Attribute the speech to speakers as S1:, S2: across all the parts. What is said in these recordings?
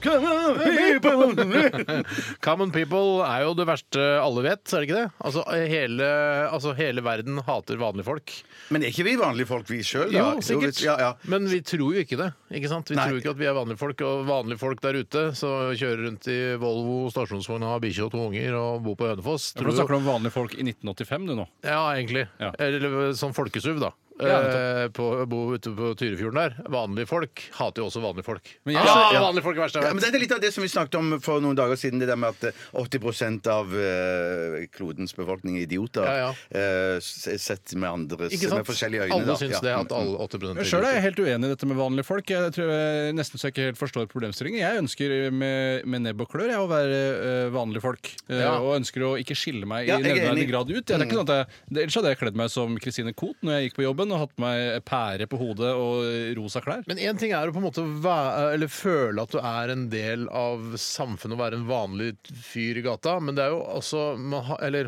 S1: Common people er jo det verste alle vet, er det ikke det? Altså hele, altså, hele verden hater vanlige folk.
S2: Men er ikke vi vanlige folk, vi sjøl?
S1: Jo, sikkert.
S2: Ja, ja.
S1: Men vi tror jo ikke det. ikke sant? Vi
S2: Nei.
S1: tror ikke at vi er vanlige folk. Og vanlige folk der ute som kjører rundt i Volvo, stasjonsvogn, har bikkje og to unger og bor på Hønefoss
S3: Ja, for
S1: tror
S3: Du
S1: jo-
S3: snakker om vanlige folk i 1985, du nå.
S1: Ja, egentlig.
S3: Ja.
S1: Eller sånn folkesuv, da.
S3: Ja,
S1: eh, på, bo ute på Tyrifjorden der. Vanlige folk hater jo også vanlige folk.
S3: Men jeg-
S1: ah, vanlige folk er verst, jeg
S2: Ja,
S1: vet.
S2: men det er litt av det som vi snakket om for noen dager siden, det der med at eh, 80 av eh, klodens befolkning er idioter.
S1: Ja,
S2: eh, s- sett med andres
S1: Ikke sant?
S2: Med forskjellige øyne.
S1: Alle
S2: da.
S1: syns
S2: Ja.
S1: det, at alle 80
S3: Men Sjøl er jeg helt uenig i dette med vanlige folk. Jeg tror jeg nesten så jeg ikke helt forstår problemstillingen. Jeg ønsker med, med nebb og klør jeg, å være eh, vanlige folk. Eh,
S1: Ja.
S3: Og ønsker å ikke skille meg
S2: Ja,
S3: i
S2: jeg er
S3: nevneverdig
S2: enig.
S3: grad ut. Jeg, det er ikke sånn at jeg, det, ellers hadde jeg kledd meg som Christine Koht når jeg gikk på jobben og hatt på meg pære på hodet og rosa klær.
S1: Men én ting er å på en måte væ- eller føle at du er en del av samfunnet og være en vanlig fyr i gata, men det er jo også man ha- eller,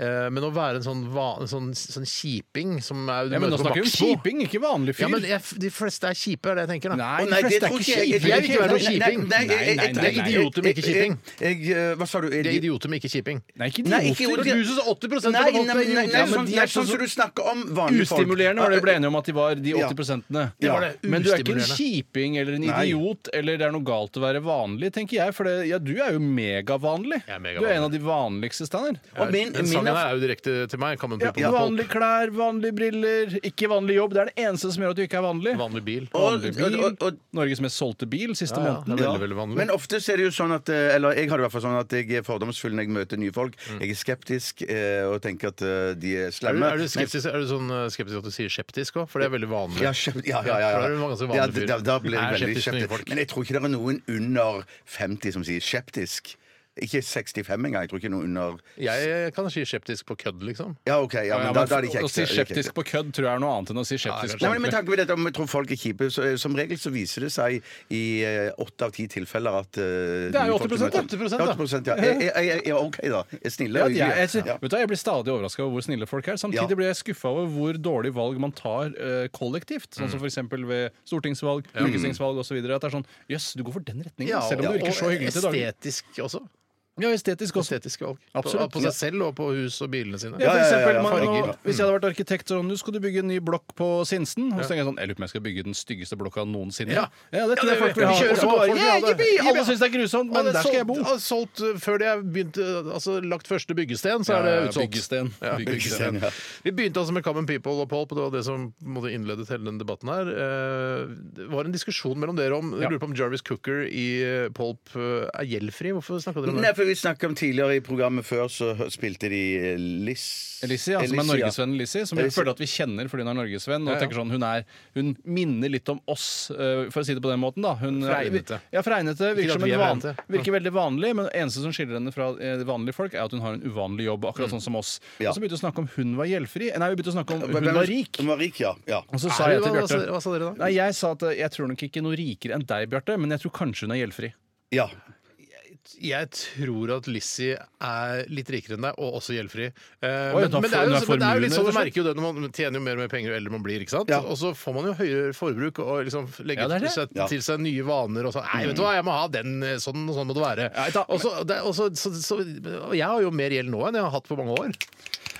S1: eh, Men å være en sånn, va, en sånn, sånn kjiping som er du
S3: Ja, men
S1: møter på
S3: nå snakker vi om
S1: Maxbo.
S3: kjiping, ikke vanlig
S1: Ja,
S3: fyr.
S1: men jeg, de fleste er kjipe, er det jeg tenker. da
S3: Nei,
S2: Å,
S3: de fleste er
S2: tror
S3: ikke
S2: jeg-
S3: kjipe.
S1: Jeg vil ikke være noe
S2: Nei,
S1: kjiping.
S2: Nei, nei, jeg- jeg-
S3: Nei, nei,
S2: jeg-
S3: nei, nei.
S2: jeg-
S1: Idioter, men ikke kjiping.
S2: Jeg, jeg, eh, hva sa du?
S1: De er idioter, men ikke kjiping.
S3: Nei, ikke
S2: Nei,
S3: idioter.
S2: ikke idioter.
S1: Du synes 80 av folk er
S2: Nei, nei, nei, nei,
S1: idioter, men
S2: sånn,
S1: de
S2: nei,
S1: er
S2: sånn som
S1: så-
S2: du snakker om vanlige folk.
S3: Ustimulerende var det vi ble enige om at de var, de
S2: Ja.
S3: 80
S2: Ja.
S1: var det.
S3: Men du er ikke en
S1: Ustimulerende.
S3: kjiping eller en
S2: Nei.
S3: idiot eller det er noe galt å være vanlig, tenker jeg. For det, ja, du er jo megavanlig.
S1: Jeg er megavanlig.
S3: Du er en av de vanligste, Steinar.
S2: Og min,
S1: Den
S2: min
S1: sangen
S2: er
S1: her er jo direkte til meg. Common
S3: Ja,
S1: people.
S3: Vanlige klær, vanlige briller, ikke vanlig jobb. Det er det eneste som gjør at du ikke er vanlig.
S1: Vanlig bil.
S2: og,
S3: Vanlig
S2: og,
S3: bil.
S2: og, og,
S3: Norges mest solgte bil siste
S1: Ja, ja, det er
S3: måneden.
S1: veldig, veldig vanlig.
S2: Men ofte så er det jo sånn at eh, Eller jeg har det i hvert fall sånn at jeg er fordomsfull når jeg møter nye folk. Jeg er skeptisk eh, og tenker at eh, de er
S1: Mm. er, du,
S2: slemme.
S1: er, du skeptisk, er du sånn eh, skeptisk at du sier skeptisk òg? For det er veldig vanlig.
S2: Ja, skjept, ja, ja, ja,
S1: for
S2: ja.
S1: da er du en ganske
S2: Ja,
S1: vanlig fyr.
S2: da, da blir
S1: Er
S2: jeg veldig
S1: skeptisk med nye
S2: skeptisk.
S1: folk.
S2: Men jeg tror ikke det er noen under 50 som sier skeptisk. Ikke 65 engang. Jeg tror ikke noen under
S1: Jeg kan si skeptisk på kødd, liksom.
S2: Ja, OK. Ja, men
S3: Ja,
S2: da,
S3: men
S2: da er det ikke
S3: Å si
S2: ekte. det er ikke
S3: skeptisk
S2: ekte.
S3: på kødd tror jeg er noe annet enn å si
S2: Nei,
S3: skeptisk på
S2: men Med
S3: ordentlig.
S2: tanke på dette om jeg tror folk er kjipe, så eh, som regel så viser det seg i eh, åtte av ti tilfeller at eh,
S3: Det er
S2: nye
S3: jo
S2: folk
S3: 80%,
S2: du møter-
S1: 80%, da.
S2: 80%, ja. Jeg, jeg, jeg, jeg er OK, da. Jeg er snille.
S3: Ja,
S2: og
S3: de er, jeg,
S2: hyggelige. Ja.
S3: vet du, hva, jeg blir stadig overraska over hvor snille folk er.
S2: Ja.
S3: Samtidig blir jeg skuffa over hvor dårlig valg man tar eh, kollektivt.
S1: Mm.
S3: Sånn som f.eks. ved stortingsvalg, fylkestingsvalg osv. At det er sånn Jøss, du går for den retningen, selv om du virker så hyggelig til daglig.
S1: estetisk også.
S3: Ja, estetisk også.
S1: Estetiske valg.
S3: Absolutt.
S1: På, på seg selv og på hus og bilene sine.
S3: Ja,
S2: ja,
S3: for
S2: ja,
S3: eksempel,
S2: ja,
S3: man,
S1: farger.
S3: nå, hvis jeg hadde vært arkitekt sånn, nå skal du bygge en ny blokk på Sinsen. Og så tenker jeg sånn, jeg lurer på om jeg skal bygge den styggeste blokka noensinne.
S1: Ja.
S3: Ja, det tror jeg folk
S1: Vi
S3: vil ha.
S1: kjører
S3: Og så
S1: på,
S3: bare,
S1: folk vil ha
S3: yeah,
S1: det.
S3: yippee!
S1: Yippee!
S3: Alle syns det er grusomt,
S1: Og
S3: men
S1: det er
S3: der skal
S1: solgt-
S3: jeg bo.
S1: ja, Solgt eh, før de har begynt, eh, altså, lagt første byggesten, så er det
S3: Ja,
S1: utsolgt.
S3: byggesten.
S1: Ja,
S3: Byggesten,
S1: byggesten. Vi begynte altså med Common People og Pulp, og det var det som på en måte innledet hele denne debatten her. Eh, Det var en diskusjon mellom dere om Jeg
S3: Ja.
S1: lurer på om Jarvis Cooker i eh, Pulp eh, er gjeldfri. Hvorfor snakka dere om
S2: Nei,
S1: det?
S2: for vi snakket om tidligere i programmet før, så hø- spilte de eh, Liss
S3: Elise, ja, som er
S2: Elise, ja.
S3: norgesvennen Lizzie, som vi
S2: Elise.
S3: føler at vi kjenner fordi hun er norgesvenn. Og
S1: Ja, ja.
S3: tenker sånn, hun, er, hun minner litt om oss, eh, for å si det på den måten. da hun,
S1: Fra Einete.
S3: Ja, fra Einete.
S1: Ikke
S3: Virker,
S1: at
S3: som
S1: vi
S3: en
S1: er
S3: van,
S1: Einete.
S3: virker veldig vanlig, men det eneste som skiller henne fra eh, vanlige folk, er at hun har en uvanlig jobb, akkurat sånn som oss.
S2: Ja.
S3: Og så begynte vi å snakke om hun var gjeldfri. Nei, vi begynte å snakke om hun
S2: Hvem-
S3: var rik.
S2: Hun var rik, ja. ja.
S3: Og så
S1: Er
S3: sa jeg
S1: det-
S3: til
S1: hva- hva sa-
S3: Bjarte
S1: hva sa dere da? altså?
S3: Nei, jeg sa at eh, jeg tror nok ikke noe rikere enn deg, Bjarte, men jeg tror kanskje hun er gjeldfri.
S2: ja.
S1: Jeg tror at Lizzie er litt rikere enn deg, og også gjeldfri. Eh,
S3: Oi,
S1: men,
S3: da
S1: men det er jo,
S3: får- da
S1: men det er jo
S3: formuen,
S1: litt sånn, Du
S3: rett og
S1: merker jo det når man tjener jo mer og mer penger jo eldre man blir. ikke sant?
S2: Ja.
S1: Og så får man jo høyere forbruk og liksom legger
S3: Ja, det er det.
S1: Seg,
S2: Ja.
S1: til seg nye vaner. og sånn, Nei, vet du hva, jeg må ha den, eh, sånn og sånn må det være.
S3: Ja, da-
S1: og så, det, er- og så, så, så, og jeg har jo mer gjeld nå enn jeg har hatt på mange år.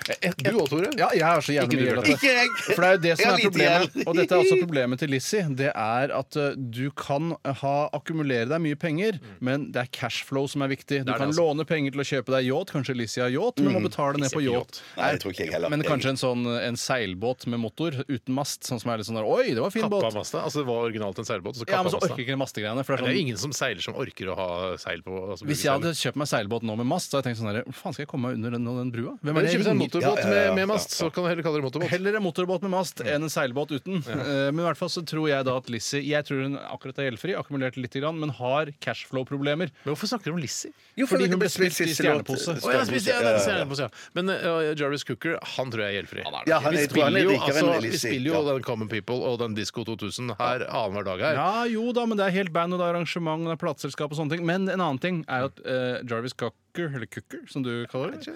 S1: Du òg, Tore.
S3: Eh, Ja, jeg har så jævlig mye gjeld. at jeg-
S2: Ikke jeg!
S3: For det er jo det som
S2: Jeg
S3: er
S2: liker
S3: problemet.
S2: gjeld.
S3: Og dette er også problemet til Lizzie. Det er at eh, du kan ha, akkumulere deg mye penger, men det er cashflow som er viktig.
S1: Mm.
S3: Du
S1: det,
S3: kan
S1: altså. Mm.
S3: låne penger til å kjøpe deg yacht. Kanskje Lizzie har yacht, men må betale ned
S1: Lizzie
S3: på
S1: har
S3: yacht.
S2: Nei, det tror ikke jeg heller.
S3: Men kanskje en sånn en seilbåt med motor uten mast, sånn som er litt sånn der Oi, det var fin
S1: Kappa
S3: båt.
S1: Masta. Altså, det var originalt en seilbåt. Så
S3: Ja,
S1: kappa
S3: men så
S1: Masta.
S3: orker jeg ikke de mastegreiene. For
S1: det
S3: det
S1: er
S3: er
S1: jo
S3: sånn
S1: ingen som seiler som orker å ha seil på. Altså,
S3: hvis jeg hadde kjøpt meg seilbåt nå med mast, så hadde jeg tenkt sånn her Hvor faen skal jeg komme meg under den, den brua? Hvem
S1: Men
S3: er det jeg
S1: kjøper seg en
S3: ringer
S1: motorbåt
S2: Ja, ja, ja,
S1: med, med
S2: ja,
S1: mast, så kan du heller kalle det motorbåt.
S3: Heller en motorbåt med mast enn en seilbåt uten. Eh, Men i hvert fall så tror jeg da at Lizzie Jeg tror hun akkurat er gjeldfri, akkumulert litt, grann, men har cashflow-problemer.
S1: Men hvorfor snakker du om Lizzie?
S2: Jo,
S3: Fordi hun ble
S2: spilt
S3: spilt i
S2: Sissy-låt.
S3: stjernepose.
S1: Å, ja, spiste, ja, det ser
S2: Ja,
S1: jeg på siden. Men eh, Jarvis Cooker, han tror jeg er gjeldfri.
S2: Ja, han er-
S1: vi
S2: jeg tror han er
S1: spiller jo,
S2: rikere
S1: altså,
S2: enn
S1: vi
S2: Lizzie,
S1: spiller jo
S2: ja.
S1: den Common People og den Disko 2000 her annenhver dag her.
S3: Ja, jo da, men det er helt band og det er arrangement og det er plateselskap og sånne ting. Men en annen ting er jo at eh, Jarvis Cocker, eller Cooker, som du kaller det,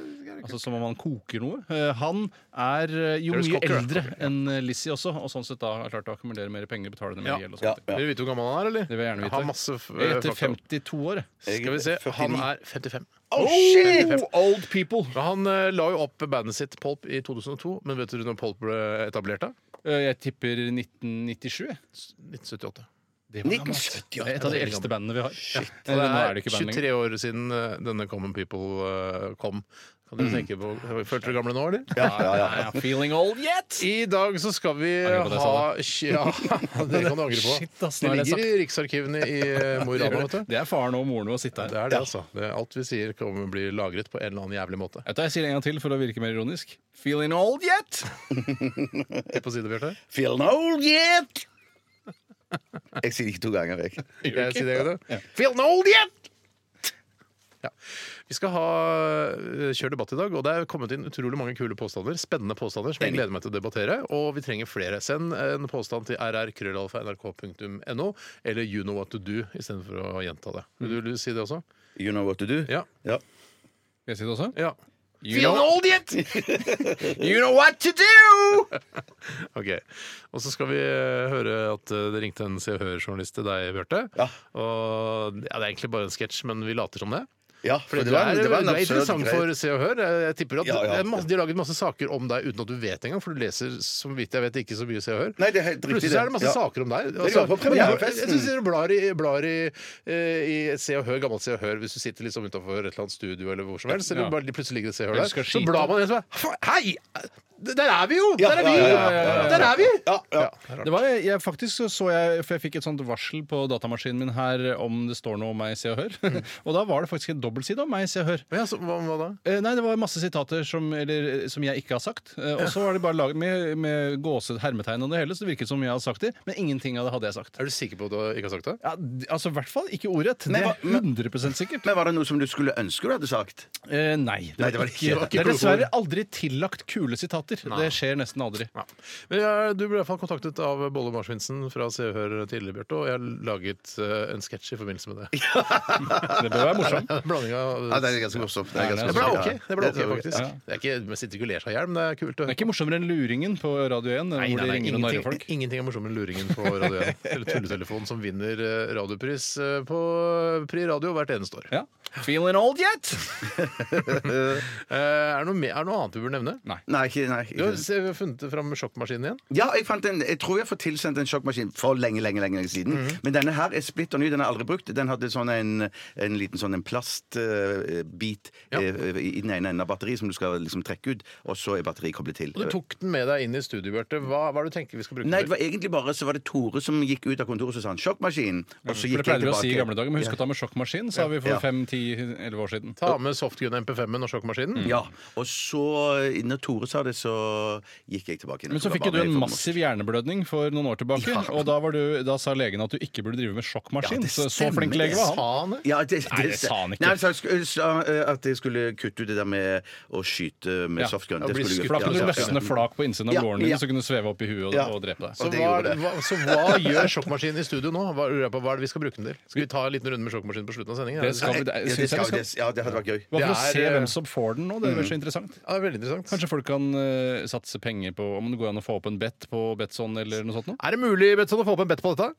S3: altså som om han koker noe, eh, han er eh, jo
S1: Jarvis
S3: mye
S1: Cocker, ja.
S3: eldre enn eh, Lizzie også, og sånn sett da har klart å akkumulere mer penger, betale ned mer
S1: Ja.
S3: gjeld og
S2: Ja,
S3: sånne ting.
S2: ja.
S1: Vil du vite hvor gammel han er, eller?
S3: Det vil jeg gjerne
S1: Jeg
S3: vite.
S1: har masse f-
S3: Jeg gjetter
S1: fakta.
S3: 52 år. jeg.
S1: Skal vi se, han er 55.
S2: Oh, shit!
S3: Old people!
S1: Men Han eh, la jo opp bandet sitt Polp i 2002, men vet du når Polp ble etablert da?
S3: Eh, Jeg tipper 1997. jeg.
S1: 1978.
S3: Det var gammelt.
S2: 1978.
S3: Det er et av de eldste bandene vi har.
S1: Så
S3: Eller,
S1: det
S3: nå
S1: er,
S3: er det ikke band lenger.
S1: 23 år siden eh, denne Common People eh, kom. Kan
S3: Mm.
S1: dere tenke på, Følte dere gamle nå, eller?
S2: Ja, ja, ja.
S3: Nei, I'm feeling old yet!
S1: I dag så skal vi
S3: Angrer på det jeg sa
S1: ha Ja, det kan du angre på.
S3: Shit, ass, nå
S1: det
S3: har jeg
S1: ligger i riksarkivene i eh, Mo i Rana, vet du.
S3: Det er faren og moren å sitte her.
S1: Det er det, altså. Det er alt vi sier, kommer til å bli lagret på en eller annen jævlig måte.
S3: Vet du, hva, jeg sier det en gang til for å virke mer ironisk. Feeling old yet?
S1: Er På side, Bjarte.
S2: Feeling old yet! Jeg sier det ikke to ganger, jeg.
S1: Jeg sier det, en gang til. Feeling old yet! Ja. Vi skal ha eh, kjør debatt i dag, og det er kommet inn utrolig mange kule påstander. Spennende påstander som jeg gleder meg til å debattere. Og vi trenger flere. Send en påstand til rrkrøllalfa.nrk.no, eller you know what to do, istedenfor å gjenta det. Vil du si det også?
S2: You know what to do?
S1: Ja.
S2: ja.
S3: Skal jeg si det også?
S1: Ja.
S3: You know,
S1: old yet!
S3: you know what to do!
S1: Ok, Og så skal vi eh, høre at eh, det ringte en Se og Hør-journalist til deg, Bjarte.
S2: Ja.
S1: Og ja, Det er egentlig bare en sketsj, men vi later som det.
S2: Ja,
S1: For
S2: det
S1: du
S2: var-
S1: er,
S2: det var en
S1: du er
S2: absurd
S1: interessant
S2: greie.
S1: for Se og Hør. Jeg, jeg tipper at
S2: Ja, ja.
S1: det er masse, De har laget masse saker om deg uten at du vet engang, for du leser så vidt jeg vet ikke så mye Se og Hør.
S2: Nei, det er helt riktig
S1: Plutselig så er det masse
S2: Ja.
S1: saker om deg. Altså,
S2: var på premierefesten.
S1: Jeg synes du blar i, blar i, eh, i Se og Hør, gammelt Se og Hør, hvis du sitter liksom utenfor et eller annet studio eller hvor som helst. Eller
S3: Ja.
S1: bare, plutselig ligger det Se og
S3: Eller
S1: Hør
S3: skal
S1: der. Så
S3: skite.
S1: blar man i det og så bare Hei! Der er vi jo!
S2: Ja,
S1: Der er vi!
S2: ja, ja, ja, ja, ja.
S1: Der er vi!
S2: Ja, ja.
S1: Ja,
S3: Det var, jeg, faktisk så- så jeg, for jeg fikk et sånt varsel på datamaskinen min her om det står noe om meg i Se og Hør. og da var det faktisk en dobbeltside om meg i Se og Hør.
S1: Ja, så, hva, hva da?
S3: Eh, Nei, det var masse sitater som, eller, eh, som jeg ikke har sagt. Eh, Og så var det bare laget med, med gåse, hermetegn og det hele, så det virket som jeg hadde sagt det. Men ingenting av det hadde jeg sagt.
S1: Er du sikker på at du ikke har sagt det?
S3: Ja, d- altså i hvert fall ikke ordrett. Det
S2: Nei,
S3: er
S2: hva-
S3: 100 sikkert.
S2: Men var det noe som du skulle ønske du hadde sagt?
S3: Eh, nei, det
S2: Nei,
S3: var
S2: det var ikke-
S3: ikke.
S2: det var ikke
S3: Det er
S1: kloke
S3: dessverre aldri tillagt kule sitater. Det skjer nesten aldri.
S1: Ja. Men jeg, du ble i hvert fall kontaktet av Bolle Marsvinsen fra Se og Hør tidligere, Bjarte, og jeg har laget eh, en sketsj i forbindelse med det.
S3: Det bør være morsomt.
S1: En Blanding av
S2: Ja, det er ganske morsomt. Det er ganske
S1: det ble
S2: morsomt,
S1: ok,
S2: ja.
S1: det ble ok faktisk.
S3: Ja.
S1: Det er ikke, Man sitter ikke og ler seg i hjel, men det er kult å
S3: Det er ikke morsommere enn Luringen på Radio
S1: Nei,
S3: 1, hvor
S1: nei,
S3: de
S1: nei,
S3: ringer og narrer
S1: ingenting,
S3: folk.
S1: ingenting er morsommere enn luringen på Radio 1. Eller tulletelefonen som vinner eh, radiopris eh, på Pri Radio hvert eneste år.
S3: Ja. Feeling old yet?
S1: Eh, Er det noe, me- er det noe annet vi burde nevne?
S3: Nei.
S2: Nei, ikke, nei.
S1: Du har
S2: Ikke.
S1: se- funnet fram sjokkmaskinen igjen?
S2: Ja, jeg, fant en, jeg tror jeg har fått tilsendt en sjokkmaskin for lenge, lenge lenge, lenge siden. Men denne her er splitter ny. Den er aldri brukt. Den hadde sånn en, en liten sånn en plastbit eh,
S1: Ja.
S2: i den ene enden av batteriet som du skal liksom trekke ut, og så er batteriet koblet til.
S1: Og du tok den med deg inn i studio, Bjarte. Hva, hva er det du tenker vi skal bruke
S2: Nei,
S1: den
S2: det
S1: til?
S2: var egentlig bare så var det Tore som gikk ut av kontoret og sa han 'sjokkmaskin'. Og så
S3: For det
S2: gikk jeg
S3: pleide vi å si i
S2: tilbake.
S3: gamle dager, men husk å ta med sjokkmaskin, sa vi
S2: Ja.
S3: for 5-10-11 år siden.
S1: Ta med softgun MP5-en og sjokkmaskinen?
S3: Mm.
S2: Ja, og så Når Tore sa det, så gikk jeg tilbake. inn.
S3: Men så
S2: Det var
S3: fikk jo du
S2: bare
S3: en
S2: meg for-
S3: massiv hjerneblødning for noen år tilbake, og da, var du, da sa legen at du ikke burde drive med sjokkmaskin.
S2: Ja, det
S3: så, så
S2: stemmer,
S3: flink
S2: det
S3: lege var
S1: Sa
S3: han.
S1: han det?
S2: Ja, det,
S3: Nei, det sa han ikke.
S2: Nei, han sa sk- sa, eh, at jeg skulle kutte ut det der med å skyte med
S3: Ja,
S2: softgun.
S1: å
S2: Det
S1: bli
S2: skulle jeg
S1: skutt,
S2: gjøre.
S3: For da kunne
S2: Ja,
S3: du
S2: ja, ja.
S3: løsne flak på innsiden av
S2: Ja,
S3: gården din,
S2: ja.
S3: så kunne du sveve opp i huet og,
S2: Ja.
S3: og drepe deg.
S1: Så
S2: Og det
S1: hva,
S2: gjorde det.
S1: hva, så hva gjør sjokkmaskinen i studio nå? Hva, lurer jeg på, hva er det vi skal bruke den til? Skal vi ta en liten runde med sjokkmaskinen på slutten av sendingen?
S3: Det skal vi, det,
S2: Ja, det,
S3: synes jeg liksom. vi
S2: skal,
S3: skal.
S2: det, ja, det hadde vært gøy.
S3: Bare for
S1: Det
S3: å
S1: er,
S3: se
S1: eh,
S3: hvem som får den nå. Det er så interessant.
S1: Ja, det er veldig interessant.
S3: mm. Kanskje folk kan eh, satse penger på om det går an å få opp en bet på Betson eller noe sånt noe?
S1: Er det mulig Betsson, å få opp en bet på dette?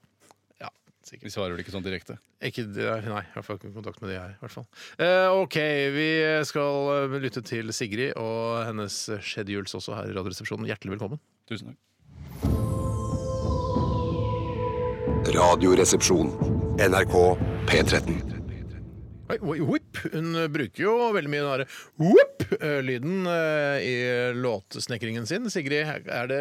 S1: Ja, sikkert.
S3: Vi svarer vel ikke sånn direkte.
S1: Ikke, nei, jeg får ikke kontakt med de her, i hvert fall. Eh, OK, vi skal eh, lytte til Sigrid og hennes schedules også her i Radioresepsjonen. Hjertelig velkommen.
S3: Tusen takk.
S4: Radioresepsjon. NRK P13.
S1: Oi, oi, Whip. Hun bruker jo veldig mye den derre whip-lyden eh, i låtsnekringen sin. Sigrid, er det,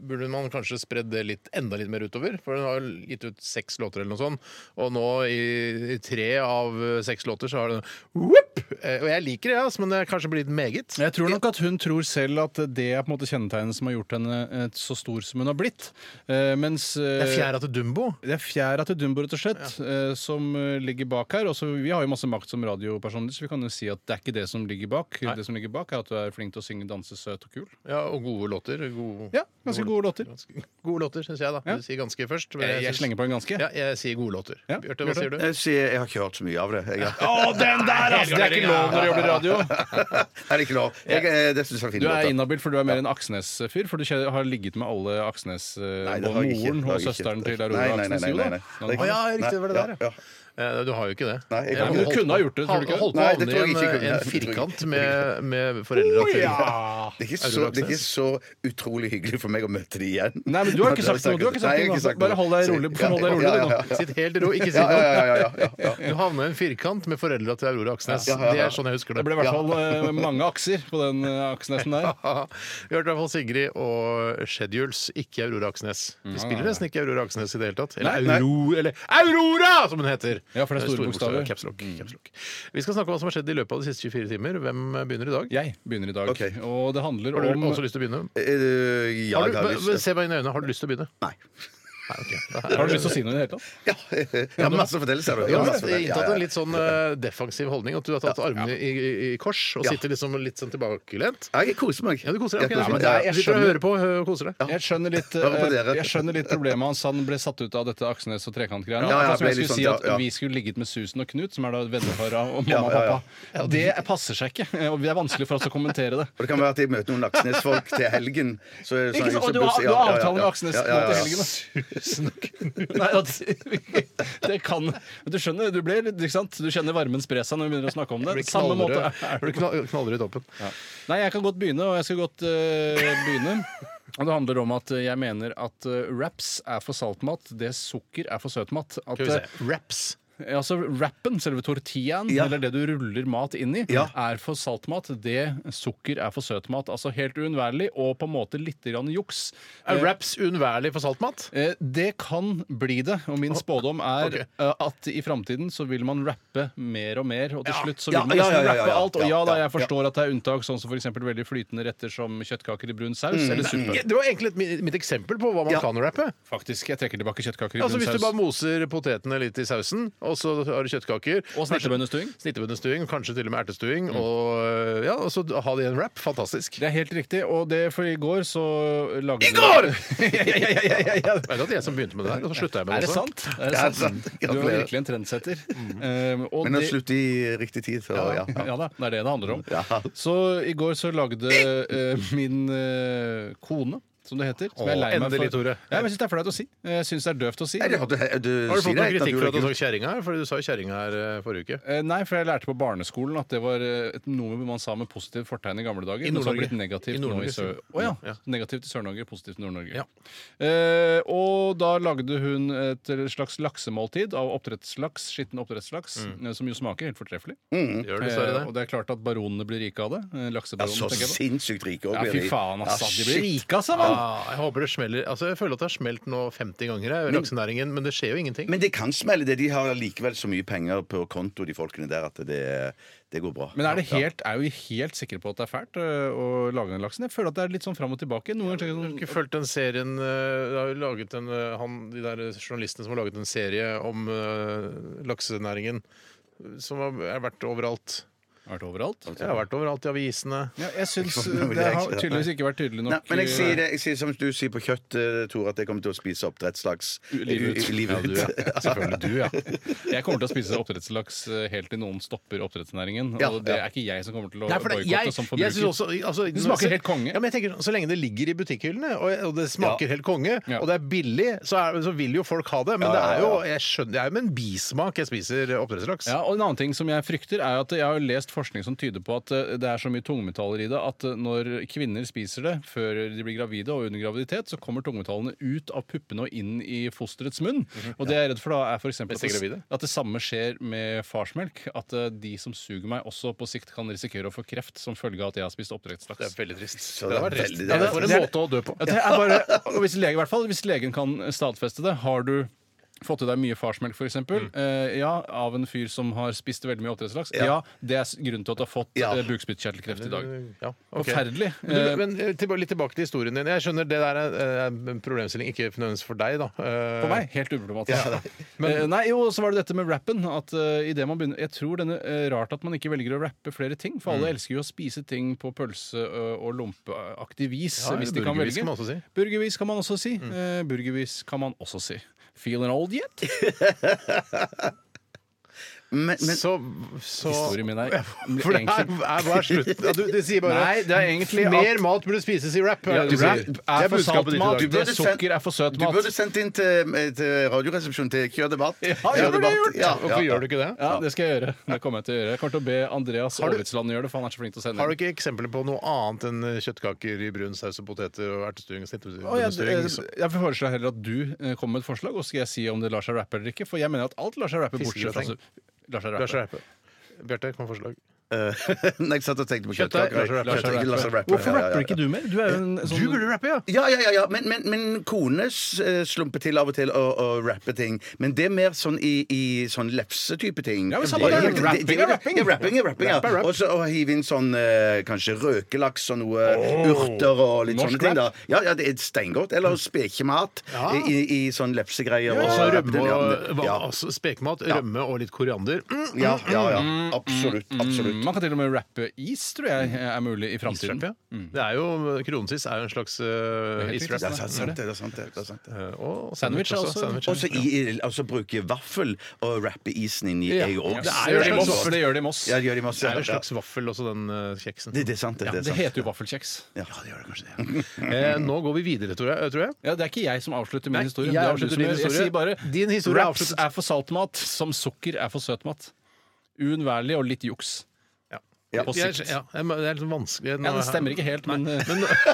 S1: burde man kanskje spredd det litt, enda litt mer utover? For hun har jo gitt ut seks låter eller noe sånt, og nå i, i tre av eh, seks låter så har hun whip! rep. Eh, Og jeg liker det, altså, men det er kanskje blitt meget.
S3: Jeg tror nok at hun tror selv at det er på en måte kjennetegnet som har gjort henne eh, så stor som hun har blitt. Eh, mens
S1: Det er
S3: eh,
S1: fjæra til Dumbo.
S3: det er fjæra til Dumbo, rett og slett, eh, som eh, ligger bak her. Også, vi har jo masse makt som radiopersoner, så vi kan jo si at det er ikke det som ligger bak. Det som ligger bak, er at du er flink til å synge, danse, søt og kul.
S1: Ja, og gode låter. Gode,
S3: Ja, ganske gode låter.
S1: Ganske- Gode låter, syns jeg, da.
S3: Ja.
S1: Du sier ganske først. men
S3: Jeg,
S1: syns-
S3: slenger på en ganske.
S1: Ja, jeg sier gode låter.
S3: Ja,
S1: Bjarte, hva
S3: Bjarte?
S1: sier du?
S2: Jeg, sier, Eh, jeg har ikke hørt så mye av det. Jeg,
S3: Å, den der, altså! Det er ikke lov når du jobber i radio.
S2: er det ikke lov? Jeg, eh, det syns jeg er fint.
S3: Du er inhabil, for du er mer en Aksnes-fyr. For du kje- har ligget med alle Aksnes eh,
S2: Nei, det har
S3: Både
S2: jeg ikke. Det
S3: moren
S2: har
S3: og
S2: jeg ikke.
S3: søsteren til
S2: Nei,
S3: Aurora
S2: nei, nei,
S3: Aksnes.
S2: nei,
S3: Jo
S2: nei, nei.
S3: da.
S2: Det
S1: Å
S2: er ikke-
S1: ja, riktig det var det
S2: Nei,
S1: der,
S2: ja.
S1: Eh, Du har jo ikke det.
S2: Nei, jeg
S1: Ja,
S2: kan
S3: men
S2: ikke.
S3: du kunne ha gjort det, tror du ikke?
S1: Holdt på å
S2: Nei, det
S1: havne
S2: tror jeg
S1: i en,
S2: ikke jeg kunne.
S1: en firkant med, med foreldra til
S2: Det er, ikke så, det er ikke så utrolig hyggelig for meg å møte de igjen.
S3: Nei, men du har ikke sagt noe, du har ikke sagt
S2: Nei, jeg
S3: noe.
S2: sagt
S3: Bare hold deg
S2: Så-
S3: rolig, hold deg rolig,
S2: ja, ja,
S3: du nå.
S2: ja, ja.
S1: Sitt helt i ro, ikke si
S2: Ja, ja,
S1: noe.
S2: ja, ja, ja, ja, ja.
S1: Du havna i en firkant med foreldra til Aurora Aksnes.
S2: Ja, ja, ja, ja.
S1: Det er sånn jeg husker
S3: Det
S1: det.
S3: ble i hvert fall eh, mange akser på den eh, Aksnesen der.
S1: Ja. Vi hørte i hvert fall Sigrid og Schedules, ikke Aurora Aksnes. Vi spiller nesten ikke Aurora Aksnes i det hele tatt. Eller,
S3: Nei, nei.
S1: Auro, eller Aurora, som hun heter!
S3: Ja, for det er Mm. store bokstaver.
S1: Caps lock, caps lock. Vi skal snakke om hva som har skjedd i løpet av de siste 24 timer. Hvem begynner i dag?
S3: Jeg begynner i dag,
S2: Ok.
S3: og det handler
S1: Har
S3: om
S1: du også lyst til å begynne?
S2: Eh, Ja,
S1: Har
S2: jeg
S1: du,
S2: har lyst
S1: se meg inn i øynene. Har du lyst til å begynne?
S2: Nei.
S1: Nei, ok. Da er-
S3: Har du lyst til å si noe i det hele tatt?
S2: Ja, jeg har masse å fortelle, ser du. Jeg
S1: Du
S2: har
S1: har
S2: masse å fortelle. Ja,
S1: inntatt
S2: altså, ja,
S1: en
S2: ja.
S1: litt sånn eh, defensiv holdning. At du har tatt armene i, i, i kors og
S2: Ja.
S1: sitter liksom litt sånn tilbakelent.
S2: Ja, Jeg koser meg.
S1: Ja, du koser deg.
S2: Jeg
S1: ok, det er
S2: koser meg.
S1: fint.
S3: Nei,
S1: Du sitter
S3: jeg
S1: og
S3: skjønner.
S1: hører på, hø- koser deg.
S3: Jeg skjønner litt,
S2: Hør på
S3: eh,
S2: dere.
S3: jeg skjønner litt problemet hans. Han ble satt ut av dette Aksnes og
S2: Ja,
S3: trekantgreiene.
S2: ja,
S3: Akkurat som jeg
S2: jeg ble litt
S3: skulle si
S2: sånn,
S3: at
S2: ja, ja.
S3: vi skulle ligget med Susan og Knut, som er da vennepar av og
S2: Ja,
S3: mamma og
S2: ja, ja.
S3: pappa. Det passer seg ikke, og det er vanskelig for oss å kommentere det.
S2: Og det kan være at jeg møter noen Aksnes-folk til helgen. Så er det
S3: Ikke
S2: sånn- så
S3: sant? Og du har,
S2: plutselig-
S3: du har
S2: ja, ja, ja,
S3: avtale med
S2: ja.
S3: Aksnes
S2: Ja, ja, ja.
S3: nå til helgen, da.
S1: Tusen
S3: Nei, at, det kan Du skjønner, du blir litt- ikke sant? Du kjenner varmen spre seg når vi begynner å snakke om det. Samme måte.
S1: Er du knall- knaller i toppen?
S3: Nei, jeg kan godt begynne, og jeg skal godt eh, begynne. Og det handler om at eh, jeg mener at eh, wraps er for saltmat, det sukker er for søtmat. At,
S1: Skal vi
S3: eh,
S1: se. Raps.
S3: altså Wrappen, selve tortillaen,
S2: Ja.
S3: eller det du ruller mat inn i,
S2: Ja.
S3: er for saltmat. Det sukker er for søtmat. Altså helt uunnværlig, og på en måte litt grann juks.
S1: Er raps uunnværlig for saltmat?
S3: Eh, Det kan bli det, og min spådom er
S1: ok.
S3: eh, at i framtiden så vil man rappe mer og mer, og til slutt så vil
S2: Ja,
S3: man
S2: ja, ja, ja,
S3: nesten
S2: ja,
S3: rappe
S2: ja.
S3: alt. Og ja
S2: Ja,
S3: da,
S2: ja,
S3: jeg forstår at det er unntak, sånn som f.eks. veldig flytende retter som kjøttkaker i brun saus
S2: Mm.
S3: eller suppe.
S1: Det var egentlig et mi- mitt eksempel på hva man
S2: Ja.
S1: kan rappe.
S3: Faktisk, jeg trekker tilbake kjøttkaker i
S1: Altså
S3: brun
S1: Hvis du
S3: saus.
S1: bare moser potetene litt i sausen, og så har du kjøttkaker
S3: Og snittebønnestuing.
S1: Snittebønnestuing, kanskje til og med ertestuing, og, ja, og så ha det i en wrap. Fantastisk.
S3: Det er helt riktig, og det for i går så lagde
S1: I går!
S3: ja, ja, ja, ja, ja, ja.
S1: Vet du at det er jeg som begynte med det der, og så slutta jeg med
S3: Er
S1: det
S3: det
S1: også?
S3: sant? Er
S2: Det er sant.
S3: Du er
S2: Gratulerer. Mm.
S3: virkelig en trendsetter. Eh, og
S2: Men å
S3: det-
S2: slutte i riktig tid, så ja.
S3: Ja da, det er det det handler om.
S2: Ja.
S3: Så i går så lagde eh, min eh, kone som det heter. Som jeg er lei meg
S1: endelig,
S3: for.
S1: Tore.
S3: Ja, men jeg syns det er flaut å si. Jeg syns det er døvt å si.
S2: Nei, det har du, du
S1: Har du fått noen
S2: sier det helt
S1: kritikk for at du
S2: naturlig.
S1: sa kjerringa her? Fordi du sa jo kjerringa her eh, forrige uke.
S3: Eh, Nei, for jeg lærte på barneskolen at det var eh, et noe man sa med positivt fortegn i gamle dager.
S1: I
S3: men som har
S1: Nord-Norge.
S3: blitt negativt
S1: I
S3: nå
S1: Nord-Norge,
S3: i Sør...
S1: sier du.
S3: Å ja.
S1: Ja.
S3: Negativt i Sør-Norge, positivt i Nord-Norge.
S1: Ja.
S3: Eh, og da lagde hun et eh, slags laksemåltid av oppdrettslaks, skitten oppdrettslaks, eh, som jo smaker helt fortreffelig.
S1: Gjør Mm. dessverre
S3: Eh,
S1: det.
S3: og det er klart at baronene blir rike av det. Eh,
S2: Ja,
S3: Laksebaronene,
S2: så
S3: tenker jeg på.
S2: sinnssykt rike òg
S3: Ja,
S2: blir
S3: fy faen, altså.
S2: Ja,
S3: de blir
S2: shit.
S3: rike, altså, mann!
S1: Ah, jeg håper det smeller Altså, jeg føler at det har smelt nå 50 ganger, jeg, i laksenæringen, men det skjer jo ingenting.
S2: Men det kan smelle, det. De har likevel så mye penger på konto, de folkene der, at det, det går bra.
S3: Men er, det
S2: Ja.
S3: helt, er vi helt sikre på at det er fælt øh, å lage den laksen? Jeg føler at det er litt sånn fram og tilbake.
S1: Har
S3: Noen ganger
S1: du
S3: tenker
S1: ikke
S3: jeg sånn,
S1: fulgt den serien eh, Det har jo laget en eh, han, De der journalistene som har laget en serie om eh, laksenæringen, som har er vært overalt.
S3: har vært overalt.
S1: Jeg har vært overalt i avisene.
S3: Ja, jeg syns øh, det har tydeligvis ikke vært tydelig nok. eh, øh,
S2: Nei, men jeg sier, det, jeg sier som du sier på kjøtt, eh, Tore, at jeg kommer til å spise oppdrettslaks
S3: Livet ut.
S2: U- øh, livet ut.
S3: Ja, du, ja. Selvfølgelig du, ja. Jeg kommer til å spise oppdrettslaks øh, helt til noen stopper oppdrettsnæringen.
S2: Ja,
S3: og det
S2: ja.
S3: er ikke jeg som kommer til å
S1: Nei, for det, jeg,
S3: boikotte som
S1: jeg synes
S3: forbruker.
S1: også, altså,
S3: Det smaker helt konge.
S1: Ja, men jeg tenker, sånn, Så lenge det ligger i butikkhyllene, og, og det smaker
S2: Ja.
S1: helt konge,
S3: Ja.
S1: og det er billig, så, er, så vil jo folk ha det. Men
S2: Ja, ja,
S1: det er jo
S2: ja.
S1: jeg skjønner, det er jo med en bismak jeg spiser oppdrettslaks.
S3: Ja, og en annen ting som Jeg frykter er at jeg har jo lest forskning som tyder på at eh, det er så mye tungmetaller i det at eh, når kvinner spiser det før de blir gravide og under graviditet, så kommer tungmetallene ut av puppene og inn i fosterets munn. Og det jeg er redd for da, er f.eks. At,
S1: Mhm. Hvis de er
S3: det-
S1: gravide?
S3: at det samme skjer med farsmelk. At eh, de som suger meg, også på sikt kan risikere å få kreft som følge av at jeg har spist oppdrettslaks.
S1: Det er veldig trist.
S2: Så
S1: det
S2: det
S1: har
S2: er
S1: vært trist.
S2: Altså, veldig-
S1: Ja, det er for en
S3: det er-
S1: måte å dø på.
S3: Ja, det er bare, og hvis, lege, i hvert fall, hvis legen kan stadfeste det, har du Fått i deg mye farsmelk, f.eks. eksempel
S1: Mm.
S3: Eh, ja, av en fyr som har spist veldig mye oppdrettslaks. Ja. det er s- grunnen til at du har fått
S2: Ja.
S3: eh, bukspyttkjertelkreft i dag.
S1: Ja, ok.
S3: Mm, Forferdelig.
S1: Men, du- men eh, tilba- litt tilbake til historien din. Jeg skjønner det der er eh, en problemstilling ikke nødvendigvis for deg, da. Eh,
S3: For meg, helt uproblematisk. Eh, nei, jo, så var det dette med rappen. At eh, i det man begynner Jeg tror denne eh, rart at man ikke velger å rappe flere ting. For
S1: Mm.
S3: alle elsker jo å spise ting på pølse ø, og lompeaktig vis.
S1: Ja,
S3: hvis
S1: eller
S3: de kan
S1: burgervis
S3: velge.
S1: kan man også si. Mm.
S3: Burgervis kan man også si. Eh, burgervis kan man også si. Feeling old yet?
S2: Men, men,
S1: så, så
S3: Historien min er
S1: For det er, er bare slutt. Ja, Du, det sier bare
S3: Nei, det er egentlig at-
S1: Mer mat burde spises i rap.
S3: Ja,
S1: er det du
S3: rap
S1: sier.
S3: er
S1: Det
S3: for
S1: budskapet
S3: salt
S1: ditt i
S3: mat.
S1: dag.
S2: Du burde sendt-
S3: Sukker er for søt
S2: du
S3: mat.
S2: burde sendt inn til, eh, til Radioresepsjonen til Kjør debatt.
S3: jeg burde gjort det.
S2: Ja,
S1: Hvorfor
S2: ja.
S1: gjør du ikke det?
S3: Ja, det skal jeg gjøre. Det kommer jeg til å gjøre. Jeg kommer til å be Andreas
S1: du-
S3: Aavitsland gjøre det, for han er så flink til å sende
S1: Har du
S3: inn.
S1: ikke eksempler på noe annet enn kjøttkaker i brun saus og poteter og ertestuing og snittestuing?
S3: Å, eh, jeg, jeg, jeg foreslår heller at du eh, kommer med et forslag, og så skal jeg si om det lar seg rappe eller ikke. For jeg mener at alt lar seg rappe, bortsett fra
S1: Fiskegrateng.
S3: Lar seg
S1: Lars
S3: rappe.
S1: Reipe. Bjarte, kom med forslag.
S2: Nei, jeg satt og tenkte på
S1: Kjøttdeig,
S2: kjøttkaker.
S1: Lars Rappe.
S2: Kjøttdeig, Lars Rappe. Ja,
S3: Hvorfor
S2: ja, ja.
S3: rapper ikke du mer? Du er jo en sånn
S1: rappe, ja!
S2: Ja, ja, ja, ja. Men, men, men kone s- eh, slumper til av og til å, å rappe ting. Men det er mer sånn i, i sånn lefsetype ting.
S3: Ja, men samme
S2: Det
S3: det.
S2: det- det-
S3: Rapping er rapping.
S2: Ja, rapping er rapping, ja.
S3: Rapp er rapp.
S2: Og så å hive inn sånn eh, kanskje røkelaks og noe urter og litt
S3: Norsk
S2: sånne ting. da
S3: rap.
S2: Ja, ja, det er steingodt. Eller spekemat
S1: Ja.
S2: i, i, i sånn lefsegreier.
S1: Og så rømme
S2: Ja,
S1: og
S2: ja.
S1: altså, spekemat, rømme og litt koriander. Mm.
S2: Ja, ja, ja. Absolutt.
S3: mm,
S2: Absolutt.
S3: Man kan til og med rappe is, tror jeg er mulig i framtiden.
S1: Israpp, ja. Det er jo, Kronesis er jo en slags uh,
S3: helt
S1: israpp.
S2: Ja, det er sant, det. det er sant, det, det er sant, det.
S1: Eh, Og
S3: Sandwich
S1: sandwich
S3: er
S1: også.
S3: også-
S1: Sandwich,
S2: Og så i- og så bruke vaffel og rappe isen inn i
S1: Ja.
S2: egg
S1: Det er
S2: og
S3: Det
S1: jo
S3: gjør de i
S1: en
S3: Moss.
S1: slags
S3: Det gjør de i Moss.
S2: Ja, det gjør de masse.
S1: Det er jo en
S2: ja.
S1: slags vaffel også, den eh, kjeksen.
S2: Det, det er sant. Det, det er
S3: Det
S2: sant.
S3: heter jo vaffelkjeks.
S2: Ja, det gjør det kanskje det.
S1: Eh, nå går vi videre, tror jeg. Tror jeg.
S3: Ja, Det er ikke jeg som avslutter min
S1: Nei,
S3: historie.
S1: jeg
S3: Det er du
S1: avslutter
S3: som
S1: din
S3: gjør.
S1: historie.
S3: Jeg sier bare
S1: Din historie er
S3: raps
S1: avsluttet.
S3: er for saltmat som sukker er for søtmat. Uunnværlig og litt juks.
S2: Ja.
S3: På
S1: Jeg-
S3: sikt.
S1: Ja, jeg må- det er litt vanskelig
S3: Ja, det stemmer ikke helt, men
S1: Men eh,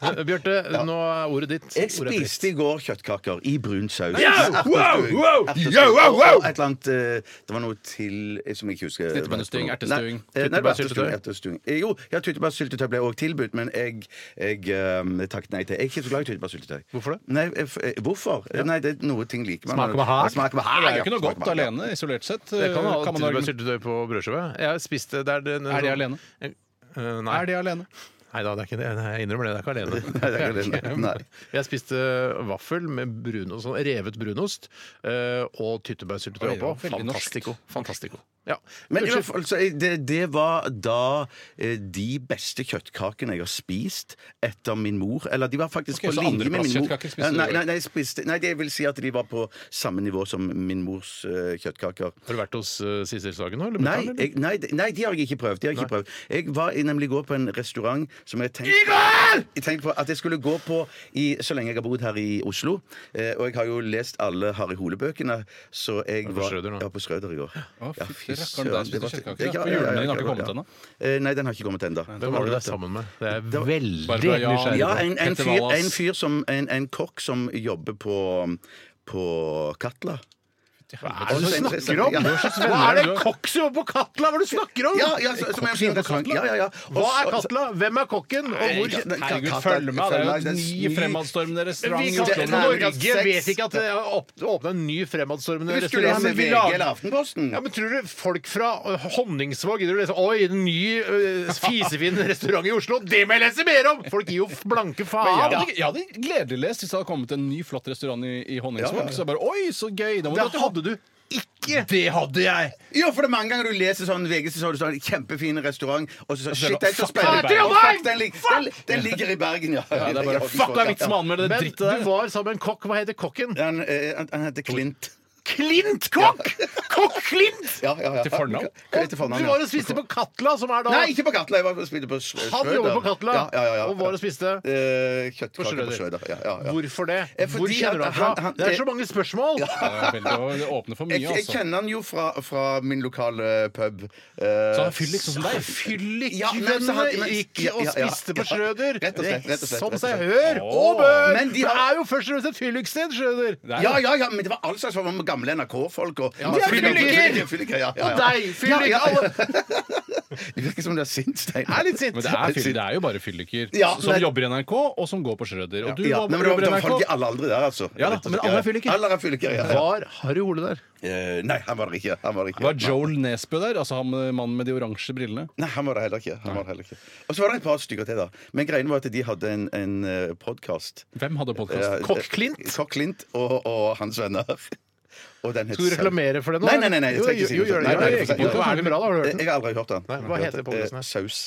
S1: Bjarte, nå er ordet ditt.
S2: Jeg
S1: Ordet er ditt.
S2: spiste i går kjøttkaker i brun saus.
S3: Ja!
S2: Ertestuing.
S3: Wow, wow!
S2: Ertestuing.
S3: Ja, wow, wow!
S2: Og et eller annet eh, Det var noe til eh, som jeg ikke husker.
S3: Snittbønnestuing, ertestuing,
S2: Nei, eh, nei, det var
S1: tyttebærsyltetøy.
S2: ertestuing, ertestuing. Eh, Jo, ja, tyttebærsyltetøy ble også tilbudt, men jeg, jeg eh, takket nei til. Jeg er ikke så glad i tyttebærsyltetøy.
S1: Hvorfor det?
S2: Nei, eh, f- eh, hvorfor? Nei, det er noe ting liker man.
S1: Smaker med hak.
S2: Ja, Smaker med
S3: Det
S2: hak.
S3: er jo ikke
S2: ja.
S3: noe
S2: Smaker
S3: godt
S2: med hak, ja.
S3: alene, isolert sett. eh,
S1: Det kan ha
S3: kan man
S1: tilbud
S3: argumentere-
S1: syltetøy på brødskive. Jeg har spist det der den-
S3: Er det alene?
S1: Eh, nei.
S3: Er det alene?
S1: nei da, det er ikke det. Nei, Jeg innrømmer det. Det er ikke alene.
S2: Nei, det er ikke alene. Nei.
S1: Jeg spiste vaffel med brunost, sånn revet brunost eh, og tyttebærsyltetøy
S3: Oi, det var
S1: oppå.
S3: veldig norsk.
S1: Fantastico. Fantastico. Ja.
S2: Men i
S1: Unnskyld.
S2: hvert fall, altså, det, det var da eh, de beste kjøttkakene jeg har spist etter min mor. Eller de var faktisk
S3: Ok,
S2: på
S3: så
S2: linje med min mor.
S3: andreplass kjøttkaker spiste du
S2: nei, nei,
S3: også?
S2: nei, jeg spiste, nei, det vil si at de var på samme nivå som min mors eh, kjøttkaker.
S1: Har du vært hos uh, Sissel Sagen nå? eller?
S2: Nei,
S1: Betaler, eller?
S2: jeg, nei, de- nei, de har jeg ikke prøvd. De har jeg, ikke prøvd. jeg var i- nemlig i går på en restaurant som jeg tenkte Jeg tenkte på at jeg skulle gå på i, så lenge jeg har bodd her i Oslo. Eh, og jeg har jo lest alle Harry Hole-bøkene, så jeg
S1: på
S2: var
S1: Schrøder nå?
S2: Ja, på Schrøder i går.
S3: Å, fy rakkeren,
S2: søren,
S3: der spiste
S2: det var-
S3: kjøttkaker,
S2: Ja,
S3: ja. For
S2: ja, ja,
S3: julemiddagen
S2: ja,
S3: har ikke
S2: ja,
S3: kommet
S2: ja.
S3: ennå.
S2: Eh, Nei, den har ikke kommet ennå.
S1: Hvem var det du er sammen med? Det er
S2: Det var-
S1: veldig
S3: Barbara Jan.
S1: nysgjerrig.
S2: Ja,
S1: på.
S2: en, en,
S3: Petter
S2: fyr,
S3: Wallas.
S2: en fyr som En, en kokk som jobber på på Katla.
S1: Hva er det du snakker om?! Hva er det kokk som jobber på Katla?! Hva er det du snakker om?!
S2: Ja, ja, så- som er en fin restaurant. Ja, ja, ja. Og
S1: Hva er
S2: så-
S1: Katla? Hvem er kokken? Og hvor
S2: Nei,
S3: Herregud,
S2: Katta-
S3: følg med! Det er jo
S2: følg meg,
S3: ni
S2: det er
S3: fremadstormende
S1: Vi kan,
S2: Det er
S3: restauranter.
S1: Norge
S2: nærmest seks.
S1: vet ikke at det er opp- åpnet en ny fremadstormende
S2: Hvis du
S1: restaurant.
S2: leser
S1: men vi
S2: VG
S1: lager-
S2: eller Aftenposten
S1: Ja, men Tror du folk fra øh, Honningsvåg gidder å lese Oi, en ny øh, fisefin restaurant i Oslo? Det må jeg lese mer om! Folk gir jo f- blanke
S3: Jeg
S1: faen!
S3: hadde, jeg hadde gledelig lest hvis det hadde kommet en ny, flott restaurant i, i Honningsvåg. Så jeg bare, oi, så gøy! Da må
S1: Det
S3: dra til
S1: hadde du ikke! Det hadde jeg!
S2: Jo, for det er mange ganger du leser sånn VG, så står det sånn kjempefin restaurant, og så
S3: så er
S2: shit,
S3: det
S2: det er så
S3: fuck,
S2: spennende.
S1: det er i
S2: Og
S1: Bergen!
S2: fuck, den, lig, den, den ligger i Bergen, ja.
S3: Ja, det er bare, Fuck, det er vits med å anmelde det
S1: Men
S3: drittet
S2: eh?
S3: der!
S1: du var sammen med en kokk. Hva heter kokken?
S2: Han, eh, han, han heter Klint.
S1: Klint kokk! Kokk Klint!
S2: Ja, ja, ja.
S3: Til fornavn?
S2: Hva heter fornavn,
S1: Du
S2: ja?
S1: var og spiste på Katla, som er da
S2: Nei, ikke på Katla. Jeg var og spilte på Schrøder.
S1: Han jobber på Katla
S2: Ja, ja, ja, ja.
S1: og var og spiste
S2: Eh,
S1: på
S2: Kjøttkaker på
S1: Schrøder.
S2: Schrøder. Ja, ja, ja.
S1: Hvorfor det?
S2: Eh, fordi
S1: Hvor kjenner
S2: at
S1: han fra?
S2: han- eh, han-
S1: det er så mange spørsmål!
S3: Ja, veldig, og det åpner for mye,
S2: Jeg, jeg
S3: altså.
S2: kjenner han jo fra, fra min lokale pub.
S3: Så
S2: Uh,
S3: han fyller liksom som deg.
S2: Ja, men så
S1: Fyllikvennene
S2: hadde- men-
S1: gikk
S2: ja,
S1: og
S2: ja, ja.
S1: spiste på
S2: Ja,
S1: Schrøder.
S2: rett og slett, rett og slett,
S1: Som
S2: rett og
S1: seg
S2: slett.
S1: hør og
S3: Åh.
S1: bør!
S2: Men de
S1: Det
S2: har-
S1: er jo først og fremst et fylliksted, Schrøder.
S3: Det er-
S2: ja, ja, ja, men det var all slags form for gamle NRK-folk og
S1: Ja, fylliker!
S2: Fylliker, ja, ja, ja.
S1: Og deg, fyllik!
S2: Ja, ja.
S1: alle.
S2: Det virker som du er sint, Steinar.
S1: Jeg er litt sint.
S3: Men det er, fyll- det er jo bare fylliker
S2: Ja,
S3: som
S2: nei.
S3: jobber i NRK, og som går på Schrøder. Og du
S2: ja,
S3: var-
S2: nei, men det var,
S3: jobber
S2: det
S3: i
S2: var folk i
S3: NRK.
S2: alle aldre der, altså.
S3: Ja da,
S2: Rett og
S3: men
S2: slett,
S3: alle
S2: ja.
S3: er fylliker.
S2: Alle er fylliker, ja, ja.
S1: Var Harry Ole der?
S2: Eh, nei, han var det ikke. Han var det ikke.
S3: Var Joel Nesbø der? Altså han med- mannen med de oransje brillene?
S2: Nei, han var det heller ikke. Han var det heller ikke. Og så var det et par stykker til, da. Men greien var at de hadde en, eh, en podkast.
S3: Hvem hadde
S2: eh,
S3: podkast?
S1: Kokk Klint?
S2: Kokk Klint og, og hans venner. Og den het
S1: Skal du reklamere for det nå?
S2: Nei, nei, nei, nei, jeg
S1: Jo,
S2: skal ikke
S1: jo,
S2: si
S1: jo,
S2: det.
S1: gjør det.
S2: Nei,
S1: Ja,
S2: nei,
S1: jeg
S2: jeg
S1: er ikke
S2: skal si det.
S1: på hva er det bra, da? Har du hørt
S2: Jeg
S1: den?
S2: har aldri hørt den.
S1: Nei, hva heter podcasten her?
S2: Eh, Saus.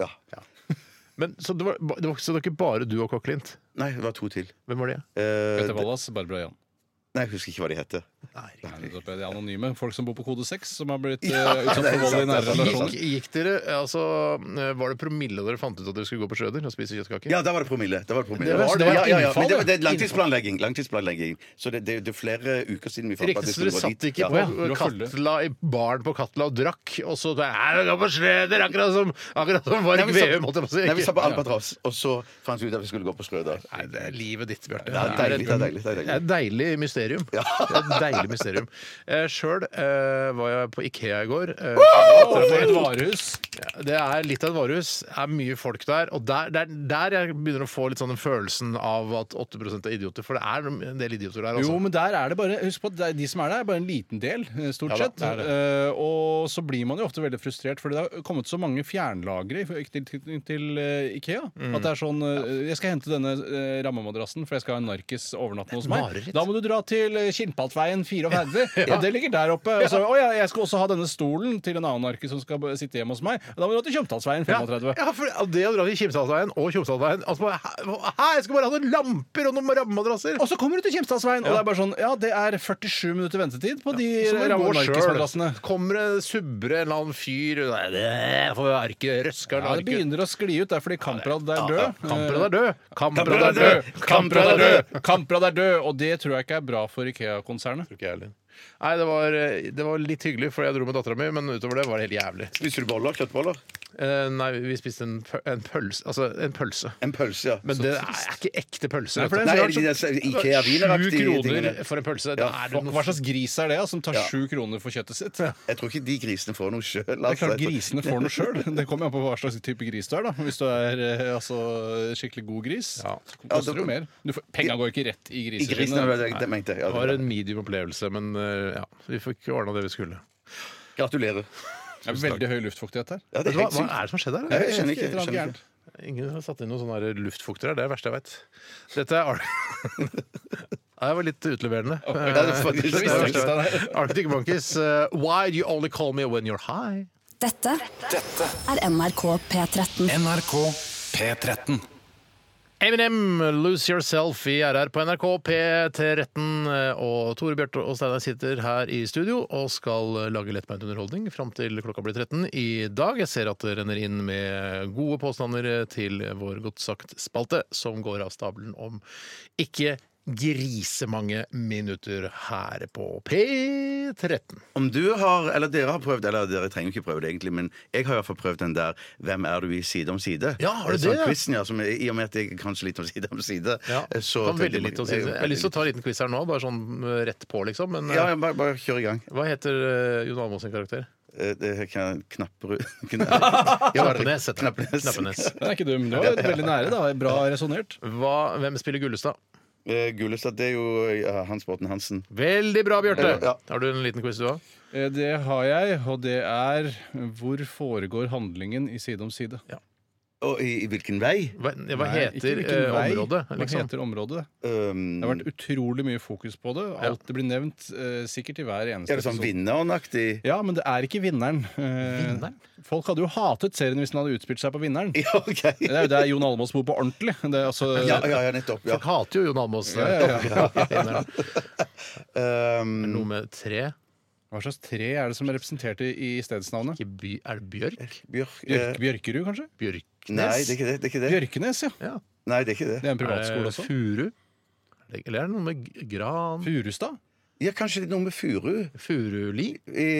S2: Ja.
S1: Men, så, det var, det var, så det var ikke bare du og Kokk Klint?
S2: Nei, det var to til.
S1: Hvem var det?
S2: Eh,
S3: Petter Wallas, Barbara Jan.
S2: nei, jeg husker ikke hva de heter.
S3: Nei, nettopp, De anonyme. Folk som bor på kode 6, som har blitt eh, utsatt for vold i
S2: sant, det
S3: nære
S2: er sant, det er
S3: relasjoner.
S1: Gikk, gikk dere, altså, Var det promille dere fant ut at dere skulle gå på Schrøder og spise kjøttkaker?
S2: Ja, da var det promille. Da var det promille.
S1: Det var- det var
S2: ja, ja, ja.
S1: innfall,
S2: Men det, var, det er
S1: det.
S2: langtidsplanlegging. langtidsplanlegging. Så det, det, det er flere uker siden vi fant ut at
S1: Riktig,
S2: det
S1: så dere
S2: skulle gå
S1: satt
S2: dit.
S1: ikke
S2: Ja.
S1: på
S3: Å, ja, du var fulle.
S1: Katla i baren på Katla og drakk, og så bare, «Nei, vi går på Schrøder, akkurat som, akkurat som
S2: Nei,
S1: Varg
S2: vi satt-
S1: Veum, holdt jeg på å si.
S2: Nei, vi sa
S1: Ikke-
S2: på Albatross, og så fant vi ut at vi skulle gå på Skrøder.
S1: Nei, det er livet ditt, Bjarte.
S2: Det er deilig, det er deilig, det er
S1: Det
S2: deilig.
S1: er et deilig mysterium. Det er et deilig mysterium. Eh, Sjøl eh, var jeg på Ikea i går. Eh,
S3: For et varehus!
S1: det er litt av et varehus. Det er mye folk der. Og der, der, der jeg begynner å få litt sånn den følelsen av at 8 er idioter. For det er en del idioter der,
S3: Jo,
S1: altså.
S3: men der er det bare Husk på at det er- de som er der, er bare en liten del, eh, stort
S1: Ja da,
S3: sett.
S1: det er det.
S3: Eh, og så blir man jo ofte veldig frustrert, fordi det har kommet så mange fjernlagre i tilknytning til eh, Ikea.
S1: Mm.
S3: At det er sånn eh, Jeg skal hente denne eh, rammemadrassen, for jeg skal ha en narkis overnattende hos meg.
S1: Mareritt.
S3: Da må du dra til eh, Kinnpaltveien 34. ja. Det ligger der oppe. Og så, å ja, jeg skal også ha denne stolen til en annen narkis som skal b- sitte hjemme hos meg. Da må du dra til Tjomtalsveien
S1: Ja,
S3: 35.
S1: ja, for det å dra til Kimsdalsveien og Tjomsdalsveien altså, bare, hæ- hæ, Jeg skal bare ha noen lamper og noen rammemadrasser!
S3: Og så kommer du til Kimstadsveien, og det er bare sånn Ja, det er 47 minutter ventetid på de ramme- og narkismadrassene.
S1: Kommer det subbre en eller annen fyr Nei, det jeg får arke, røsker
S3: Ja, det begynner å skli ut. Det er fordi Kamprad er død.
S1: Kamprad er død!
S3: Kamprad er død! Kamprad er død! Kamprad er død! Og det tror jeg ikke er bra for Ikea-konsernet.
S1: Ikke jeg heller. Nei, det var, det var litt hyggelig, for jeg dro med dattera mi, men utover det var det helt jævlig.
S2: Spiser du boller? Kjøttboller?
S1: Eh, nei, vi spiste en, pø- en pølse. Altså, en pølse.
S2: En pølse, ja.
S1: Men det er ikke ekte pølse.
S3: for
S1: vet
S2: Nei,
S1: du.
S2: er det ikke det
S1: sånn Sju
S2: Ikea-wieneraktige tingene?
S1: kroner for en pølse. Da er det
S3: Hva hva
S1: noe
S3: slags gris er det ja, som tar
S2: Ja.
S3: sju kroner for kjøttet sitt? Det
S2: Jeg tror ikke de grisene får noe altså. sjøl.
S3: er klart Grisene får noe sjøl. Det kommer an på hva slags type gris du er. da Hvis du er eh, altså, skikkelig god gris,
S1: Ja.
S3: så koster det jo mer. Du får- Penga går ikke rett i
S2: I
S3: grisene.
S2: grisene,
S3: dine.
S2: det, det, det mente jeg.
S1: det
S2: Ja,
S1: var
S2: det,
S1: en medium opplevelse, men eh, ja, vi fikk ordna det vi skulle.
S2: gratulerer.
S3: Det er veldig høy luftfuktighet her.
S2: Ja,
S1: Vet
S2: det er
S1: du hva,
S2: helt
S1: hva
S2: sykt.
S1: er det som har skjedd her?
S2: Nei, Jeg skjønner ikke.
S3: Et eller
S2: Jeg skjønner
S3: annet gærent.
S2: ikke.
S1: Ingen har satt inn noen sånne her luftfuktere. her. Det er det verste jeg veit. Dette er Ar- Nei, Jeg var litt utleverende.
S2: Ja, det er faktisk-
S3: Det visste jeg ikke, Steinar.
S1: Arctic Monkeys, eh, Why Do You Only Call Me When You're High?
S5: Dette er NRK P13.
S6: NRK P13.
S1: Eminem, Lose Yourself i RR på NRK P13. eh, Og Tore Bjarte og Steinar sitter her i studio og skal lage lettbeint underholdning fram til klokka blir 13 i dag. Jeg ser at det renner inn med gode påstander til vår Godt sagt-spalte, som går av stabelen om ikke grisemange minutter her på P13.
S2: Om du har, eller dere har prøvd, eller dere trenger jo ikke prøve det egentlig, men jeg har i hvert fall prøvd den der 'Hvem er du i side om side?'
S1: Ja, har du
S2: Sånn
S1: det?
S2: Quizen, ja, som, er- I og med at jeg kan så litt om side om side. eh, så
S1: kan
S2: tenkte
S1: veldig litt å si. Jeg har lyst til å ta en liten quiz her nå, bare sånn eh, rett på, liksom. Men
S2: Ja,
S1: eh,
S2: ja, bare, bare kjør i gang.
S1: hva heter eh, Jon Almaas sin karakter?
S2: Eh, Det kan Knapperud
S1: Knappenes. heter han.
S2: Knappenes.
S1: Knappenes.
S3: Den er ikke dum. Du var veldig nære. da Bra resonnert.
S1: Hva, hvem spiller Gullestad?
S2: Eh, Gullestad, det er jo eh, Hans Borten Hansen.
S1: Veldig bra, Bjarte!
S2: Ja.
S1: Har du en liten quiz, du òg?
S3: Eh, Det har jeg, og det er Hvor foregår handlingen i Side om side?
S2: Og i, i hvilken vei?
S1: Hva, ja, hva
S3: Nei, ikke
S1: heter
S3: hvilken
S1: eh,
S3: vei.
S1: området?
S3: Hva
S1: Liksom?
S3: heter området?
S2: Um,
S3: Det har vært utrolig mye fokus på det.
S1: Ja.
S3: Alt det blir nevnt eh, sikkert i hver eneste
S2: er det sånn
S3: episode.
S2: vinneren-aktig?
S3: Ja, men det er ikke vinneren. Eh,
S1: Vinneren?
S3: Folk hadde jo hatet serien hvis den hadde utspilt seg på vinneren.
S2: Ja, OK.
S3: Det er jo der Jon Almaas bor på ordentlig. Det er altså,
S2: Ja, ja, ja nettopp. Ja.
S1: Folk hater jo Jon Almaas.
S3: Ja, ja, ja.
S2: Um,
S1: Noe med tre?
S3: Hva slags tre er det som er representert i, i stedsnavnet?
S1: Ikke by, er det Bjørk?
S2: Bjørk eh,
S3: Bjørk, Bjørkerud, kanskje?
S1: Bjørknes?
S2: Nei, det er ikke det. det, Eh, er ikke det.
S3: Bjørkenes, ja.
S1: Ja.
S2: Nei, det er ikke
S3: Det
S2: det.
S3: er en privatskole også.
S1: Furu? Er det- Eller er det noe med g- Gran?
S3: Furustad?
S2: Ja, kanskje det er noe med furu?
S1: Furuli?
S2: I...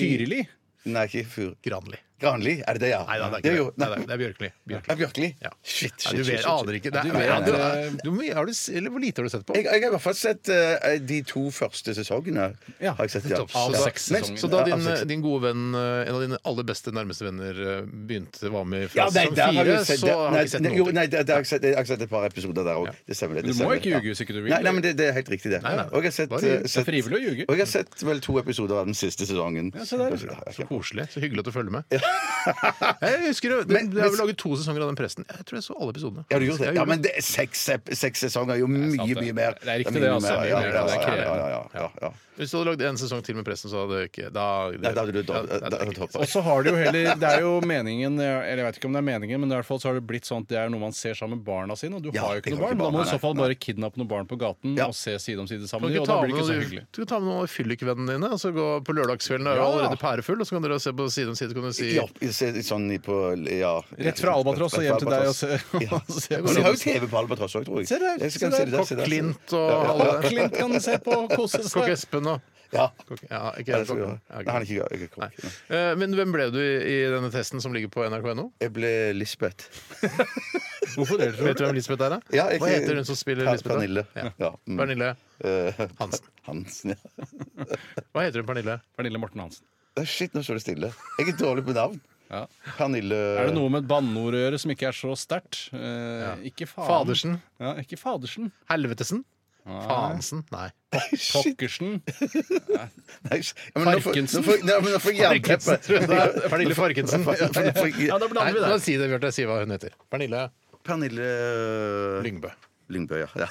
S3: Tyrili?
S2: Nei, ikke furu.
S1: Granli.
S2: Granli, er det det, ja?
S1: Nei da, det er ikke
S2: jo-
S1: det. Nei,
S2: Nei,
S1: nei, det er Bjørkli. Bjørkli.
S2: Ja, Bjørkli?
S1: Ja.
S2: Shit, shit,
S1: Nei, du
S2: shit,
S1: vet,
S2: shit,
S1: aner
S2: shit.
S1: ikke. Det,
S3: Du
S1: er-
S3: vet,
S1: du,
S3: eh,
S1: du, har du, s- eller hvor lite har du sett på?
S2: Jeg, jeg har i hvert fall sett eh, de to første sesongene.
S3: Ja,
S2: har jeg sett, ja.
S1: nettopp. Av
S2: Så da-
S3: seks
S2: men-
S3: sesonger.
S1: Så da
S2: ja, av
S1: din,
S2: seks.
S1: din gode venn, eh, en av dine aller beste nærmeste venner, eh, begynte var med fra
S2: Ja, nei,
S1: sesong
S2: der har
S1: fire,
S2: du sett,
S1: så har du
S2: nei,
S1: ikke sett
S2: nei,
S1: noe
S2: Jo, nei, der, der har jeg, sett, jeg har sett et par episoder der òg. Det stemmer. det, det
S3: Men du må
S2: stemmer,
S3: ikke
S2: ja.
S3: ljuge hvis ikke du vil.
S2: Nei, nei, men det, det er helt riktig, det.
S1: Nei, nei,
S2: Og jeg har sett,
S1: bare ljuge.
S2: eh, sett-
S3: Det er frivillig å ljuge.
S2: Og jeg har sett vel to episoder av den siste sesongen.
S3: Ja, se der, ja.
S2: Ja,
S1: Så koselig. Så hyggelig at du følger med. Jeg husker jo, det,
S2: Men-
S1: Jeg har vel laget to sesonger av den presten. Jeg tror jeg så alle episodene.
S2: Ja, du gjorde det.
S1: Jeg
S2: Ja, men det, seks, ep- seks sesonger er jo mye,
S3: sant, det.
S2: mye mer.
S3: Det er riktig
S2: mye,
S3: det,
S2: mye
S3: altså.
S2: mer.
S3: Det er
S2: Ja,
S3: mye
S2: ja,
S3: mer. Det er
S2: ja, ja, ja, ja, ja.
S1: Hvis du hadde lagd en sesong til med presten, så hadde det ikke Da, det,
S2: Nei, da hadde du
S1: Ja,
S2: da-
S1: nei,
S2: da-
S1: det er ikke-
S2: da-
S3: Og så har det jo heller Det er jo meningen Eller jeg vet ikke om det er meningen, men i hvert fall så har det blitt sånn at det er noe man ser sammen med barna sine, og du
S2: Ja,
S3: har jo ikke
S2: jeg
S3: noe
S2: har ikke
S3: barn. Da
S2: barn,
S3: må du i
S2: nei,
S3: så fall
S2: nei.
S3: bare kidnappe noen barn på gaten
S2: Ja.
S3: og se side om side
S1: Kan
S3: sammen,
S1: du
S3: og
S1: ikke
S3: da
S1: ta
S3: blir
S1: med
S3: det ikke så
S1: noen,
S3: hyggelig.
S1: du kan ta med noen fyllikvennene dine, og så gå på lørdagskvelden. Er jo
S3: Ja.
S1: allerede pærefull, og så kan dere se på side om side. Kan du si
S2: Ja, se- sånn i på ja.
S3: Rett fra Albatross og hjem til deg og se-
S2: Ja.
S3: og se på
S2: Men de har jo TV på Albatross òg, tror jeg.
S3: Se der,
S2: Jeg
S3: se
S2: kan
S3: der.
S2: se det der, se der, se der.
S1: Klint og alle
S3: Og Clint kan se på og kose
S1: Kokk
S3: seg.
S1: Espen og
S2: Ja.
S1: Kokk- Ja, ikke
S2: Ja, det
S1: helt
S2: skal vi gjøre.
S1: kokk.
S2: Nei, han er ikke ikke kokk.
S1: Nei. Eh, Men hvem ble du i i denne testen som ligger på nrk.no?
S2: Jeg ble Lisbeth.
S3: Hvorfor det?
S1: Vet du hvem Lisbeth er? da?
S2: Ja, jeg-
S1: Hva heter hun som spiller
S2: Per-
S1: Lisbeth? da?
S2: Pernille.
S1: Ja.
S2: Ja, mm.
S1: Pernille.
S2: Eh,
S1: Hansen.
S2: Hansen, ja.
S1: Hva heter hun, Pernille?
S3: Pernille Morten Hansen.
S2: Nei, Shit, nå står det stille. Jeg er dårlig på navn.
S3: Ja.
S2: Pernille
S3: Er det noe med et banneord å gjøre som ikke er så sterkt? Eh, Ikke faen.
S1: Fadersen?
S3: Ja, ikke Fadersen.
S1: Helvetesen? Faensen? Nei.
S2: Shit,
S3: Pokkersen.
S2: nei, sh- ja, men nå får-
S3: Farkensen?
S2: Nå får nei, men nå får jeg jernteppe.
S1: Farkensen, tror jeg det er. Pernille Farkensen.
S2: Nå får jeg-
S3: Ja, da
S1: Nei,
S3: blander vi
S1: la
S3: det.
S1: oss si det, Bjarte. Si hva hun heter. Pernille
S2: Pernille
S1: Lyngbø.
S2: Lyngbø, øh, ja. ja.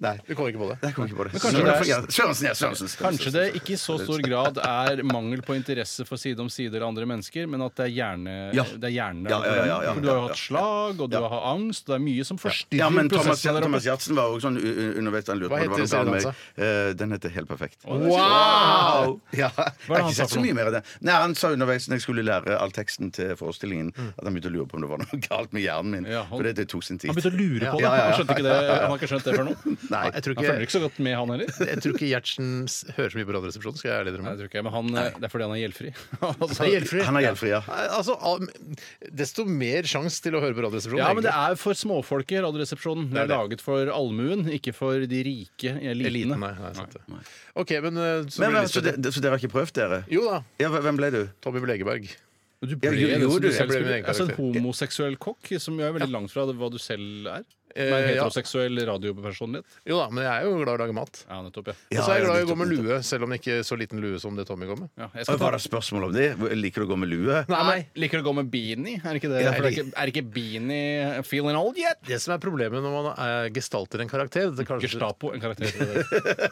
S2: Nei.
S1: Vi kommer ikke på det.
S2: Jeg kommer ikke på det.
S3: kanskje
S2: Nå
S3: det er-
S2: får jeg- Sørensen, ja. Sørensen. Sørensen.
S3: Kanskje det ikke i så stor grad er mangel på interesse for side om side eller andre mennesker, men at det er hjerne...
S2: Ja.
S3: Det er hjerne
S2: Ja, ja, ja, ja, ja.
S3: For du har
S2: Ja,
S3: jo
S2: ja.
S3: hatt slag, og du
S2: Ja.
S3: har angst, og det er mye som forstyrrer
S2: Ja, men Thomas,
S3: prosessen der oppe.
S2: Thomas Gjertsen var også sånn u- u- underveis. Han lurte
S1: Hva
S2: på om det var
S1: heter
S2: noe galt med
S1: seriedansa?
S2: Eh, Den heter Helt perfekt.
S1: Wow!
S2: Ja, jeg har
S3: han
S2: ikke
S3: sa
S2: sett så
S3: for noe?
S2: mye mer av det. Nei, Han sa underveis når jeg skulle lære all teksten til forestillingen, at han begynte å lure på om det var noe galt med hjernen min.
S3: Mm. Ja, han-
S2: For det, det tok sin tid.
S3: Han begynte å lure på det.
S2: Ja, ja, ja.
S3: Han, skjønte ikke det. han har ikke skjønt det før nå.
S2: Nei.
S1: Jeg tror
S3: Han følger
S1: ikke,
S3: ikke så godt med, han heller.
S1: jeg tror ikke Gjertsen s- hører så mye på Radioresepsjonen, skal jeg ærlig
S3: Nei,
S1: innrømme.
S3: jeg tror ikke, jeg, men han, eh, Det er fordi han er gjeldfri.
S1: Det
S3: altså,
S1: er gjeldfri.
S2: Han er gjeldfri, ja.
S1: Nei, Altså, al- desto mer sjanse til å høre på Radioresepsjonen.
S3: ja, men det
S1: egentlig.
S3: er for småfolket, Radioresepsjonen. Det
S1: Det er
S3: er laget for allmuen, ikke for de rike elitene.
S1: Eliten, nei. nei, sant det. OK, men eh, så
S2: Men,
S1: blir
S2: men, så,
S1: Lisbeth
S2: det, så dere har ikke prøvd, dere?
S1: Jo da.
S2: Ja, hve- hvem ble du?
S1: Tommy Blegeberg.
S3: Du ble
S2: Ja, jo,
S3: det
S2: jo,
S3: som
S2: du-
S3: du
S2: jeg
S3: selv
S1: ble
S3: skulle
S1: min egen
S3: Altså en
S1: karakter.
S3: homoseksuell kokk, som jo er veldig langt fra det- hva du selv er.
S1: Eh,
S3: Med en
S1: ja.
S3: heteroseksuell radiopersonlighet.
S1: Jo da, men jeg er jo glad i å lage mat.
S3: Ja, nettopp, ja.
S1: Og så er jeg
S2: Ja,
S1: glad i å
S2: nettopp,
S1: gå med lue, selv om det ikke er så liten lue som det Tommy går med.
S3: ja jeg
S2: Og
S3: skal ta
S2: Var det spørsmål om det? Liker du å gå med lue?
S3: Nei, Liker du å gå med beanie? Er ikke det,
S2: Ja,
S3: for det er, ikke, er ikke beanie feeling old yet?
S1: Det som er problemet når man eh, gestalter en karakter det er kanskje,
S3: Gestapo, en karakter. Det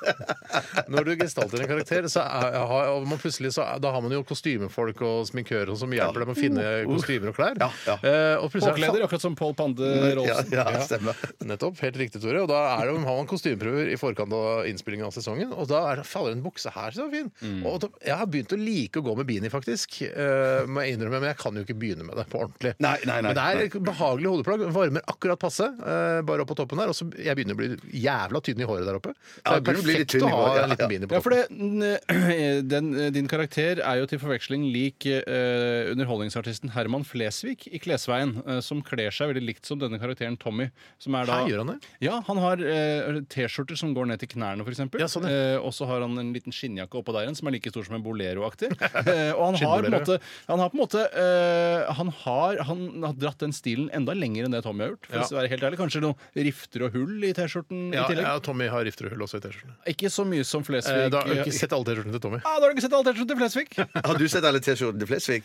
S1: Når du gestalter en karakter, så er, har og man plutselig så, er- da har man jo kostymefolk og sminkører og sånn som hjelper deg med å finne kostymer og klær.
S2: Oh. Ja, ja.
S1: Eh, og plutselig er det-
S3: Påkleder, akkurat som Pål Pande
S2: Ja,
S3: Rolfsen.
S2: ja, stemmer.
S1: Nettopp. Helt riktig, Tore. Og da er det, har man kostymeprøver i forkant av innspillingen av sesongen. Og da er det, faller en bukse her så fin. Og da, jeg har begynt å like å gå med beanie, faktisk. Eh, må jeg innrømme, men jeg kan jo ikke begynne med det på ordentlig.
S2: Nei, nei, nei,
S1: men det er et behagelig hodeplagg. Varmer akkurat passe. eh, bare opp på toppen der. Og så jeg begynner å bli jævla tynn i håret der oppe. Så det
S2: Ja, du
S1: er
S2: begynner å bli litt
S1: perfekt
S2: tynn i
S1: å ha
S2: håret, ja,
S1: en
S2: ja.
S1: liten beanie på
S3: Ja, for
S1: toppen.
S3: det, n- den, eh, din karakter er jo til forveksling lik eh, underholdningsartisten Herman Flesvig i Klesveien, eh, som kler seg veldig likt som denne karakteren Tommy. Som er da,
S1: Hæ, gjør han det?
S3: Ja, han har eh, T-skjorter som går ned til knærne, f.eks.
S1: Ja, sånn, ja.
S3: eh, og så har han en liten skinnjakke oppå der igjen som er like stor som en Bolero-aktig. eh, og han har, på en
S1: Skinnbolero.
S3: måte, han har på en måte eh, han, har, han har dratt den stilen enda lenger enn det Tommy har gjort. For
S1: Ja.
S3: å være helt ærlig, Kanskje noen rifter og hull i T-skjorten
S1: Ja,
S3: i tillegg.
S1: ja, Tommy har rifter og hull også i T-skjortene.
S3: Ikke så mye som Flesvig.
S1: Eh, da har jeg ikke sett alle T-skjortene til Tommy.
S3: Ah, da har du ikke sett alternativet til Flesvig?
S2: Har du sett alle T-skjortene til Flesvig?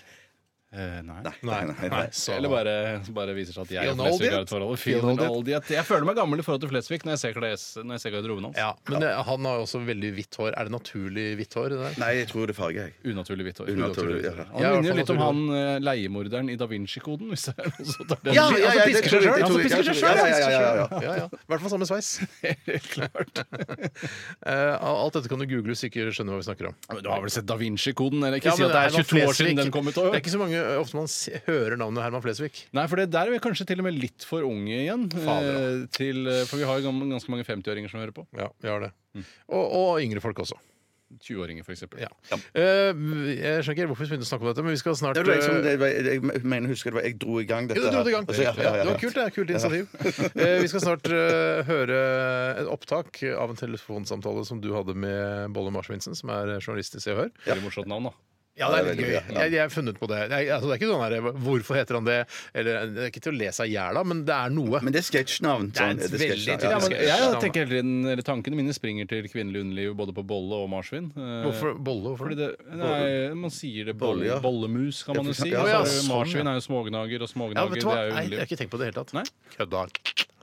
S3: Eh, nei.
S2: Nei, nei, nei.
S1: Så-
S3: Eller bare, bare viser seg at jeg og
S1: Feeling old
S3: Flesvig
S1: yet?
S3: har et forhold.
S1: Feeling
S3: Feeling
S1: old yet?
S3: old yet. Jeg føler meg gammel i forhold til Flesvig når jeg ser, kles, når jeg ser garderoben hans.
S1: Ja, men det, han har jo også veldig hvitt hår. Er det naturlig hvitt hår? Det der?
S2: Nei, jeg tror det er farge, jeg.
S3: Unaturlig hvitt hår.
S2: Unaturlig, ja.
S3: Han
S1: Jeg er i hvert
S3: minner jo litt
S1: fall
S3: om han eh, leiemorderen i Da Vinci-koden. Hvis det er noe sånt der.
S2: Ja, ja,
S3: Han
S2: ja,
S3: som
S2: det tror
S3: pisker seg
S2: jeg-
S3: selv.
S2: det tror
S3: Han som
S2: jeg-
S3: pisker seg
S2: ja,
S3: selv.
S2: ja, ja, ja, ja.
S1: Ja, ja. I hvert fall samme sveis.
S3: Helt klart.
S1: Eh, alt dette kan du google hvis du ikke skjønner hva vi snakker om.
S3: Ja, men Du har vel sett Da Vinci-koden? Eller ikke
S1: Ja,
S3: si
S1: men
S3: at det er
S1: Herman
S3: 22 år
S1: Flesvig-
S3: siden den kom ut.
S1: Det
S3: og-
S1: er ikke så mange ø, ofte man s- hører navnet Herman Flesvig.
S3: Nei, for det der er vi kanskje til og med litt for unge igjen.
S1: Fader,
S3: eh, Til, eh, for vi har jo gam- ganske mange 50-åringer som hører på.
S1: Ja, vi har det. Og, og yngre folk også.
S7: 20-åringer, f.eks.
S1: Mm. Ja. Eh, jeg skjønner ikke hvorfor vi begynte å snakke om dette, men vi skal snart
S2: Det var liksom,
S1: eh,
S2: det var, jeg mener, husker det var Jeg dro i gang dette.
S1: Jo, du dro det i gang.
S2: her. Altså, ja, ja, ja,
S1: Det var
S2: ja.
S1: kult, det. Kult initiativ. Eh, Vi skal snart eh, høre et opptak av en telefonsamtale som du hadde med Bolle Marsvinsen, som er journalist i Se og Hør.
S7: Veldig morsomt navn, da.
S1: Ja, det er litt
S2: Det er
S1: gøy.
S2: veldig gøy, ja.
S1: Jeg, jeg har funnet på det. Jeg, altså, det er ikke sånn her, Hvorfor heter han det? Eller, det er ikke til å le seg i hjel av, men det er noe.
S2: Men det er sketsjnavn.
S1: Det er et veldig
S2: ja.
S7: Ja,
S1: Ja,
S7: men
S1: skal-
S7: jeg tenker hele tiden, eller Tankene mine springer til kvinnelig underliv både på bolle og marsvin. Eh,
S1: Hvorfor bolle? Hvorfor?
S7: Fordi det, nei, man sier det bolle,
S2: Bolle, ja.
S7: bollemus, kan man jo
S2: for
S7: si.
S2: eksempel.
S7: Og så
S1: Ja,
S7: er det
S1: sånn,
S7: marsvin
S1: ja.
S7: er jo smågnager, og
S1: ja,
S7: smågnager
S1: vet
S7: det
S1: du hva?
S7: er jo
S1: Nei, jeg har
S7: underliv.
S1: ikke tenkt på det i det hele tatt.
S7: Nei?
S1: Kødda.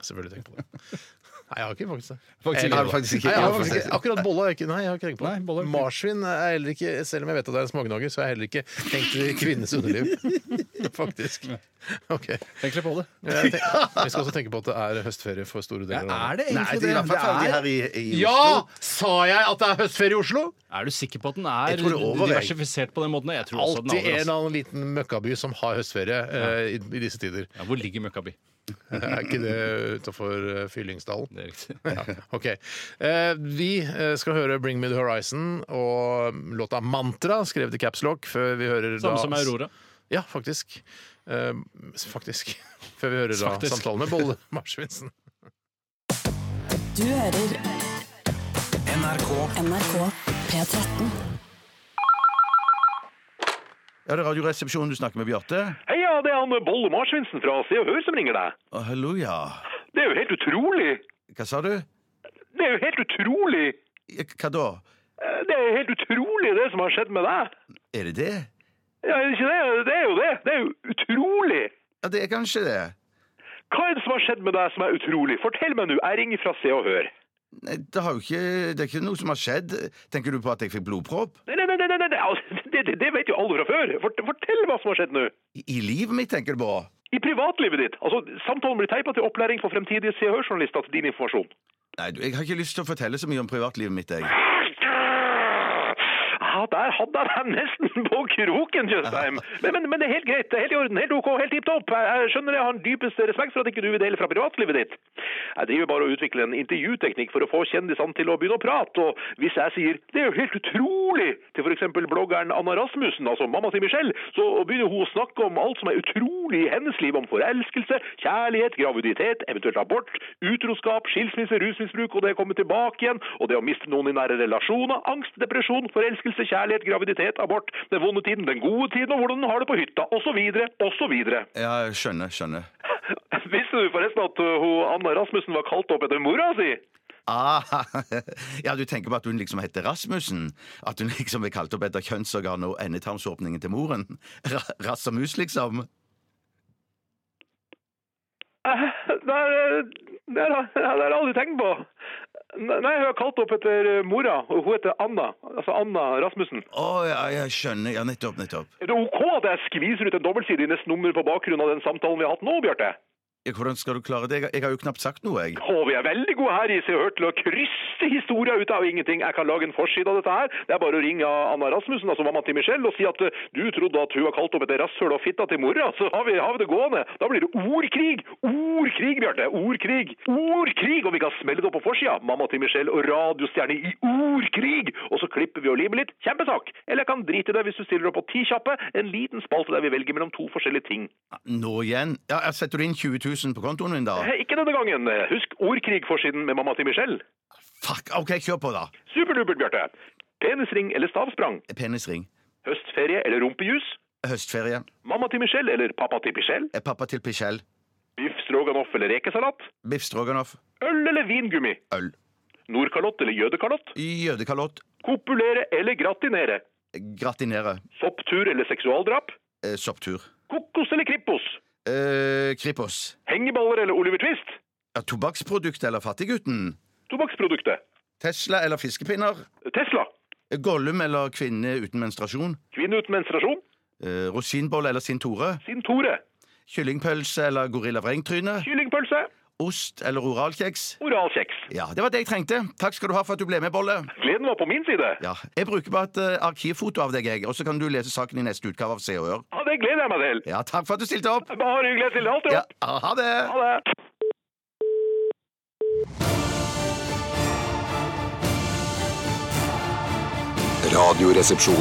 S1: Selvfølgelig tenkt på det. Nei, jeg har ikke faktisk det.
S7: Faktisk ikke.
S1: Eller-
S7: Nei, faktisk
S2: ikke.
S1: Nei, jeg har faktisk ikke. Akkurat bolle har jeg ikke, nei, jeg har ikke tenkt på.
S7: Nei, bolle har
S1: det.
S7: jeg ikke.
S1: Marsvin er heller ikke, selv om jeg vet at det er en smågnager, så har jeg heller ikke tenkt til kvinnes underliv. Faktisk. OK.
S7: Tenk litt på det.
S1: Jeg tenk, vi skal også tenke på at det er høstferie for store deler av landet.
S7: det
S2: Nei, de er i hvert fall ferdig her i, i
S1: Ja! Sa jeg at det er høstferie i Oslo?
S7: Er du sikker på at den er
S2: Jeg tror det er over, jeg.
S7: diversifisert på den måten? Jeg tror også at
S1: Alltid
S7: den er over.
S1: en eller
S7: altså.
S1: annen liten møkkaby som har høstferie eh, i, i disse tider.
S7: Ja, hvor ligger Møkkaby?
S1: Er ikke det utafor Fyllingsdalen?
S7: Det er riktig.
S1: Ja, ok. Eh, vi eh, skal høre 'Bring Me The Horizon' og låta 'Mantra', skrevet i caps lock, før vi hører da-
S7: Samme som Aurora.
S1: Ja, faktisk. Eh, faktisk. Før vi hører da
S7: Faktisk.
S1: samtalen med Bolle Marsvinsen.
S5: Du hører
S8: NRK
S5: NRK P13.
S2: Ja, det er Radioresepsjonen du snakker med, Bjarte.
S3: Hei, ja, det er han Bolle Marsvinsen fra Se og Hør som ringer deg.
S2: Å, hallo, ja.
S3: Det er jo helt utrolig!
S2: Hva sa du?
S3: Det er jo helt utrolig!
S2: Ja, Hva da?
S3: Eh, Det er helt utrolig det som har skjedd med deg.
S2: Er det det?
S3: Ja, er det ikke det? Det er jo det. Det er jo utrolig!
S2: Ja, det er kanskje det.
S3: Hva er det som har skjedd med deg som er utrolig? Fortell meg nå, jeg ringer fra Se og Hør.
S2: Nei, det, har jo ikke, det er ikke noe som har skjedd. Tenker du på at jeg fikk blodpropp?
S3: Nei, nei, nei, nei, nei, nei. altså, Det, det, det vet jo alle fra før. Fort- Fortell hva som har skjedd nå.
S2: I, I livet mitt, tenker du på?
S3: I privatlivet ditt. Altså, samtalen blir teipa til opplæring for fremtidige Se og Hør-journalister til din informasjon.
S2: Nei, du, jeg har ikke lyst til å fortelle så mye om privatlivet mitt, jeg.
S3: Ja, der hadde jeg deg nesten på kroken, Tjøstheim. Men, men, men det er helt greit. Det er helt i orden. Helt OK. Helt tipp topp. Jeg, jeg skjønner jeg har den dypeste respekt for at ikke du vil dele fra privatlivet ditt. Jeg driver bare og utvikler en intervjuteknikk for å få kjendisene til å begynne å prate. Og hvis jeg sier 'det er jo helt utrolig' til f.eks. bloggeren Anna Rasmussen, altså mamma til Michelle, så begynner hun å snakke om alt som er utrolig i hennes liv. Om forelskelse, kjærlighet, graviditet, eventuelt abort, utroskap, skilsmisse, rusmisbruk og det å komme tilbake igjen, og det å miste noen i nære relasjoner, angst, depresjon, forelskelse, kjærlighet, graviditet, abort, den vonde tiden, den gode tiden og hvordan den har det på hytta, osv., osv.
S2: Ja, skjønner, skjønner.
S3: Visste du forresten at uh, hun, Anna Rasmussen var kalt opp etter mora si?
S2: Ah, ja, du tenker på at hun liksom heter Rasmussen? At hun liksom er kalt opp etter kjønnsorganet og endetarmsåpningen til moren? Ra rass og mus, liksom?
S3: Eh, Der, eh, der, har- der har jeg aldri tenkt på. Nei, hun er kalt opp etter eh, mora, og hun heter Anna. Altså Anna Rasmussen.
S2: Å ja, jeg skjønner. Ja, nettopp, nettopp.
S3: Er det OK at jeg skviser ut en dobbeltside i neste nummer på bakgrunn av den samtalen vi har hatt nå, Bjarte?
S2: Ja, Hvordan skal du klare det? Jeg, jeg har jo knapt sagt noe, jeg.
S3: Å, vi er veldig gode her i Se og Hør til å krysse historier ut av ingenting. Jeg kan lage en forside av dette her. Det er bare å ringe Anna Rasmussen, altså mamma til Michelle, og si at eh, du trodde at hun var kalt opp etter rasshøl og fitta til mora. Så har vi, har vi det gående. Da blir det ordkrig! Ordkrig, Bjarte! Ordkrig! Ordkrig! Og vi kan smelle det opp på forsida. Mamma til Michelle og radiostjerne i ordkrig! Og så klipper vi og limer litt. Kjempesak! Eller jeg kan drite i det hvis du stiller opp på ti kjappe. En liten spalte der vi velger mellom to forskjellige ting.
S2: Nå igjen? Ja, jeg Setter du inn 20 000 på kontoen min, da?
S3: Hei, Ikke denne gangen. Husk ordkrig-forsiden med mamma til Michelle.
S2: Fuck! OK, kjør på, da.
S3: Superdupert, Bjarte. Penisring eller stavsprang?
S2: Penisring.
S3: Høstferie eller rumpejus?
S2: Høstferie.
S3: Mamma til Michelle eller pappa til Michelle?
S2: Eh, Pappa til Pichel.
S3: Biff stroganoff eller rekesalat?
S2: Biff stroganoff.
S3: Øl eller vingummi?
S2: Øl.
S3: Nordkalott eller jødekalott?
S2: Jødekalott.
S3: Kopulere eller gratinere?
S2: Gratinere.
S3: Sopptur eller seksualdrap?
S2: Eh, sopptur.
S3: Kokos eller krippos?
S2: Eh, Kripos.
S3: Hengeballer eller Oliver Twist?
S2: Ja, Tobakksprodukt eller Fattiggutten?
S3: Tobakksproduktet?
S2: Tesla eller fiskepinner?
S3: Tesla?
S2: Gollum eller kvinne uten menstruasjon?
S3: Kvinne uten menstruasjon?
S2: Eh, rosinbolle eller Sintore?
S3: Sintore?
S2: Kyllingpølse eller gorillavrengetryne?
S3: Kyllingpølse?
S2: Ost eller oralkjeks?
S3: Oralkjeks?
S2: Ja, Det var det jeg trengte. Takk skal du ha for at du ble med, Bolle.
S3: Gleden var på min side.
S2: Ja, Jeg bruker bare et eh, arkivfoto av deg, jeg, og så kan du lese saken i neste utgave av Se og Hør.
S3: Ja, det gleder jeg meg til.
S2: Ja, takk for at du stilte opp.
S3: Bare hyggelig. Jeg stiller alltid
S2: Ja,
S3: opp.
S2: ha det!
S3: Ha det.
S2: P13.
S4: Radioresepsjon.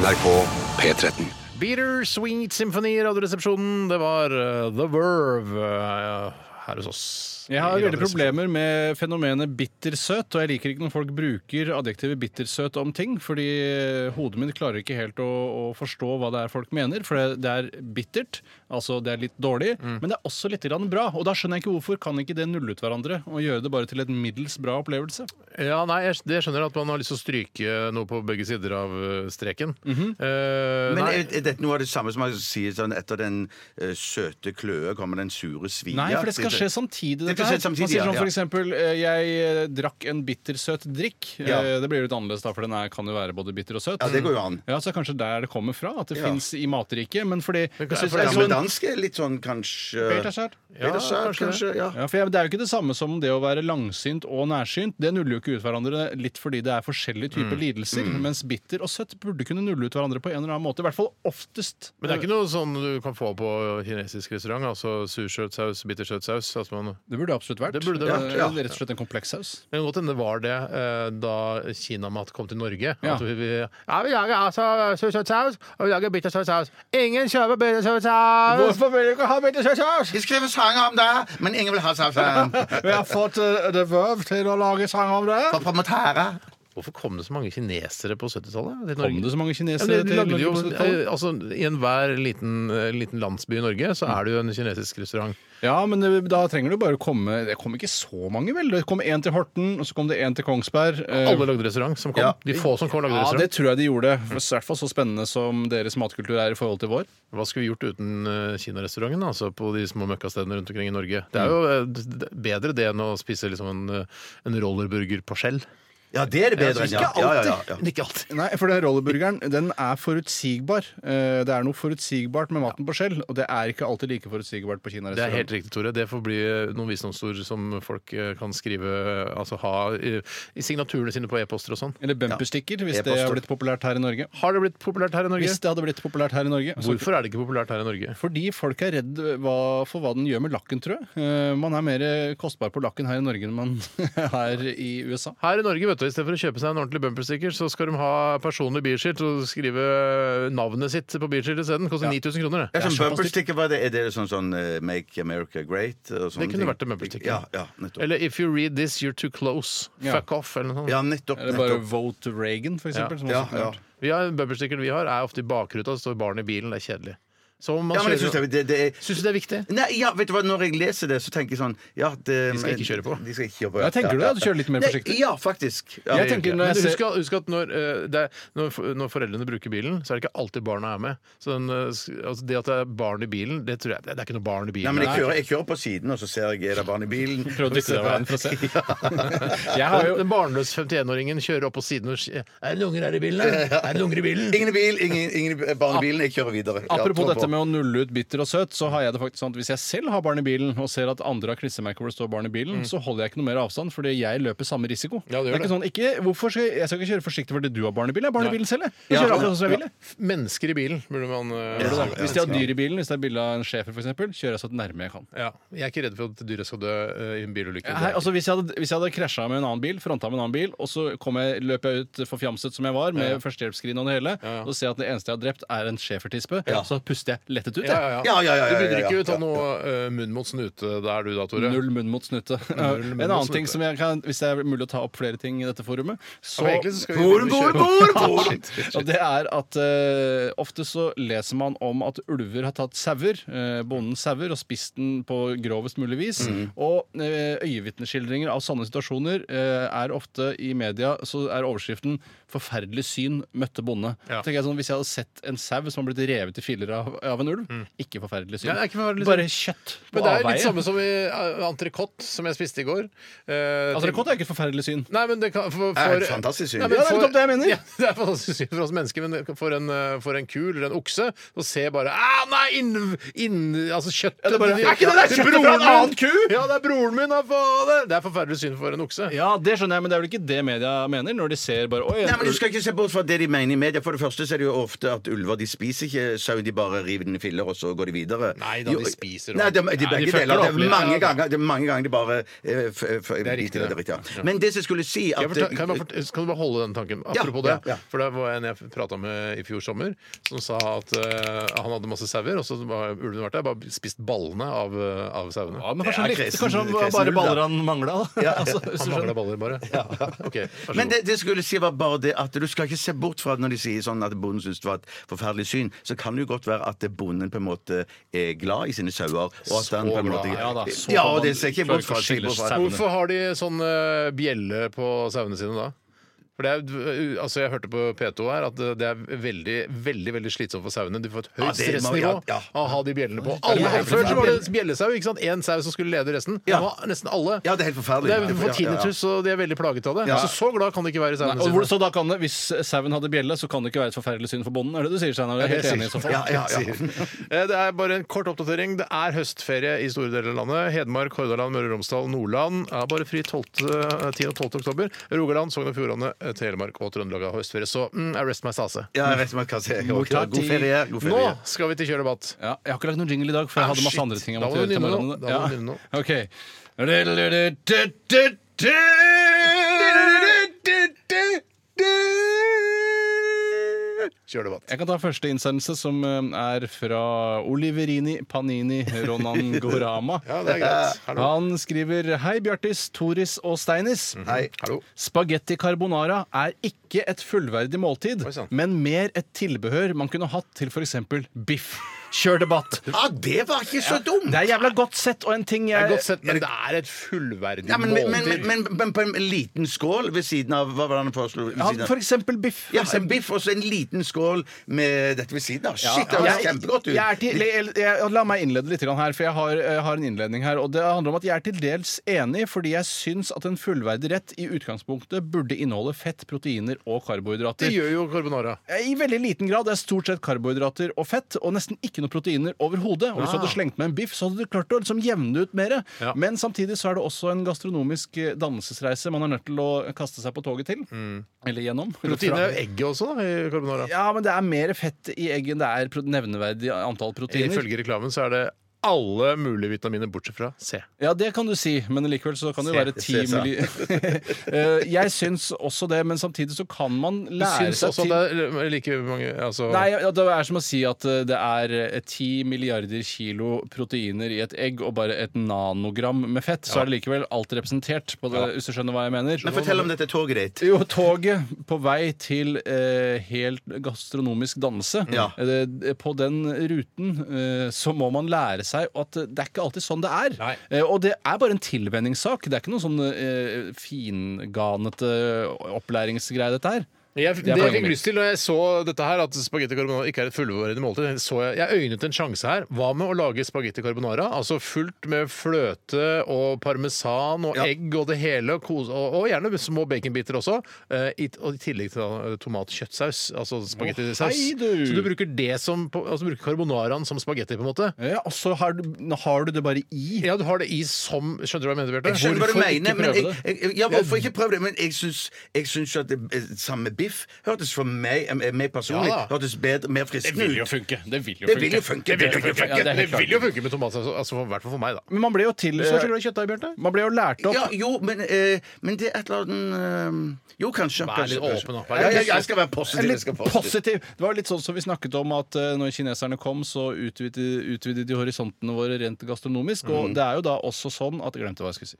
S4: NRK P13.
S1: Bitter Sweet Symphony i Radioresepsjonen. Det var eh, The Verve eh, her hos oss.
S3: Jeg har
S1: I
S3: veldig
S1: Radioresepsjonen.
S3: problemer med fenomenet bittersøt, og jeg liker ikke når folk bruker adjektivet bittersøt om ting, fordi eh, hodet mitt klarer ikke helt å, å forstå hva det er folk mener, for det, det er bittert, altså det er litt dårlig, men det er også litt grann bra, og da skjønner jeg ikke hvorfor kan ikke det nulle ut hverandre og gjøre det bare til et middels bra opplevelse.
S1: Ja, nei, jeg, det skjønner jeg at man har lyst til å stryke uh, noe på begge sider av eh, streken.
S3: Mhm.
S1: Eh,
S2: Men
S1: nei,
S2: er, er dette noe av det samme som man sier sånn etter den eh, søte kløe kommer den sure svia?
S3: Nei, for det skal skje sånn samtidig.
S2: Det
S3: Dette
S2: skal
S3: her.
S2: skje samtidig,
S3: Man sier
S2: ja,
S3: sånn
S2: ja.
S3: for eksempel eh, Jeg eh, drakk en bittersøt drikk.
S2: Ja.
S3: Eh, Det blir jo litt annerledes, da, for den er, kan jo være både bitter og søt.
S2: Ja, det går jo an.
S3: Ja, Mm. Så det er kanskje der det kommer fra, at det
S2: Ja.
S3: fins i matriket. Men fordi
S1: kan
S3: Jeg
S1: synes
S2: For det
S3: synes-
S2: gamle
S3: jeg så en-
S2: danske er litt sånn kanskje
S3: Bittersøt.
S1: Ja,
S2: Peter Sær,
S1: kanskje
S2: kanskje. Ja.
S3: Ja, for jeg, Det er jo ikke det samme som det å være langsynt og nærsynt. Det nuller jo ikke ut hverandre litt fordi det er forskjellige typer
S2: Mm.
S3: lidelser. Mens bitter og søtt burde kunne nulle ut hverandre på en eller annen måte. I hvert fall oftest.
S1: men det er ikke noe sånn du kan få på kinesisk restaurant? Altså sursøt saus, bittersøt saus? Altså man,
S3: Eh, Det burde absolutt vært.
S1: Det burde det vært,
S3: Eh,
S2: ja.
S3: Rett og slett en kompleks saus.
S1: det kan godt hende det var det eh, da kinamat kom til Norge.
S3: Ja.
S1: At vi, vi, ja, vi lager altså sursøt saus, og vi lager bittersøt saus. Ingen kjøper bittersøt saus!
S3: vil du ikke ha bittersøt saus?
S2: De skriver sanger om det, men ingen vil ha seg sånn.
S3: Vi har fått uh, The Verve til å lage sang om det.
S2: For promotere.
S1: Hvorfor kom det så mange kinesere på 70-tallet? til Norge?
S3: Kom det så mange
S1: Ja,
S3: kinesere
S1: men de
S3: til
S1: lagde jo,
S3: Norge? på 70-tallet?
S1: eh, altså, I enhver liten, eh, liten landsby i Norge så er det jo en kinesisk restaurant.
S3: Ja, men eh, da trenger du bare komme Det kom ikke så mange, vel? Det kom én til Horten, og så kom det én til Kongsberg. eh,
S1: Alle lagde restaurant som kom.
S2: Ja.
S1: De få som kom, lagde
S3: ja, det
S1: restaurant.
S3: tror jeg de gjorde. For I hvert fall så spennende som deres matkultur er i forhold til vår.
S1: Hva skulle vi gjort uten eh, kinarestauranten altså, på de små møkkastedene rundt omkring i Norge? Det er jo eh, d- d- bedre det enn å spise liksom en, eh, en rollerburger på skjell.
S2: Ja, det er det bedre enn ja. Ja, ja, ja, ja.
S1: Men ikke alltid.
S3: Nei, for den rollerburgeren den er forutsigbar. Eh, Det er noe forutsigbart med maten på skjell, og det er ikke alltid like forutsigbart på
S1: Det er
S3: kinarestaurant.
S1: helt riktig, Tore. Det får bli eh, noen visdomsord som folk eh, kan skrive eh, Altså ha i i signaturene sine på e-poster og sånn.
S3: Eller bumperstikker, hvis det
S2: E-poster.
S3: har blitt populært her i Norge.
S1: Har det blitt populært her i Norge?
S3: Hvis det hadde blitt populært her i Norge. så-
S1: Hvorfor er det ikke populært her i Norge?
S3: Fordi folk er redd hva, for hva den gjør med lakken, tror jeg. Eh, Man er mer kostbar på lakken her i Norge enn man er i USA.
S1: Her i Norge, vet du, i stedet for å kjøpe seg en ordentlig bumpersticker, så skal de ha personlig bilskilt og skrive navnet sitt på bilskiltet isteden. Koster 9000 kroner,
S2: Ja,
S1: det.
S2: sånn bumpersticker, hva er det? Er det sånn sånn eh, Make America Great? Og sånne
S1: Det kunne
S2: ting?
S1: vært en bumpersticker.
S2: Ja, ja, nettopp.
S1: Eller If you read this, you're too close.
S3: Ja.
S1: Fuck off, eller noe sånt.
S2: Ja, nettopp.
S3: Eller bare
S2: nettopp.
S3: Vote to Reagan, for eksempel. som
S2: sånn, Ja,
S3: også
S2: ja.
S3: kunne vært.
S1: Vi har, bumperstickeren vi har, er ofte i bakruta, så står barnet i bilen. Det er kjedelig. Så man
S2: ja men jeg
S1: kjører-
S2: synes det, det, det er
S1: Syns du det er viktig?
S2: Nei, ja, vet du hva, når jeg leser det, så tenker jeg sånn ja, det,
S1: De skal ikke kjøre på.
S2: De skal ikke kjøre på,
S3: Ja, tenker du det? At du kjører litt mer
S2: Nei,
S3: forsiktig?
S2: Ja, faktisk. Ja.
S3: Jeg tenker når
S1: Men
S3: jeg
S1: husk,
S3: ser
S1: at- husk at når, eh, det, er- når, f- når foreldrene bruker bilen, så er det ikke alltid barna er med. Så den, eh, s- altså det at det er barn i bilen, det tror jeg det er ikke noe barn i bilen.
S2: Nei, men jeg kjører, jeg kjører på siden, og så ser jeg er det barn i bilen.
S3: Prøv å dytte deg av veien for å se. Jeg har
S1: Den,
S3: jo
S1: den barnløse 51-åringen kjører opp på siden og sier Er det unger her i bilen? Er det unger i bilen?
S2: Ingen i bil, ingen, ingen i barn i bilen. Jeg kjører videre. Ja,
S3: Apropos
S2: tror på.
S3: dette med å nulle ut bitter og søt, så har jeg det faktisk sånn at hvis jeg selv har barn i bilen, og ser at andre har klissemerker hvor det står barn i bilen, så holder jeg ikke noe mer avstand, fordi jeg løper samme risiko.
S1: Ja, det
S3: det er
S1: gjør
S3: ikke sånn, ikke, hvorfor skal jeg, jeg skal ikke kjøre forsiktig fordi du har barn i bilen. Jeg har barn i
S1: Nei.
S3: bilen selv, jeg. Jeg kjører akkurat sånn som jeg vil. jeg.
S1: Mennesker i bilen, burde man eh,
S3: Gjør det
S1: si.
S3: da. Hvis de har dyr i bilen, hvis det er bilde av en schæfer f.eks., kjører jeg så nærme jeg kan.
S1: Ja. Jeg er ikke redd for at dyret skal dø eh, i en bilulykke.
S3: Nei, altså hvis jeg hadde, hvis jeg hadde krasja med en annen bil, fronta med en annen bil, og så kom jeg, løp jeg ut forfjamset som jeg var, med førstehjelpsskrin og det hele,
S1: Ja, ja.
S3: og ser jeg at det eneste jeg har drept, er en schæfertispe,
S2: Ja.
S3: så puster jeg lettet ut. jeg.
S1: ja, ja, ja.
S2: Ja, ja, ja, ja,
S1: Du
S2: ja,
S1: bryr
S2: ja,
S1: ikke
S2: ja,
S1: ut av noe eh, munn mot snute der, du da, Tore?
S3: Null munn mot snute.
S1: Null munn
S3: en
S1: mot
S3: annen ting
S1: snute.
S3: som jeg kan, Hvis det er mulig å ta opp flere ting i dette forumet, så
S1: Ja, men egentlig så skal vi-
S2: Bor, bor, bor, bor!
S3: og det er at eh, ofte så leser man om at ulver har tatt sauer, eh, bondens sauer, og spist den på grovest mulig vis.
S1: Mm.
S3: Og eh, øyevitneskildringer av sånne situasjoner eh, er ofte i media så er overskriften 'Forferdelig syn møtte bonde'.
S1: Ja.
S3: Tenker jeg sånn, Hvis jeg hadde sett en sau som har blitt revet i filler av, av en ulv, ikke forferdelig
S1: Mm.
S3: syn.
S1: Ja, det er ikke forferdelig syn.
S3: Bare kjøtt på
S1: Men det er
S3: avveie.
S1: litt samme som i eh, entrecôte, som jeg spiste i går. Eh,
S3: Altså, rekord er ikke et forferdelig syn.
S1: Nei, men det kan for, for,
S2: Er det fantastisk syn?
S1: Nei, men
S3: Ja, det er
S1: for-
S3: nettopp det jeg mener.
S1: Ja, det er fantastisk syn for oss mennesker, men for en, eh, for en ku eller en okse, så ser bare Ah, nei, inn, inn, altså kjøttet
S3: det er bare-
S1: til-
S3: Er ikke det der
S1: til
S3: kjøttet fra en
S1: broren min!
S3: annen ku?
S1: Ja, det er broren min! da, fader! Det er forferdelig syn for en okse.
S3: Ja, det skjønner jeg, men det er vel ikke det media mener? Når de ser bare Oi,
S2: Nei, men Du skal ikke se bort fra det de mener i media. For det første så er det jo ofte at ulver de spiser ikke sau, de bare den i filler, og så går de videre.
S1: Nei da, de
S2: Jo,
S1: spiser
S2: Nei,
S1: og-
S2: de, de,
S1: Nei, de
S2: begge
S1: fucker
S2: deler.
S1: opp
S2: Det er
S1: litt.
S2: mange ganger, det er mange ganger de bare eh, f, f,
S1: er riktig,
S2: biter i
S1: det.
S2: det, riktig, ja. Men det som jeg skulle si at, eh,
S1: Jeg fortel- kan, jeg bare fort- kan du bare holde den tanken?
S2: Ja,
S1: Apropos
S2: ja,
S1: det.
S2: ja.
S1: For det var en jeg prata med i fjor sommer, som sa at eh, han hadde masse sauer, og så har ulven vært der, bare spist ballene av, eh, av sauene.
S3: Ja, men kanskje han
S2: Det er
S3: likte
S2: kresen-
S3: Kanskje han
S2: kresen
S3: bare
S2: ulv, da.
S3: baller han mangla, da. Altså, hvis
S1: Han mangla
S3: du skjønner.
S1: baller, bare. OK, vær så
S2: Men
S1: god.
S2: det, det skulle jeg si var bare det at du skal ikke se bort fra at når de sier sånn at bonden syns det var et forferdelig syn, så kan det jo godt være at bonden på en måte er glad i sine sauer. Og at han på en
S1: glad,
S2: måte
S3: ja da, så
S2: ja,
S3: kan
S2: og det
S3: man-
S2: ser jeg ikke
S3: klarer
S2: bort
S3: ikke å
S2: fra. ser jeg
S3: skille
S2: bort fra.
S3: sauene.
S1: Hvorfor har de sånn eh, bjelle på sauene sine da? For det er, jo- altså jeg hørte på P2 her at eh, det er veldig veldig, veldig slitsomt for sauene. De får et høyt
S2: Ja, det må-
S1: stressnivå
S2: ja, ja.
S1: av å ha de bjellene på. Alle,
S2: helt
S1: før så var det bjellesau. ikke sant? Én sau som skulle lede resten.
S2: Ja.
S1: Nå har nesten alle.
S2: Ja, det er helt forferdelig.
S1: Det er for
S2: Ja, ja, ja.
S1: tinnitus, og de er veldig plaget av det. Altså,
S2: Ja.
S1: Så så glad kan de ikke være i
S3: Nei,
S1: sauene
S3: og hvor,
S1: sine.
S3: så da kan det, Hvis sauen hadde bjelle, så kan det ikke være et forferdelig syn for bonden? Er det det du sier, Steinar? Jeg er helt
S1: det
S3: enig i så fall.
S2: Ja, ja, ja.
S1: Eh, sånn. Det er bare en kort oppdatering. Det er høstferie i store deler av landet. Hedmark, Hordaland, Møre og Romsdal, Nordland er bare fri 12, eh, 10. og 12. oktober. Rogaland, Sogn og Fjordane, eh, Telemark og Trøndelag har høstferie. Så mm, arrest my stase.
S2: Ja, jeg vet ikke hva jeg skal si. God ferie. God
S1: Nå
S2: ferie.
S1: skal vi til kjørdebatt.
S3: Ja, jeg har ikke lagd noen jingle i dag, for jeg
S1: Ah,
S3: hadde masse
S1: shit.
S3: andre ting jeg
S1: Da
S3: måtte
S1: må du
S3: gjøre. til
S1: nynne nå.
S3: morgenen.
S1: Da må du nynne nå.
S3: Ok. Jeg
S1: Kjørdebatt.
S3: kan ta første innsendelse, som eh, er fra Oliverini Panini Ronangorama.
S1: Ja, det er greit. Hallo.
S3: Han skriver Hei, Bjartis, Toris og Steinis.
S1: Mhm.
S2: Hei.
S1: Hallo.
S3: Spagetti carbonara er ikke et fullverdig måltid,
S1: Oi, sant.
S3: men mer et tilbehør man kunne hatt til f.eks. biff. Kjør debatt!
S2: Ja, det var ikke så dumt!
S3: Det er jævla godt sett og en ting
S1: Det
S3: jeg
S1: er godt sett, men det er et fullverdig
S2: Ja, men, men, men,
S1: måltid.
S2: men, men på en liten skål ved siden av Hva var det han foreslo? Ved
S3: Ja,
S2: siden av-
S3: for eksempel biff.
S2: Ja, en biff og så en liten skål med dette ved siden av. Shit, det høres kjempegodt ut!
S3: jeg er til, jeg, jeg, la meg innlede litt grann her, for jeg har, jeg har en innledning her. Og det handler om at jeg er til dels enig, fordi jeg syns at en fullverdig rett i utgangspunktet burde inneholde fett, proteiner og karbohydrater. Eh,
S1: Det gjør jo carbonara.
S3: I veldig liten grad. Det er stort sett karbohydrater og fett, og nesten ikke noe proteiner overhodet. Og hvis
S1: Ah.
S3: du hadde slengt med en biff, så hadde du klart å liksom jevne ut mer.
S1: Ja.
S3: Men samtidig så er det også en gastronomisk eh, dannelsesreise man er nødt til å kaste seg på toget til. Eller gjennom. eller
S1: Protein
S3: fra.
S1: er jo egget også, da, i carbonara.
S3: Ja, men det er mer fett i egg enn det er pro- nevneverdig antall proteiner.
S1: Ifølge reklamen så er det alle mulige vitaminer bortsett fra C.
S3: Ja, det kan du si, men likevel så kan det jo være
S2: Se,
S3: ti
S2: se, sa.
S3: milli... Eh, Jeg syns også det, men samtidig så kan man
S1: Du
S3: lære
S1: syns
S3: seg
S1: også
S3: til
S1: at altså det er like mange altså,
S3: Nei, ja, det er som å si at eh, det er ti milliarder kilo proteiner i et egg og bare et nanogram med fett, så er det likevel alt representert, på det, hvis du skjønner hva jeg mener.
S2: Men fortell om dette toget ditt.
S3: Jo, toget på vei til eh, helt gastronomisk dannelse.
S2: Ja.
S3: Eh, på den ruten eh, så må man lære seg at det er ikke alltid sånn det er.
S1: Nei.
S3: Eh, og det er bare en tilvenningssak. Det er ikke noen sånn eh, finganete opplæringsgreie, dette her.
S1: Jeg,
S3: er
S1: det jeg
S3: poenget
S1: fikk
S3: mitt.
S1: lyst til da jeg så dette her, at spagetti carbonara ikke er et fullverdig måltid, så jeg, jeg øynet en sjanse her. Hva med å lage spagetti carbonara? Altså fullt med fløte og parmesan og egg og det hele, og, kos- og, og gjerne med små baconbiter også. eh, i, og i tillegg til da, eh, tomatkjøttsaus, altså
S3: Å,
S1: spagettisaus.
S3: hei, du!
S1: så du bruker det som på- altså, du bruker carbonaraen som spagetti, på en måte?
S3: Ja, og så har, du- nå har du det bare i.
S1: Ja, du har det i som Skjønner du hva jeg mener, Bjarte?
S2: Jeg skjønner hva du
S3: Hvorfor
S2: mener,
S3: ikke
S2: men jeg,
S3: prøve
S2: jeg, ja, hvorfor ikke prøve det? Men jeg syns, jeg syns jo at det, eh, samme biff hørtes for meg, eh, meg personlig
S1: Ja da.
S2: hørtes bedre, mer fristende ut.
S3: funke. Det vil jo
S2: Det vil jo
S1: Det
S2: funke.
S1: vil jo funke,
S3: Ja, det er
S1: det
S3: helt klart.
S1: vil jo funke med tomatsaus, altså, i hvert fall for meg, da.
S3: Men man ble jo til
S1: Du er så glad i kjøttdeig, Bjarte.
S3: Man ble jo lært opp
S2: Ja, jo, men, eh, men det er et eller annet eh, Jo, kanskje.
S1: Vær litt
S2: kanskje-
S1: åpen, da. Vær
S2: Ja,
S1: litt
S2: jeg, jeg skal være positiv. Jeg
S3: Litt
S2: skal være positiv.
S3: positiv. Det var litt sånn som vi snakket om at eh, når kineserne kom, så utvidet, utvidet de horisontene våre rent gastronomisk.
S2: Mm.
S3: Og det er jo da også sånn at Jeg glemte hva jeg skulle si.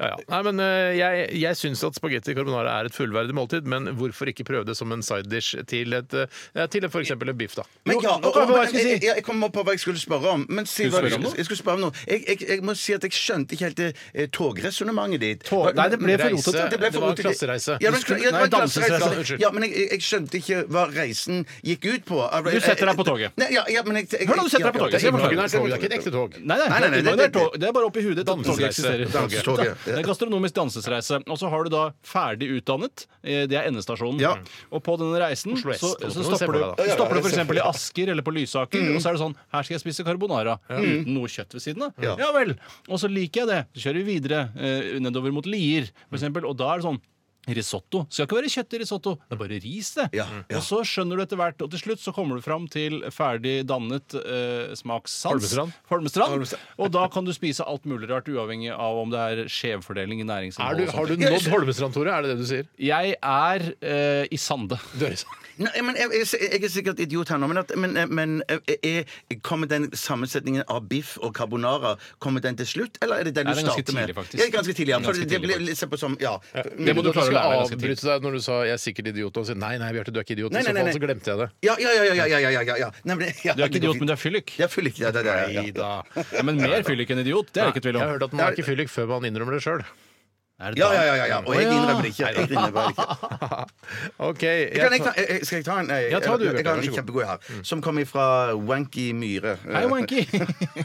S1: Ja, ja. Nei, men eh, jeg, jeg syns at spagetti carbonara er et fullverdig måltid, men hvorfor ikke prøve det som en side dish til, et, eh, ja, til for eksempel en biff, da?
S2: Men ja,
S3: Nå- nå kom jeg på hva jeg skulle si.
S2: jeg, jeg, jeg kom opp på hva jeg skulle spørre om. Men si
S3: Skulle du
S2: hva du
S3: spørre om noe?
S2: jeg skulle spørre om noe. Jeg, jeg, jeg må si at jeg skjønte ikke helt det eh, togresonnementet ditt.
S3: Tog- nei, det ble for
S2: Reise-
S3: rotete.
S2: Det, ble
S1: Det
S2: for
S1: var en
S2: rotete.
S1: klassereise.
S2: Ja, men,
S3: Du skulle-
S2: ja, det var en
S3: nei, dansesreise.
S2: klassereise.
S1: Unnskyld.
S2: Ja, men jeg, jeg, jeg skjønte ikke hva reisen gikk ut på. eh,
S3: Du setter deg på toget.
S2: Nei, ja, ja, men jeg, jeg,
S3: Hør nå, du setter deg på
S2: ja,
S3: toget.
S2: ja,
S1: Det er,
S3: Tog-
S1: det er ikke et ekte tog.
S3: Nei, nei,
S2: Nei, nei, nei,
S3: det,
S2: det-
S3: er tog- det er bare oppi huet ditt. at toget
S1: Dansereise.
S3: eksisterer.
S2: Dansetoget.
S3: Det er gastronomisk dansesreise. Og så har du da ferdig utdannet. eh, Det er endestasjonen.
S2: Ja.
S3: Og på denne reisen
S1: Oslo S.
S3: så,
S1: Nå
S3: så
S1: må du se på
S3: stopper du,
S1: det, da.
S3: stopper du f.eks. i Asker eller på Lysaker, og så er det sånn Her skal jeg spise carbonara uten noe kjøtt ved siden av. Ja. vel. Og så liker jeg det. Så kjører vi videre eh, nedover mot Lier, f.eks., og da er det sånn Risotto. Skal ikke være kjøtt i risotto, det er bare ris, det.
S2: Ja, ja.
S3: Og så skjønner du etter hvert, og til slutt så kommer du fram til ferdig dannet eh, smakssans.
S1: Holmestrand.
S3: Holmestrand.
S2: Holmestrand.
S3: Og da kan du spise alt mulig rart, uavhengig av om det er skjevfordeling
S1: Er
S3: i næringsinnhold.
S1: du,
S3: og
S1: har
S3: sånt.
S1: du nådd Holmestrand, Tore? Er det det du sier?
S3: Jeg er eh, i sande.
S2: Nei, men jeg, jeg, jeg er sikkert idiot her nå, men, at, men, eh, men er, kommer den sammensetningen av biff og carbonara Kommer den til slutt, eller er det den
S3: Nei,
S2: du
S3: det er ganske
S2: starter med?
S3: tidlig, faktisk.
S2: Ja, ganske tidlig, ja. For
S3: Ganske
S2: det
S3: tidlig,
S2: blir litt se på som Ja.
S3: Det må du
S1: skulle
S3: klare å lære deg ganske
S1: avbryte deg når du sa 'jeg er sikkert idiot', og si 'nei, nei, Bjarte, du er ikke idiot'.
S2: Nei,
S1: I så
S2: nei,
S1: fall
S2: nei.
S1: så glemte jeg det.
S2: Ja, ja, ja. ja, ja, ja, ja, ja, ja. Nei, men, ja
S3: Du er ikke idiot, men du er fyllik.
S2: Jeg er fyllik. Ja, det, det, ja, ja.
S1: da.
S3: Ja, men mer fyllik enn idiot, det er det ikke tvil
S1: Jeg
S3: om.
S1: har hørt at man er ikke fyllik før man innrømmer det sjøl.
S3: Er det
S2: Ja,
S3: da?
S2: ja, ja, ja, ja. Og jeg
S3: Å, ja.
S2: innrømmer det ikke. Jeg innrømmer det ikke.
S1: OK.
S2: Kan
S1: Jeg
S2: jeg ta, jeg- jeg- skal jeg ta en? Jeg,
S1: Ja, ta du,
S2: jeg, jeg
S1: Bjørte,
S2: har
S1: vær
S2: en
S1: så god.
S2: kjempegod her. Som kommer fra Wanky Myhre.
S3: Mm. Hei, Wanky!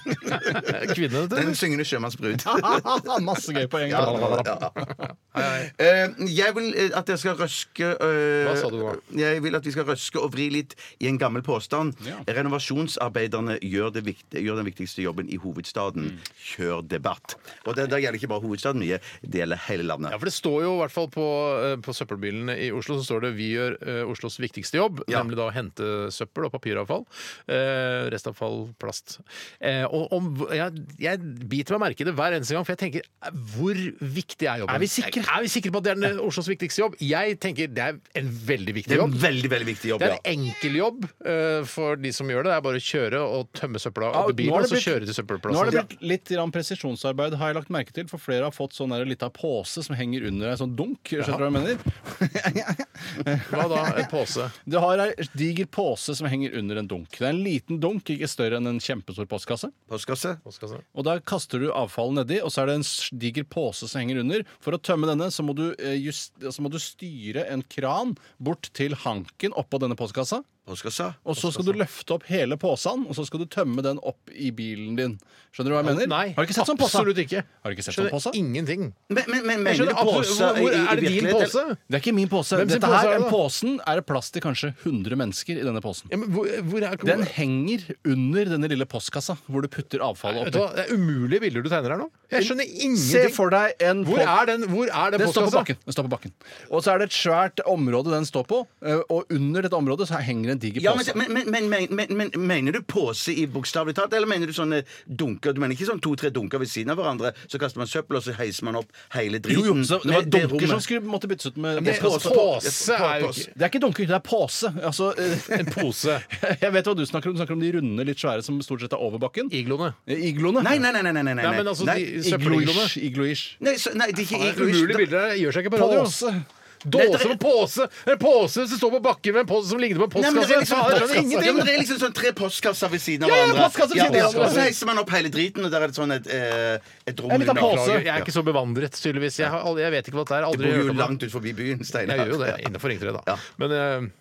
S1: tar kvinnene til
S2: Den syngende sjømannsbrud.
S3: Masse gøy poeng.
S2: Ja, ja, ja. Eh, Jeg vil eh, at jeg skal røske eh,
S1: Hva sa du nå?
S2: Jeg vil at vi skal røske og vri litt i en gammel påstand.
S3: Ja.
S2: Renovasjonsarbeiderne gjør, det vikt, gjør den viktigste jobben i hovedstaden.
S3: Mm.
S2: Kjør debatt. Og det, det gjelder ikke bare hovedstaden mye, det gjelder hele
S1: Ja,
S2: landet.
S1: for det står jo i hvert fall på, eh, på søppelbilene i Oslo så står det 'Vi gjør eh, Oslos viktigste jobb',
S2: Ja.
S1: nemlig da å hente søppel og papiravfall. eh, restavfall, plast. Eh, og om, jeg, jeg biter meg merke i det hver eneste gang, for jeg tenker eh, hvor viktig er jobben?
S3: Er vi sikre?
S1: Er vi sikre på at det er den, eh, Oslos viktigste jobb? Jeg tenker det er en veldig
S2: Det
S1: viktig
S2: er en
S1: jobb.
S2: veldig veldig viktig jobb.
S1: Det er
S2: Ja.
S1: en enkel jobb eh, for de som gjør det. Det er bare å kjøre og tømme søpla
S3: Ja,
S1: av bilen,
S3: nå har
S1: og
S3: det
S1: så
S3: blitt-
S1: kjøre til
S3: Nå har det
S1: søppelplassen.
S3: blitt litt grann presisjonsarbeid, har jeg lagt merke til. For flere har fått sånn der lita pose som henger under ei sånn dunk. Skjønner du hva jeg mener?
S1: Hva da? En pose?
S3: Det har ei diger pose som henger under en dunk. Det er en liten dunk, ikke større enn en kjempestor postkasse.
S2: Postkasse?
S1: Postkasse.
S3: Og der kaster du avfallet nedi, og så er det en s- diger pose som henger under. For å tømme denne, så må du, eh, just, så må du styre en kran bort til hanken oppå denne postkassa.
S2: Postkasse?
S3: Og så skal du løfte opp hele posen, og så skal du tømme den opp i bilen din. Skjønner du hva jeg mener?
S1: Nei,
S3: har du ikke sett sånn pose?
S1: absolutt ikke.
S3: Har du ikke sett sånn
S1: Skjønner
S3: pose?
S1: ingenting.
S2: Men, men, men
S1: Jeg
S2: mener du
S1: skjønner absolutt-
S2: pose
S1: hvor, hvor,
S2: i, i
S1: er det din
S2: virkeligheten?
S1: pose?
S3: Det er ikke min pose.
S1: Hvem sin
S3: Dette
S1: pose
S3: her,
S1: er det
S3: den
S1: da?
S3: posen er det plass til kanskje 100 mennesker i denne posen.
S1: Ja, men hvor, hvor er,
S3: Den henger under denne lille postkassa hvor du putter avfallet
S1: Vet du
S3: oppi.
S1: hva, Det er umulige bilder du tegner her nå. Jeg skjønner
S3: Se
S1: ingenting.
S3: for deg en
S1: Hvor
S3: po-
S1: er den, hvor er den altså?
S3: Den står på
S1: postkassa?
S3: bakken. Den står på bakken. Og så er det et svært område den står på, eh, og under dette området så henger en diger
S2: Ja,
S3: pose.
S2: men, men, men, men, men, men Mener du pose i bokstavelig talt, eller mener du sånne dunker? Du mener ikke sånn to-tre dunker ved siden av hverandre, så kaster man søppel, og så heiser man opp hele
S3: Jo,
S2: driten?
S3: jo, så det var
S2: med det
S3: dunker som
S2: rommet.
S3: skulle måtte byttes ut med
S1: Men
S3: postkassa.
S1: Pose er jo ikke
S3: Det er ikke dunker, det er pose. Altså, eh,
S1: en pose.
S3: jeg vet hva du snakker om. Du snakker om de runde, litt svære som stort sett er over bakken.
S1: Igloene.
S3: Eh, Igloene.
S2: Nei, nei, nei. nei, nei, nei, nei.
S1: Nei, men altså,
S2: nei.
S1: de søppeligloene.
S3: Igloish. Igloish.
S2: Nei, så, nei, det er ikke
S1: Det er
S2: igloish.
S1: Umulige bilder det gjør seg ikke på radio.
S3: Pose.
S1: Dåse
S2: det er-
S1: på pose! En pose som står på bakken med en pose som ligner på en
S2: Nei, men det
S1: postkasse!
S2: er
S1: Faen, jeg skjønner
S2: liksom, ja, men
S1: ingenting!
S2: det er liksom sånn tre postkasser ved siden av
S3: Ja, ja,
S2: hverandre.
S3: postkasser ved siden av hverandre.
S2: Og så heiser man opp hele driten, og der er det sånn et, eh, et rom
S3: En liten
S2: under.
S3: pose.
S1: Beklager, Jeg er ikke så bevandret, tydeligvis. Jeg, har, aldri- jeg vet ikke hva det er.
S2: Du
S1: Aldri
S2: bor
S1: hørt
S2: jo
S1: om det.
S2: langt utenfor byen, Steinar.
S1: Jeg gjør jo det. Innenfor Ring 3, da.
S2: Ja.
S1: Men eh,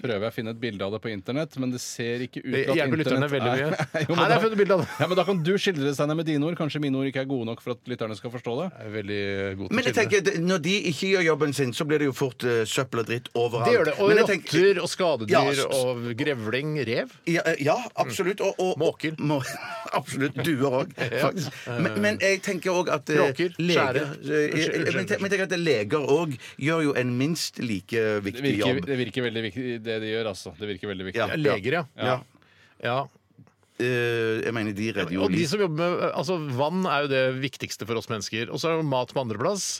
S3: Prøver jeg å finne et bilde av det på internett, men det ser ikke ut
S1: Det
S3: til at
S1: hjelper lytterne
S3: internett
S1: veldig mye.
S3: er- Jo,
S1: Her har
S3: men
S1: jeg funnet bilde av det.
S3: Ja, men Da kan du skildre det, Steinar, med dine ord. Kanskje mine ord ikke er gode nok for at lytterne skal forstå det.
S1: jeg er veldig god til å
S2: Men jeg
S1: skille.
S2: tenker, det- når de ikke gjør jobben sin, så blir det jo fort eh, søppel og dritt overalt.
S1: Det gjør det. Og
S2: Men jeg tenker-
S1: rotter og
S2: Ja,
S1: skadedyr
S2: s-
S1: og grevling, rev.
S2: Ja, eh, ja absolutt. Og, og,
S1: Måker.
S2: Må, absolutt. Duer òg, faktisk. Men, men jeg tenker òg at eh,
S1: Kråker, skjære.
S2: leger, eh,
S1: Unnskyld,
S2: eh,
S1: unnskyld,
S2: men jeg- Men jeg tenker at leger òg gjør jo en minst like
S3: Det
S2: viktig
S3: virker,
S2: jobb.
S3: det virker veldig viktig, det de gjør, altså. Det virker veldig viktig.
S2: Ja.
S1: Leger, ja.
S2: Ja.
S1: ja.
S2: Eh, jeg mener, de redder jo
S1: Og de
S2: liv.
S1: som jobber med, altså Vann er jo det viktigste for oss mennesker. Og så er det mat på andreplass.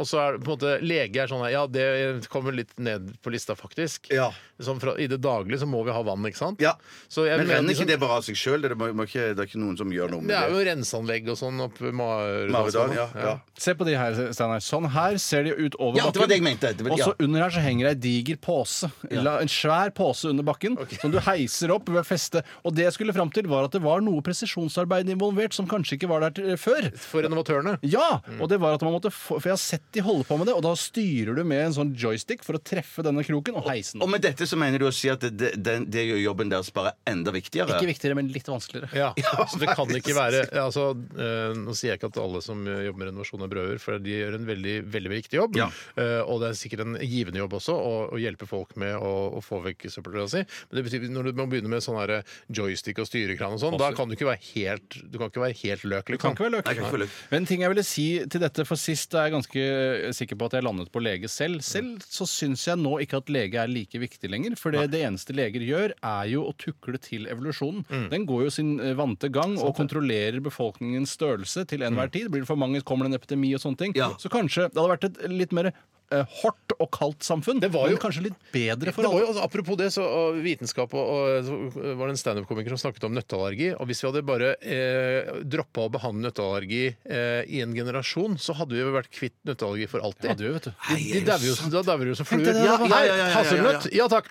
S1: Og så er det på en måte lege er sånn her, Ja, det kommer litt ned på lista, faktisk.
S2: Ja.
S1: Sånn fra, I det daglige så må vi ha vann, ikke sant?
S2: Ja.
S1: Så jeg
S2: Men
S1: mener
S2: renner
S1: de
S2: ikke
S1: som-
S2: det bare av seg sjøl? Det, må- må ikke- det er ikke noen som gjør noe med
S1: det er
S2: det.
S1: jo renseanlegg og sånn oppi
S2: Maridal,
S1: Maridalsvannet.
S2: ja, ja.
S3: Se på de her, Steinar. Sånn her ser de ut over
S2: Ja, det var det jeg mente. Det var-
S3: Og så
S2: ja.
S3: under her så henger ei diger pose. La, en svær pose under bakken som du heiser opp ved feste. Og det jeg skulle fram til, var at det var noe presisjonsarbeid involvert som kanskje ikke var der til, før.
S1: For renovatørene.
S3: Ja! Og det var at man måtte få, For jeg har sett de holde på med det, og da styrer du med en sånn joystick for å treffe denne kroken og heise den.
S2: Og med dette så mener du å si at det, det, den- det gjør jobben deres bare enda viktigere?
S3: Ikke viktigere, men litt vanskeligere.
S1: Ja, så det kan ikke være altså, eh, Nå sier jeg ikke at alle som eh, jobber med renovasjon er brødre, for de gjør en veldig veldig viktig jobb.
S2: Ja.
S1: Eh, og det er sikkert en givende jobb også å, å hjelpe folk med å, å få vekk søppelrøra si. Men det betyr når du må begynne med sånn her joystick og styre syrekran og sånn. Da kan du ikke være helt, du kan ikke være helt løk. liksom.
S3: Det kan ikke være løk.
S2: Nei, det kan ikke være løk.
S3: Men en ting jeg ville si til dette, for sist er jeg ganske eh, sikker på at jeg landet på lege selv. Selv så syns jeg nå ikke at lege er like viktig lenger. For det, det eneste leger gjør, er jo å tukle til evolusjonen.
S1: Mm.
S3: Den går jo sin eh, vante gang
S1: Sånn
S3: og kontrollerer befolkningens størrelse til
S1: Mm.
S3: enhver tid. Blir det for mange, kommer det en epidemi og sånne ting.
S2: Ja.
S3: Så kanskje det hadde vært et litt mer eh, hardt og kaldt samfunn,
S1: Det var jo-
S3: men kanskje litt bedre for
S1: det var jo,
S3: alle.
S1: altså, apropos det, så og vitenskap og, og så var det en standup-komiker som snakket om nøtteallergi. Og hvis vi hadde bare eh, droppa å behandle nøtteallergi eh, i en generasjon, så hadde vi jo vært kvitt nøtteallergi for alltid.
S3: Ja, du, vet du.
S1: De, de dauer jo, da dauer de jo som fluer.
S3: Hent det der,
S1: Ja,
S3: hva-
S1: hei,
S2: ja, ja, ja, ja, ja.
S1: Hasselnøtt? Ja takk.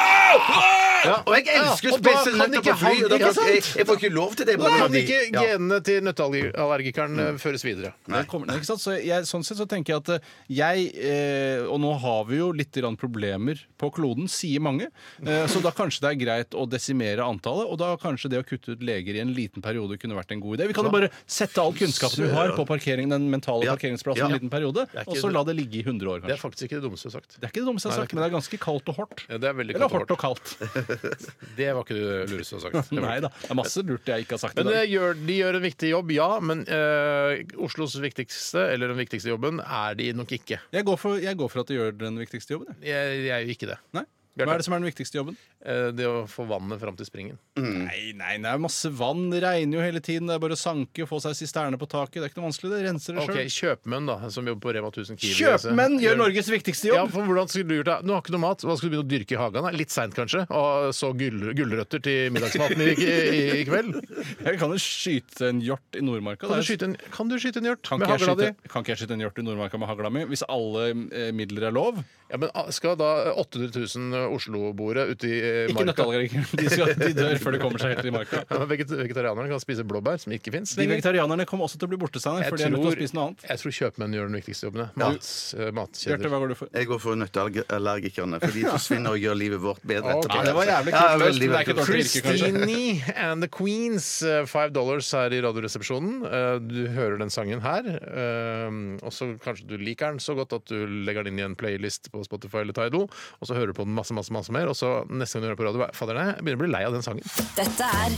S2: Og jeg elsker
S1: Ja,
S2: å
S1: og da
S2: spise
S1: kan
S2: nøtter
S1: ikke
S2: på fly!
S1: han-
S2: og da
S1: ikke
S2: får- Jeg, jeg får ikke lov til det.
S1: Da
S2: bare
S1: kan
S2: fordi-
S1: ikke
S2: Ja.
S1: genene til nøtteallergikeren eh, føres videre.
S3: Det kommer, nei, ikke sant? Så jeg, sånn sett så tenker jeg at eh, jeg eh, Og nå har vi jo litt grann problemer på kloden, sier mange. Eh, så da kanskje det er greit å desimere antallet, og da kanskje det å kutte ut leger i en liten periode kunne vært en god idé. Vi kan jo bare sette all kunnskapen vi har på parkering, den mentale
S2: Ja.
S3: parkeringsplassen
S2: Ja.
S3: en liten periode,
S1: er ikke
S3: og så
S1: det-
S3: la det ligge i 100 år,
S1: Det er
S3: kanskje.
S1: faktisk ikke det dummeste sagt.
S3: Det er ikke det dummeste jeg har sagt, men det er ganske kaldt og hardt.
S1: Ja, Det er veldig
S3: Eller
S1: kaldt og
S3: hardt og kaldt.
S1: hardt. Det var ikke det lureste du har sagt.
S3: Nei da. Det er masse lurt jeg ikke har sagt i
S1: Men
S3: dag.
S1: eh, gjør, De gjør en viktig jobb, ja. Men eh, Oslos viktigste, eller den viktigste jobben, er de nok ikke.
S3: Jeg går for, jeg går for at de gjør den viktigste jobben. jeg.
S1: Jeg, jeg er jo ikke det.
S3: Nei?
S1: Bjarte.
S3: Hva er det som er den viktigste jobben?
S1: Eh, det å få vannet fram til springen.
S3: Nei, nei, det er masse vann. Det regner jo hele tiden. Det er bare å sanke, få seg sisterne på taket. Det er ikke noe vanskelig. Det renser det
S1: Ok,
S3: sjøl.
S1: Kjøpmenn, da, som jobber på Rema 1000 Kiwi.
S3: Kjøpmenn
S1: så-
S3: gjør Norges viktigste
S1: Ja,
S3: jobb!
S1: for hvordan skulle du gjort det? Nå har ikke noe mat. Hva Skal du begynne å dyrke i hagen? da? Litt seint, kanskje? Og så gull, gulrøtter til middagsmaten i, i, i kveld?
S3: Jeg kan jo skyte en hjort i Nordmarka.
S1: Kan du
S3: Det er-
S1: skyte en, kan du skyte en hjort
S3: kan
S1: med
S3: ikke, jeg
S1: hagla di?
S3: skyte, kan ikke jeg skyte en hjort i Nordmarka med hagla mi hvis alle eh, midler er lov?
S1: Ja, men ah, Skal da 800 000 Oslo-boere ute i eh,
S3: Ikke nøtteallergiker. De, skal- de dør før de kommer seg helt i marka.
S1: Ja, men veget- Vegetarianerne kan spise blåbær, som ikke fins.
S3: De vegetarianerne kommer også til å bli borte, Steinar, for de er nødt til å spise noe annet.
S1: jeg tror kjøpmenn gjør den viktigste jobben. Ja. Mat, eh,
S3: Bjarte,
S1: matkjeder.
S3: hva går du for?
S2: Jeg går for nøtteallergikerne, for de forsvinner og gjør livet vårt bedre.
S1: Ok.
S3: Ja, det var jævlig
S2: Ja,
S3: kult løst,
S2: veldig,
S3: men det er ikke et
S2: veldig
S3: ordentlig yrke, kanskje.
S1: Christine and the Queens, eh, five dollars her i Radioresepsjonen. Eh, Du hører den sangen her, eh, og så kanskje du liker den så godt at du legger den inn i en playlist på Spotify eller Tidal, og så hører du på den masse, masse, masse mer, og så neste gang du hører på radio, fader nei, jeg begynner å bli lei av den sangen.
S5: Dette er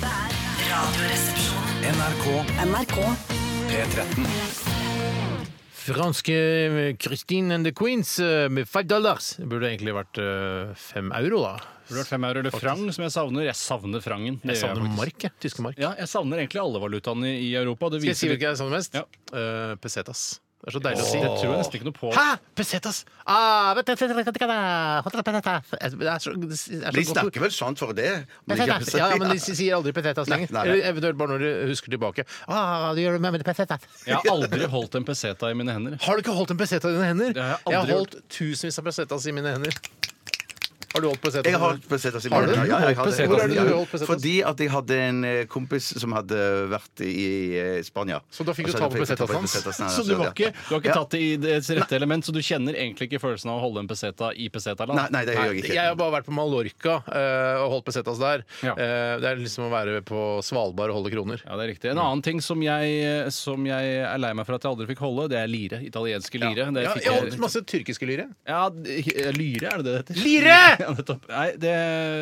S6: NRK
S5: Radioresepsjonen. NRK
S6: P13.
S1: Franske eh, Christine and the Queens eh, med five dollars. Det burde egentlig vært eh, fem euro, da.
S3: Burde vært fem euro eller frang, som jeg savner. Jeg savner frangen. Det
S1: Jeg
S3: gjør
S1: savner
S3: faktisk.
S1: mark, jeg. Eh, Tyske mark.
S3: Ja, jeg savner egentlig alle valutaene i Europa. Det
S1: Skal jeg si
S3: viser litt-
S1: hvilken jeg savner mest?
S3: Ja.
S1: Eh, pesetas. Det er så deilig å si.
S3: Det tror jeg nesten ikke noe på.
S1: Hæ? Pesetas? Ah, vet du- vet du- vet du- vet du- Det er så, det er
S2: De
S1: så godt.
S2: snakker vel sånn for det? men de kan
S1: Pesetas.
S2: ikke si-
S1: Ja, ja, men de sier aldri pesetas
S2: Nei,
S1: lenger.
S2: nei, nei.
S1: Eller eventuelt bare når de husker tilbake. Ah, du gjør det med med pesetas.
S3: Jeg har aldri holdt en peseta i mine hender.
S1: Har du ikke holdt en peseta i dine hender?
S3: Det har jeg aldri
S1: har holdt tusenvis av pesetas i mine hender. Har du holdt pesetas?
S2: Jeg har holdt pesetas i
S1: Har du?
S2: munnen. Ja, jeg har det.
S3: Holdt pesetas i
S2: Ja,
S1: munnen? Holdt pesetas?
S2: Fordi at jeg hadde en eh, kompis som hadde vært i eh, Spania.
S1: Så da fikk du
S2: Og
S1: ta på
S2: fikk jeg
S1: pesetasen hans?
S2: pesetasen hans,
S3: Så du,
S2: ja.
S3: var ikke, du har ikke
S2: Ja.
S3: tatt det i dets rette element, så du kjenner egentlig ikke følelsen av å holde en peseta i pesetaland?
S2: Nei, nei, det gjør jeg
S1: Jeg har
S2: ikke.
S1: bare vært på Mallorca eh, og holdt pesetas der.
S3: Ja.
S1: Eh, det er liksom å være på Svalbard og holde kroner.
S3: Ja, det er riktig. En annen ting som jeg, som jeg er lei meg for at jeg aldri fikk holde, det er lire. Italienske lire. Det
S1: Ja,
S3: fikk
S1: jeg har holdt
S3: jeg,
S1: masse tyrkiske lyre.
S3: ja, d- lyre, er det det det heter?
S1: Lire!
S3: Ja, nettopp. Nei, det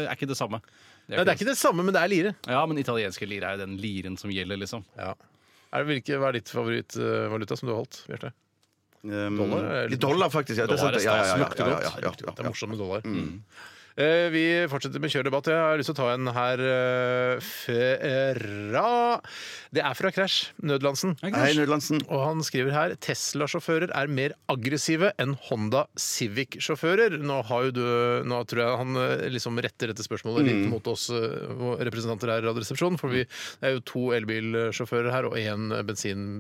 S3: er ikke det samme.
S1: Nei, det er ikke det samme, men det er lire.
S3: Ja, men italienske lire er jo den liren som gjelder, liksom.
S1: Er det, hvilke, hva er ditt favorittvaluta som du har holdt? Bjarte?
S2: Um,
S1: Dollar, er det-
S2: Dollar, faktisk. Ja, det
S3: Dollar er
S2: sant. Ja, ja, ja,
S3: stas,
S2: ja,
S3: lukter
S2: ja,
S3: godt.
S2: ja, ja, ja,
S1: Det er
S2: ja. Mm.
S1: morsomt med dollar. Eh, vi fortsetter med kjørdebatt. Jeg har lyst til å ta en her eh, fra Det er fra Crash, Nødlandsen.
S2: Hei, Nødlandsen.
S1: Og han skriver her Tesla-sjåfører er mer aggressive enn Honda Civic-sjåfører. Nå, har jo du- nå tror jeg han eh, liksom retter dette spørsmålet litt
S2: Mm.
S1: mot oss eh, våre representanter her i Radioresepsjonen, for vi det er jo to elbilsjåfører her og én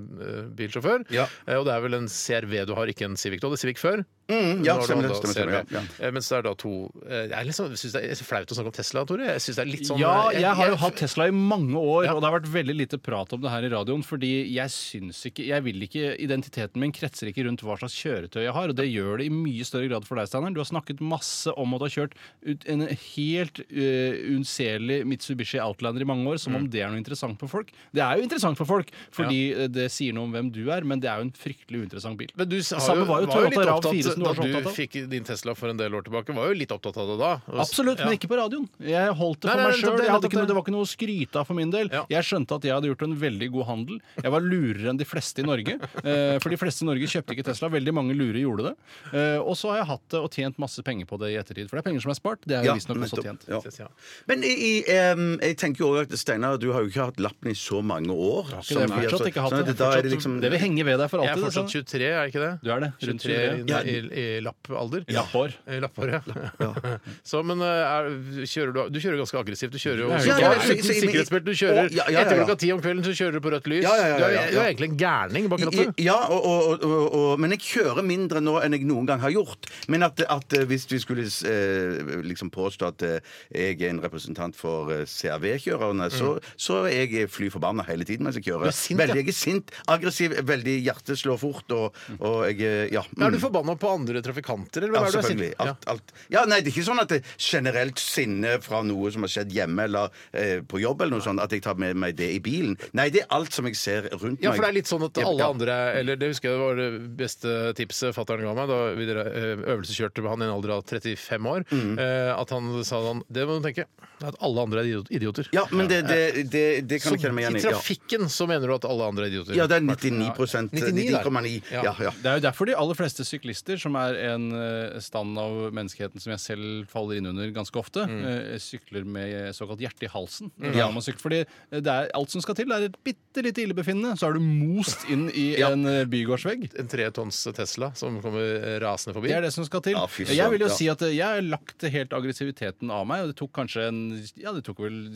S1: bensinbilsjåfør.
S2: Ja.
S1: Eh, Og det er vel en CRV du har, ikke en Civic. Du hadde Civic før.
S2: Mm, ja,
S1: Nå har du
S2: stemmer det.
S1: Honda
S2: Stemmer, stemmer,
S1: CRV.
S2: ja, ja.
S1: Eh, Mens det er da to eh, Jeg er litt sånn- synes det er flaut å snakke om Tesla, Tore. Jeg synes det er litt sånn
S3: ja,
S1: eh,
S3: jeg har jo hatt Tesla i mange år,
S1: Ja.
S3: og det har vært veldig lite prat om det her i radioen, fordi jeg syns ikke Jeg vil ikke Identiteten min kretser ikke rundt hva slags kjøretøy jeg har, og det gjør det i mye større grad for deg, Steinar. Du har snakket masse om at du har kjørt ut en helt øh, unnselig Mitsubishi Outlander i mange år, som om
S1: Mm.
S3: det er noe interessant for folk. Det er jo interessant for folk, eh, fordi øh, det sier noe om hvem du er, men det er jo en fryktelig uinteressant bil.
S1: Men du har
S3: Samme var jo
S1: var jo litt
S3: Toyota Rav
S1: opptatt-
S3: 4 som som
S1: da
S3: du var så opptatt
S1: du
S3: av.
S1: fikk din Tesla for en del år tilbake, var jo litt opptatt av det da. Og s-
S3: Absolutt, men
S1: ja.
S3: ikke på radioen. Jeg holdt det
S1: Nei,
S3: for
S1: nei,
S3: meg
S1: nei,
S3: sjøl.
S1: det-
S3: Det,
S1: det-
S3: det var ikke noe å skryte av for min del.
S1: Ja.
S3: Jeg skjønte at jeg hadde gjort en veldig god handel. Jeg var lurere enn de fleste i Norge. eh, For de fleste i Norge kjøpte ikke Tesla. Veldig mange lure gjorde det. Eh, Og så har jeg hatt det og tjent masse penger på det i ettertid. For det er penger som er spart. Det er jo
S2: Ja,
S3: visstnok også
S2: nettopp.
S3: tjent.
S2: Ja.
S1: Ja.
S2: Men i, i, em, jeg tenker jo også at Steinar, du har jo ikke hatt lappen i så mange år.
S3: Ikke det, jeg har fortsatt ikke hatt
S2: sånn
S3: det.
S2: at da er det liksom
S3: det vil henge ved deg for
S1: Jeg er
S3: alltid.
S1: fortsatt
S3: det,
S1: 23, er jeg ikke det?
S3: Du er det, rundt
S1: 23 i,
S3: 23.
S2: Ja.
S1: i, i, lappalder.
S3: Ja, hår.
S1: I lappår, ja. Så, men eh, er, kjører du, du kjører ganske aggressivt. Du kjører jo
S3: Ja,
S1: ja,
S3: ja, ja,
S2: så- så- men-
S1: sikkerhetsbelte. Du kjører
S2: Å, ja, ja, ja,
S1: etter
S2: ja.
S1: klokka ti om kvelden, så kjører du på rødt lys.
S2: Ja, ja, ja, ja,
S1: Du, er, du
S2: ja.
S1: er egentlig en gærning bak
S2: I-
S1: rattet.
S2: Ja, og, og, og, og, men jeg kjører mindre nå enn jeg noen gang har gjort. Men at, at hvis vi skulle eh, liksom påstå at eh, jeg er en representant for eh, CRV-kjørerne, så,
S3: Mm.
S2: så er jeg eh, fly forbanna hele tiden mens jeg
S1: Du er
S2: kjører.
S1: sint, ja.
S2: veldig, jeg er sint, aggressiv, veldig hjertet slår fort, og,
S3: Mm.
S2: og jeg eh, Ja.
S1: Er du
S2: mm.
S1: forbanna på andre trafikanter, eller
S2: Ja,
S1: hvem er det du er
S2: selvfølgelig.
S1: sint? Ja.
S2: Alt, alt. Ja, nei, det er ikke sånn at det er generelt sinne fra noe som har skjedd hjemme eller eh, på jobb, eller noe sånt, at jeg tar med meg det i bilen. Nei, det er alt som jeg ser rundt meg.
S1: Ja, for det er litt sånn at
S2: Ja,
S1: alle
S2: ja.
S1: andre Eller det husker jeg var det beste tipset fatter'n ga meg da vi dere- eh, øvelseskjørte med han i en alder av 35 år.
S2: Mm.
S1: eh, At han sa sånn Det må du tenke. At alle andre er idiot- idioter.
S2: Ja, men det, det, det, det kan
S1: Så
S2: jeg kjenne meg
S1: i
S2: igjen i. Ja.
S1: trafikken så mener du at alle andre er idioter?
S2: ja, det er eh, 99
S1: 99 der.
S2: 99,9.
S1: Ja.
S2: Ja, ja.
S3: Det er jo derfor de aller fleste syklister, som er en eh, stand av menneskeheten som jeg selv faller inn under ganske ofte, eh, sykler med såkalt hjerte i halsen. Ja. man sykler, fordi eh, det er alt som skal til. Det er et bitte lite illebefinnende, så er du most inn i en eh, bygårdsvegg.
S1: En tretons Tesla som kommer rasende forbi?
S3: Det er det som skal til.
S2: Ja, fy søren,
S3: jeg vil jo
S2: ja.
S3: si at eh, jeg har lagt helt aggressiviteten av meg. og Det tok kanskje en, ja, det tok vel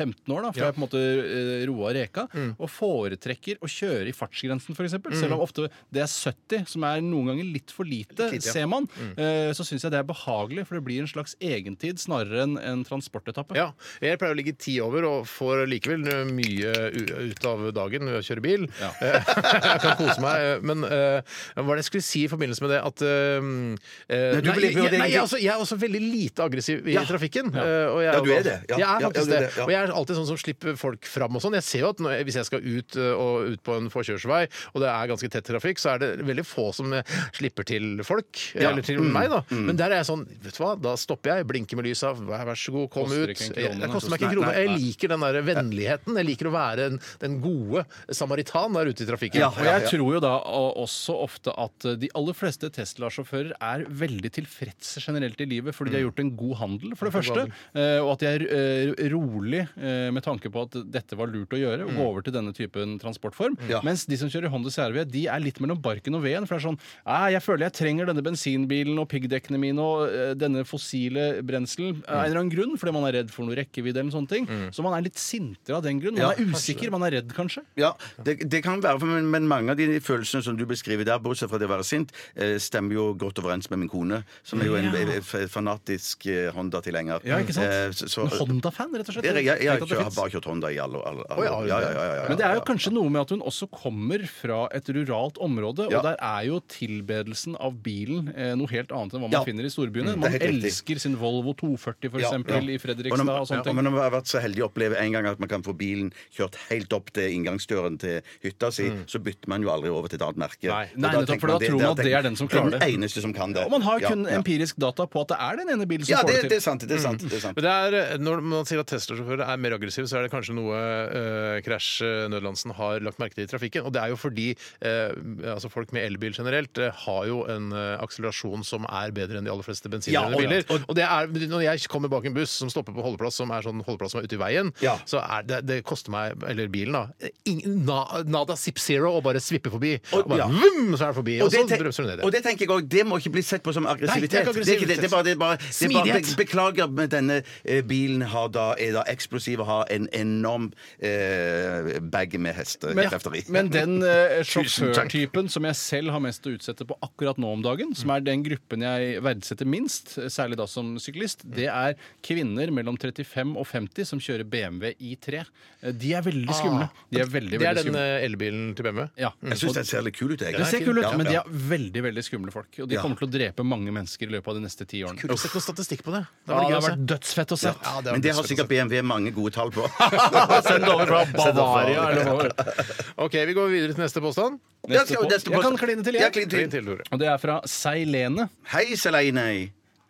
S3: 15 år da, før jeg på en måte eh, roa reka.
S2: Mm.
S3: Og foretrekker å kjøre i fartsgrensen, f.eks. eksempel Selv om ofte det er 70, som er noen ganger litt for lite,
S2: Litt lite, ja. Mm.
S3: ser man. eh, Så syns jeg det er behagelig, for det blir en slags egentid snarere enn en transportetappe.
S1: Ja, Jeg pleier å ligge ti over og får likevel mye u- ut av dagen ved å kjøre bil.
S3: Ja.
S1: Eh, jeg kan kose meg. eh, Men eh, hva er det jeg skulle si i forbindelse med det? At eh, eh,
S2: Nei, du
S1: nei,
S2: blir-
S1: jeg, nei, jeg, er også, jeg er også veldig lite aggressiv i
S2: Ja.
S1: trafikken.
S3: Ja.
S1: eh, og jeg,
S2: Ja, du er det.
S1: Jeg er
S2: Ja. Ja,
S1: faktisk
S2: ja, du er
S1: det.
S2: det, ja.
S1: Og jeg er alltid sånn som slipper folk fram og sånn. Jeg ser jo at når, jeg- hvis jeg skal ut, eh, og ut på en forkjørsvei, og det er ganske tett trafikk, så er det veldig få som eh, slipper til folk. eh, Eller til meg,
S3: Mm.
S1: da. Men der er jeg sånn, vet du hva, da stopper jeg, blinker med lysa, vær vær så god, kom
S3: Koster
S1: ut.
S3: ikke en
S1: Jeg-
S3: krone,
S1: Det koster meg
S3: nei.
S1: ikke en krone.
S3: Nei, nei.
S1: Jeg liker den der vennligheten. Jeg liker å være en, den gode samaritan der ute i trafikken.
S2: Ja,
S3: Og jeg tror jo da og- også ofte at eh, de aller fleste Tesla-sjåfører er veldig tilfredse generelt i livet fordi de
S2: Mm.
S3: har gjort en god handel, for det første. eh, Og at de er eh, rolig eh, med tanke på at dette var lurt å gjøre, og gå over til denne typen transportform.
S2: Mm. Ja.
S3: Mens de som kjører Honda CRV, de er litt mellom barken og veden. For det er sånn «Nei, Jeg føler jeg trenger denne bensinbilen og piggdekkene mine og eh, denne fossile brenselen
S2: Mm.
S3: av en eller annen grunn, fordi man er redd for noe rekkevidde eller noen sånne ting. Så man er litt sintere av den grunn. Man
S2: Ja,
S3: er usikker, man er redd, kanskje.
S2: Ja, det, det kan være, men, men mange av de følelsene som du beskriver der, bortsett fra det å være sint, eh, stemmer jo godt overens med min kone, som er jo en eh, f- fanatisk eh, Honda-tilhenger.
S3: Ja, ikke sant?
S2: Eh, så, så,
S3: En Honda-fan, rett og slett.
S2: jeg, jeg, jeg,
S3: Tenk at det
S2: har
S3: finnes.
S2: bare kjørt Honda i alle alle- alle-
S1: ja, har du
S2: ja, ja,
S1: det?
S2: ja, ja, ja,
S3: Men det er jo
S2: ja.
S3: kanskje noe med at hun også kommer fra et ruralt område,
S2: Ja.
S3: og der er jo tilbedelsen av bilen eh, noe helt annet enn hva man
S2: Ja. Mm.
S3: finner i storbyene.
S2: det
S3: Man
S2: er helt riktig.
S3: elsker sin Volvo 240 for
S2: Ja,
S3: eksempel
S2: ja.
S3: i Fredrikstad og sånne
S2: Ja,
S3: ting.
S2: Men når man har vært så heldig å oppleve en gang at man kan få bilen kjørt helt opp til inngangsdøren til hytta si, så bytter man jo aldri over til et annet merke.
S3: Mm. Nei,
S2: Og
S3: nei, nettopp,
S2: tenker
S3: for da tror man at det er den som klarer det.
S2: Den eneste som kan det.
S3: Og man har kun
S2: ja, ja.
S3: empirisk data på at det er den ene bilen som
S2: Ja,
S3: får
S2: det,
S3: det til.
S2: det er sant. det er sant,
S3: Mm.
S2: det er sant.
S1: Men det er, Når man sier at Tesla-sjåfører er mer aggressive, så er det kanskje noe eh, Crash eh, Nødlandsen har lagt merke til i trafikken. Og det er jo fordi eh, altså folk med elbil generelt eh, har jo en eh, akselerasjon som er bedre enn de aller fleste
S2: Ja, og-
S1: bensindrevne biler. Og det er, når jeg kommer bak en buss som stopper på holdeplass, som er sånn holdeplass som er ute i veien,
S2: Ja.
S1: så er det, det koster meg, eller bilen, da, ingen, na, nada zip zero å bare svippe forbi.
S2: Og-
S1: Og bare,
S2: ja.
S1: vum, så er det forbi. Og,
S2: Og det,
S1: så
S2: tenk-
S1: bremser du ned
S2: og
S1: igjen.
S2: det tenker jeg også, det må ikke bli sett på som aggressivitet.
S1: Nei, det er ikke
S2: det, det er bare, det er bare, det er bare
S1: Smidighet.
S2: be- Beklager, men denne eh, bilen har da, er da eksplosiv og har en enorm eh, bag med hestekrefter i.
S3: Men den eh,
S2: Tusen takk.
S3: sjåførtypen som jeg selv har mest å utsette på akkurat nå om dagen, som er den gruppen jeg verdsetter minst, eh, særlig da som syklist, det er kvinner mellom 35 og 50 som kjører BMW i3. Eh, De er veldig skumle. De er veldig,
S1: Det er
S3: veldig
S1: den
S3: skumle.
S1: eh, elbilen til BMW.
S3: Ja.
S2: Mm. jeg syns den ser litt kul ut, jeg.
S3: Det ser kul ut,
S2: Ja,
S3: men de
S2: ja.
S3: er veldig veldig skumle folk. Og de
S2: Ja.
S3: kommer til å drepe mange mennesker i løpet av de neste ti årene.
S1: Kult å sette noe statistikk på det.
S3: Ja,
S1: var
S3: det
S1: gøy å
S3: har
S1: se.
S3: vært dødsfett å se.
S1: Ja,
S2: Men det
S1: dødsfett
S2: har
S1: å se.
S2: sikkert BMW mange gode tall på.
S3: Send det over fra Bavaria eller hva det var.
S1: OK, vi går videre til neste påstand.
S2: Neste
S3: Neste
S2: på-
S3: på- Jeg kan kline til,
S2: Jeg
S3: jeg.
S2: kliner til.
S1: Din til, Tore.
S3: Og det er fra fra Seilene.
S2: Hei, Selene.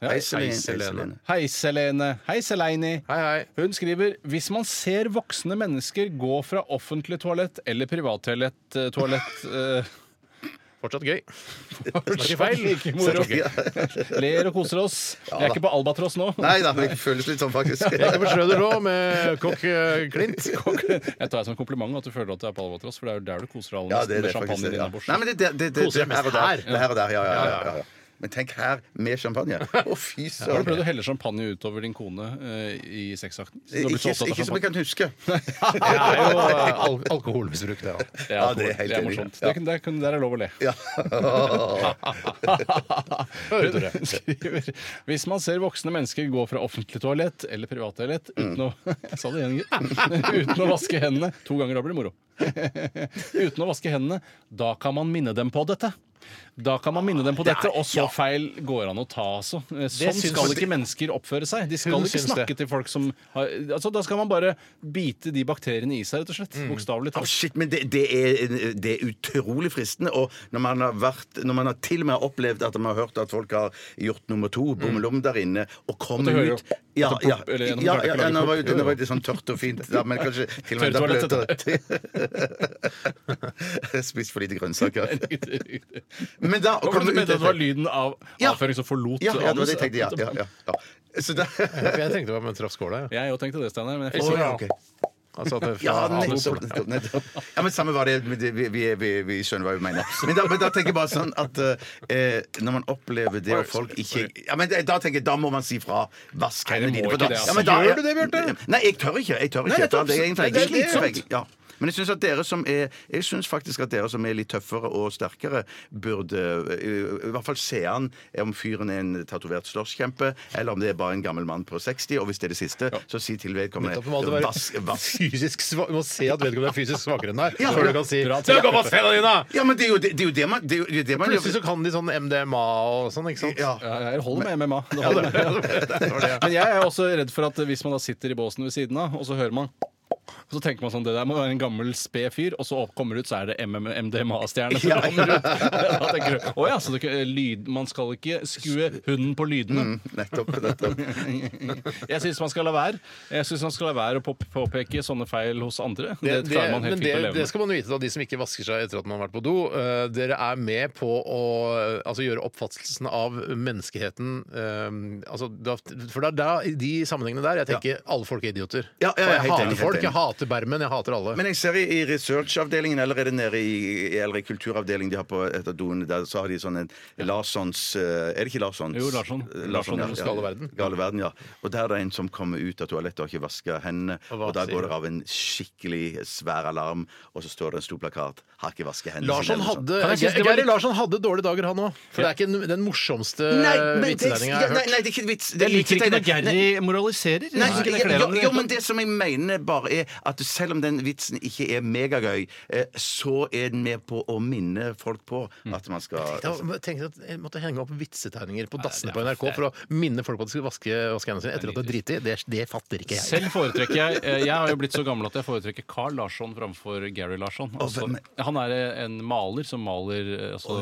S3: Ja,
S1: hei, Selene.
S3: Hei, Selene. Hei, Seleini.
S1: Hei, hei.
S3: Hun skriver hvis man ser voksne mennesker gå fra offentlig toalett eller privattoalett eh, toalett eh,
S1: Fortsatt gøy.
S3: Snakker feil. Like moro. Ler og koser oss. Jeg er ikke på Albatross nå.
S2: Nei da, men det føles litt sånn, faktisk.
S1: Jeg er på Schrøder nå med kokk eh, Klint.
S3: Jeg tar det som en kompliment at du føler at du er på Albatross, for det er jo der du koser deg aller
S2: Ja,
S3: mest
S2: det er
S3: med
S2: det faktisk.
S3: champagne
S2: det, Ja.
S3: innabords.
S2: Nei, men det, det, det, det,
S1: Koser deg
S2: her og
S1: mest her.
S2: der. Det her og der, ja, ja, ja, ja, ja. Men tenk her, med champagne. Å, fy
S3: Har du prøvd
S2: søren.
S3: å helle champagne utover din kone eh, i sexakten?
S2: Eh,
S3: Siden du har blitt
S2: Ikke,
S3: så opptatt av
S2: ikke som jeg kan huske.
S1: Det er jo eh, al alkoholmisbruk, det òg.
S3: champagne.
S2: Ja, det er helt
S3: det er
S2: enig.
S3: morsomt.
S2: Ja.
S3: Det, kan- der, kan- der er lov å le.
S2: Ja.
S3: Hun skriver Hvis man ser voksne mennesker gå fra offentlig toalett eller privat toalett uten å
S2: Mm.
S3: Jeg sa det igjen, gitt. Uten å vaske hendene To ganger, da blir det moro. Uten å vaske hendene. Da kan man minne dem på dette. Da kan man minne dem
S2: Ah,
S3: på dette, og så feil går an å ta, altså. Eh, Sånn
S1: syns
S3: skal
S1: jeg-
S3: ikke mennesker oppføre seg. De skal
S1: Hun
S3: ikke
S1: syns det.
S3: snakke til folk som har Altså, Da skal man bare bite de bakteriene i seg, rett og slett.
S2: Å,
S3: Bokstavelig talt.
S2: Mm. shit, men det, det, er, det er utrolig fristende. Og når man har, vært, når man har til og med har opplevd at man har hørt at folk har gjort nummer to, bommelom der inne, og kom
S3: Mm. At det hører
S2: ut Ja,
S3: at det
S2: ja,
S3: pop-
S2: ja,
S3: eller
S2: ja,
S3: gjennom
S2: ja,
S3: taket lager
S2: nå var
S3: pop.
S2: det- nå var det sånn tørt og fint. Da, men kanskje til og med da bløtere. Spist for lite grønnsaker. Men da
S3: Hva var
S2: kom det
S3: det du
S2: ut
S3: mente at det var lyden av
S2: Ja.
S3: avføring som forlot
S2: Ja, ja, det var det jeg
S3: anus?
S2: tenkte. Ja, ja, ja, ja. Så da,
S1: Jeg tenkte det var med traff skåla. jeg.
S3: Jeg òg tenkte det, Steinar. Men jeg
S2: Å,
S3: fikk
S2: ja, ok.
S1: Altså at det-
S2: Ja,
S1: anus-
S2: nettopp. nettopp, nettopp. Ja, men Samme var det. men det- Vi, vi, vi, vi skjønner hva vi mener. Men da, men da tenker jeg bare sånn at eh, når man opplever det, og folk ikke Ja, men Da tenker jeg, da må man si fra. Vask hendene
S3: Nei,
S2: dine.
S3: det må
S2: for
S3: ikke
S2: da-
S3: det, altså.
S2: ja, men da,
S3: Gjør du det, Bjarte?
S2: Nei, jeg tør ikke. Jeg tør ikke.
S3: nettopp.
S2: Det er egentlig
S3: Det er
S2: slitsomt. Ja. Men jeg syns at dere som er Jeg synes faktisk at dere som er litt tøffere og sterkere, burde eh, i hvert fall se an om fyren er en tatovert slåsskjempe, eller om det er bare en gammel mann på 60. Og hvis det er det siste, så si til vedkommende
S1: Nettopp, det må alltid være
S2: Vask, vask
S1: fysisk sva- Du må se at vedkommende er fysisk svakere enn deg.
S2: Ja.
S1: før du kan si
S3: Bra.
S1: «Se, gå og vask hendene dine!»
S2: Ja, men det er jo det, det, er jo det man, det er jo det, er jo det man
S1: Plutselig så kan de sånn MDMA og sånn, ikke sant?
S2: Ja.
S3: Ja, jeg holder med MMA. Det
S1: Ja,
S3: holder
S1: det-
S3: med. Men jeg er også redd for at hvis man da sitter i båsen ved siden av, og så hører man og så tenker man sånn, Det der må være en gammel sped fyr, og så opp- kommer det ut, så er det MDMA-stjerne som
S2: Ja.
S3: kommer ut. Da tenker du, Å ja, så det, ikke- lyd, man skal ikke skue hunden på lydene.
S2: Mm. Nettopp. nettopp.
S3: Jeg syns man skal la være. Jeg synes man skal la være å pop- påpeke sånne feil hos andre. Det klarer man helt
S1: men
S3: fint å
S1: det,
S3: leve
S1: det
S3: med.
S1: skal man vite, da, de som ikke vasker seg etter at man har vært på do. eh, dere er med på å eh, altså, gjøre oppfattelsen av menneskeheten eh, altså, da, For det er da, i de sammenhengene der jeg tenker alle folk er idioter.
S2: Ja, ja, ja,
S1: Og jeg
S2: helt
S1: hater
S2: enig, helt
S1: folk,
S2: enig.
S1: jeg hater bermen, jeg hater alle.
S2: Men jeg ser i, i researchavdelingen, eller er det nede i, eller i kulturavdelingen de har på etter doen, der så har de sånn en Larssons eh, Er det ikke Larssons?
S3: Jo, Larsson.
S2: Eh,
S3: Larsson,
S2: ja,
S3: den
S2: ja.
S1: gale verden.
S2: Gale verden, ja. Og der er det en som kommer ut av toalettet og har ikke vaska hendene,
S1: hva
S2: og, da
S1: sier
S2: går
S1: du?
S2: det av en skikkelig svær alarm, og så står det en stor plakat 'Har ikke vaska hendene'.
S1: Larsson
S2: sine», eller
S1: hadde,
S2: sånn.
S3: Kan jeg synes det var
S1: Geir
S3: litt-
S1: Larsson hadde dårlige dager, han òg. For det er ikke den- den morsomste
S2: Nei, men det,
S1: vitsetegninga eh, jeg har
S2: ja, nei,
S1: hørt.
S2: nei, det er ikke vits. Det
S3: Jeg liker ikke når
S2: vitsetegning. Nei.
S3: Gary moraliserer. Jeg
S2: Nei,
S3: synes ikke det kler
S2: jo,
S3: ham i det
S2: jo,
S3: hele
S2: men det som jeg mener bare er at selv om den vitsen ikke er megagøy, eh, så er den med på å minne folk på
S3: Mm.
S2: at man skal
S1: Ja, men Jeg tenkte at jeg måtte henge opp vitsetegninger på dassene på NRK for å minne folk på at de skulle vaske, vaske hendene sine etter at de har driti. Det, det fatter ikke jeg.
S3: Selv foretrekker jeg eh, Jeg har jo blitt så gammel at jeg foretrekker Carl Larsson framfor Gary Larsson. Altså,
S2: hvem
S3: han er eh, en maler som maler eh, altså,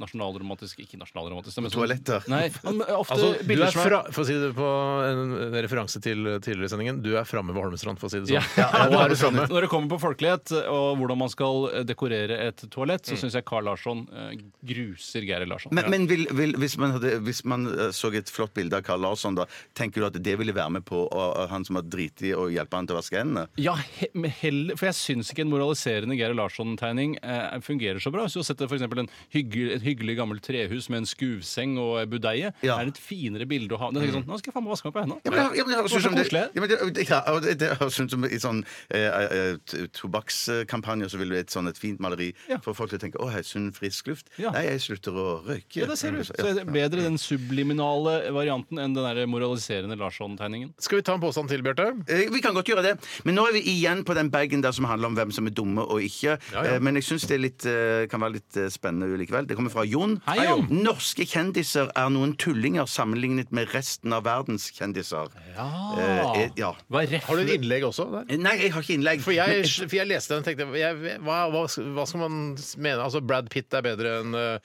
S3: nasjonalromantisk Ikke nasjonalromantisk men sånn-
S2: Toaletter.
S3: Nei, han, ofte
S1: Altså, du
S3: bilder
S1: er
S3: som er
S1: fra, for å si det på en, en referanse til tidligere i sendingen, du er framme ved Holmestrand, for å si det
S3: ja.
S1: sånn.
S3: Nå er
S1: du
S3: det sånn.
S1: framme.
S3: Når det kommer på folkelighet eh, og hvordan man skal eh, dekorere et toalett, så syns jeg Carl Larsson eh, gruser Geir Larsson.
S2: Men, men vil, vil, hvis, man hadde, hvis man eh, så et flott bilde av Carl Larsson, da, tenker du at det ville være med på å, å- han som har driti, å hjelpe han til å vaske hendene?
S3: Ja, he men heller, for jeg syns ikke en moraliserende Geir Larsson-tegning eh, fungerer så bra. Hvis du setter f.eks. Hygge, et hyggelig gammelt trehus med en skuvseng og ei budeie,
S2: Ja.
S3: er det et finere bilde å ha. Da tenker jeg sånn, Nå skal jeg faen meg vaske meg på
S2: Ja, men, det-
S3: hendene.
S2: ja, men det høres ut som
S3: Det var så
S2: det,
S3: koselig.
S2: ja, men det, ja, og det, det høres ut som i sånn eh, eh, t- tobakkskampanje så vil du et sånn et fint maleri
S3: Ja.
S2: for folk til å tenke 'Å, her er sunn, frisk luft'.
S3: Ja.
S2: Nei, jeg slutter å røyke.
S3: Ja, det ser du. Så er det bedre den subliminale varianten enn den der moraliserende Larsson-tegningen.
S1: Skal vi ta en påstand til, Bjarte?
S2: Eh, Vi kan godt gjøre det, men nå er vi igjen på den bagen der som handler om hvem som er dumme og ikke. Eh, Men jeg syns det er litt, eh, kan være litt eh, spennende likevel. Det kommer fra Jon.
S3: Hei, Jon.
S2: Norske kjendiser er noen tullinger sammenlignet med resten av verdens kjendiser. Eh, eh, ja.
S3: Hva er ref?
S1: Har du et innlegg også der?
S2: Eh, Nei, Nei, jeg har ikke innlegg.
S1: For
S2: Men-
S1: jeg, for jeg leste den og tenkte jeg, hva, hva, hva skal man mene? Altså, Brad Pitt er bedre enn uh,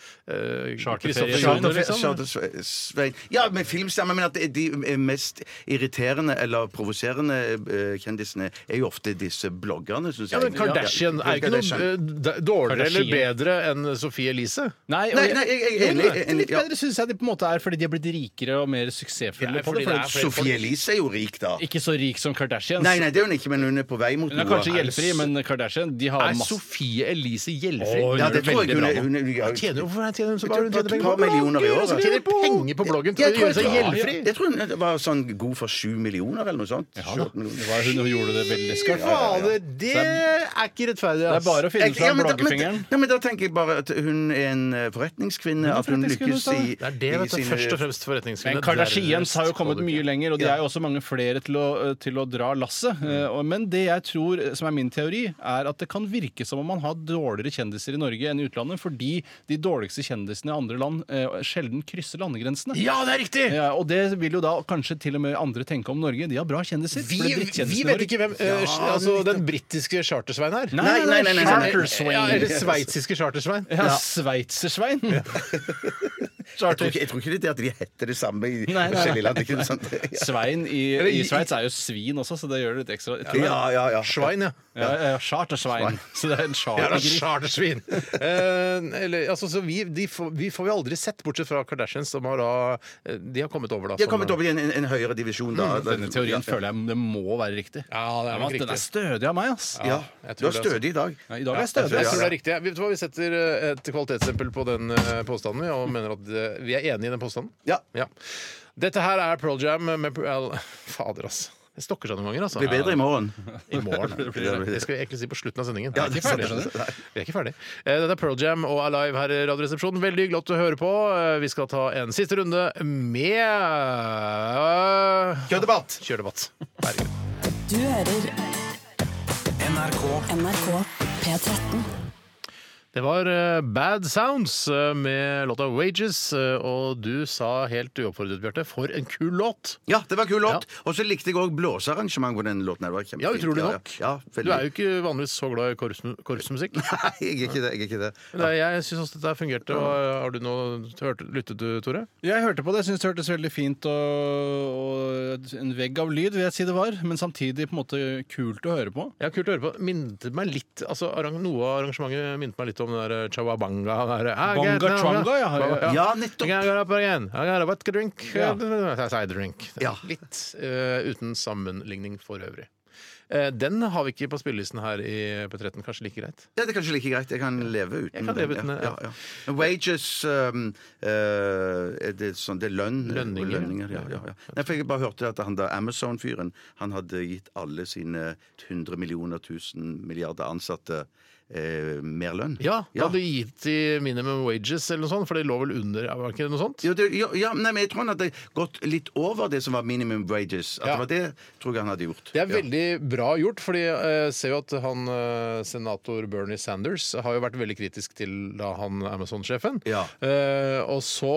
S1: Christopher
S3: Charterferie.
S1: Schau-
S3: Charter- liksom.
S2: Charter-Svein eh, Ja, med filmstemme, men at de eh, mest irriterende eller provoserende eh, kjendisene er jo ofte disse bloggerne, syns
S1: Ja,
S2: jeg.
S1: men Kardashian er ikke noe eh, d- dårligere eller
S3: Kardashian.
S1: bedre enn Sophie Elise.
S3: Nei, og
S2: Nei, nei, jeg- jeg er
S3: Jo,
S2: enig,
S3: men
S2: jeg er
S3: litt- Litt
S2: enig, ja.
S3: bedre syns jeg de på en måte er, fordi de er blitt rikere og mer suksessfulle.
S1: Ja, fordi
S3: på det, for
S1: det er
S3: hun-
S1: flere
S2: Sophie Elise er jo rik, da.
S3: Ikke så rik som Kardashians.
S2: Nei, nei, det er hun ikke, men hun er på vei mot
S3: Hun
S2: noe.
S3: er kanskje
S2: her.
S3: gjeldfri, men Kardashian de har
S1: Er
S3: masse
S1: Sophie Elise gjeldfri?
S3: Å, hun
S2: Ja, det tror jeg hun er.
S3: veldig bra
S2: Hun er, hun er
S1: Tjener, hvorfor er hun tjener hun så
S2: Jeg
S1: bare
S2: tror
S1: hun
S2: det
S1: tjener
S2: er
S1: penger
S2: et par
S1: på
S2: millioner i
S1: blogger,
S2: året.
S1: så tjener penger på bloggen! altså. Tror du hun gjør seg gjeldfri?
S2: Jeg tror hun var sånn god for sju millioner eller noe sånt.
S3: Ja, da. Det var hun, hun gjorde det veldig
S1: Fy
S3: skarpt.
S1: fader, det er ikke rettferdig,
S3: Det er
S1: ass.
S3: bare å finne
S2: Jeg- ja,
S3: fram
S2: men da-
S3: bloggefingeren.
S2: Men, nei, men da tenker jeg bare at hun er en eh, forretningskvinne. At hun
S3: forretningskvinne,
S2: lykkes
S3: sa
S2: i
S3: jeg.
S1: Det er det,
S2: i
S1: vet du.
S2: sine-
S1: Først og fremst forretningskvinne.
S3: Men Kardashians
S1: dernest
S3: har jo kommet mye
S1: kollektiv.
S3: lenger, og de er jo også mange flere til å, eh, til å dra
S2: Mm.
S3: lasset. Eh, og- Men det jeg tror, eh, som er min teori, er at det kan virke som om man har dårligere kjendiser i Norge enn i utlandet, fordi de dårligste kjendisene i andre land eh, sjelden krysser landegrensene.
S1: Ja, det er riktig!
S3: Ja, og det vil jo da kanskje til og med andre tenke om Norge. De har bra kjendiser.
S1: Vi,
S3: for det er drittkjendiser
S1: vi
S3: i
S1: vet
S3: Norge.
S1: ikke hvem eh, altså, den britiske chartersveien er.
S3: Nei, nei, nei, nei, nei, nei.
S1: Chartersveien. Ja, eller sveitsiske chartersveien.
S3: Ja, Sveitsersvein.
S2: Jeg tror, ikke, jeg tror ikke det er det at de heter det samme i
S3: nei, nei.
S2: forskjellige land. Ikke sant? Ja.
S3: Svein i, i Sveits er jo svin også, så det gjør det litt ekstra. Jeg tror det er-
S2: Ja, ja, ja.
S1: Svein, ja.
S3: Ja, ja, Chartersvein. Så det er en
S1: Jævla
S3: chartergris.
S1: chartersvin! Eh, eller, altså, så vi, de får, vi får vi aldri sett, bortsett fra Kardashians, som har da eh, De har kommet over, da.
S2: De har
S1: som-
S2: kommet opp i en, en, en høyere divisjon, da.
S3: Mm, Denne teorien føler jeg det må være riktig.
S1: Ja, det er nok
S3: Men at Den er
S1: riktig.
S3: stødig av meg, ass.
S2: Ja.
S1: jeg tror
S2: Du er
S3: altså-
S2: stødig i dag.
S3: Ja, I dag er jeg
S1: Jeg
S3: stødig.
S1: tror det
S3: ass.
S1: er riktig. Vet du hva, Vi setter eh, et kvalitetsstempel på den eh, påstanden, vi, og mener at eh, vi er enige i den påstanden.
S2: Ja.
S1: Dette her er Pearl Jam med Pearl Fader, ass. Det stokker seg noen ganger, altså.
S2: Blir bedre i morgen.
S1: I morgen.
S2: blir det.
S1: Det skal vi egentlig si på slutten av sendingen.
S2: Ja,
S1: vi, er
S2: det
S1: ikke ferdig,
S2: sant, det
S1: skjønner du. vi er ikke ferdig. Eh, Dette er Pearl Jam og Alive her i Radioresepsjonen. Veldig hyggelig at du hører på. Eh, Vi skal ta en siste runde med eh,
S2: Køddebatt!
S1: Kjørdebatt. Herregud.
S5: Du hører
S6: NRK
S5: NRK P13.
S1: Det var eh, Bad Sounds eh, med låta Wages, eh, og du sa helt uoppfordret, Bjarte, for en kul låt!
S2: Ja, det var kul låt. Og så likte jeg òg blåsearrangement på den låten. Det var kjempefint.
S1: Ja, utrolig
S2: Ja,
S1: nok.
S2: Ja,
S1: Du er jo ikke vanligvis så glad i korps, korpsmusikk.
S2: Nei, jeg er ikke det. Jeg er ikke det.
S1: Men det- Jeg syns også dette fungerte. Og eh, har du noe hørt, lyttet du, Tore?
S3: Jeg hørte på det. Jeg synes det hørtes veldig fint og, og en vegg av lyd, vil jeg si det var. Men samtidig på en måte kult å høre på.
S1: Ja, kult å høre på. Minnet meg litt altså, arrang, Noe av arrangementet minnet meg litt om den der eh, chawabanga. den der, I
S3: Banga
S1: get-
S3: chwanga, ja.
S2: Ja, nettopp.
S1: I got up again. I got a vodka drink.
S3: Ja.
S1: Side drink.
S2: Ja.
S1: Litt eh, uten sammenligning for øvrig. Eh, den har vi ikke på spillelisten her i P13, kanskje like greit.
S2: Ja, det er kanskje like greit. Jeg kan leve uten.
S1: Jeg kan leve uten det, ja.
S2: ja, ja. Men Wages um, eh, er det, sånn, det er lønn?
S1: Lønninger, ja.
S2: ja, ja, ja. Nei, for jeg bare hørte at han der Amazon-fyren Han hadde gitt alle sine 100 millioner, 1000 milliarder ansatte eh, mer lønn.
S1: Ja, da hadde du gitt i minimum wages eller noe sånt, for det lå vel under, var det ikke noe sånt?
S2: Jo, det, jo, ja, nei, men jeg tror han hadde gått litt over det som var minimum wages. At
S1: Ja.
S2: det var det tror jeg han hadde gjort.
S1: Det er veldig bra gjort, fordi jeg ser jo at han eh, senator Bernie Sanders har jo vært veldig kritisk til da han Amazon-sjefen.
S2: Ja.
S1: Eh, og så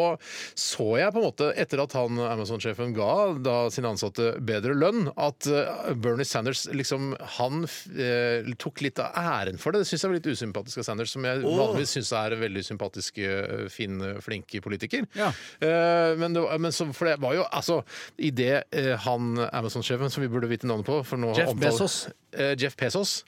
S1: så jeg på en måte, etter at han Amazon-sjefen ga da sine ansatte bedre lønn, at eh, Bernie Sanders liksom Han eh, tok litt av æren for det. Det syns jeg var litt usympatisk av Sanders, som jeg vanligvis syns er en veldig sympatisk, eh, fin, flink politiker.
S3: Ja.
S1: Eh, men det var, men så, for det var jo altså I det eh, han Amazon-sjefen, som vi burde vite navnet på for nå
S3: Jeff
S1: omtaler-
S3: Bezos.
S1: Eh, Jeff Pesos.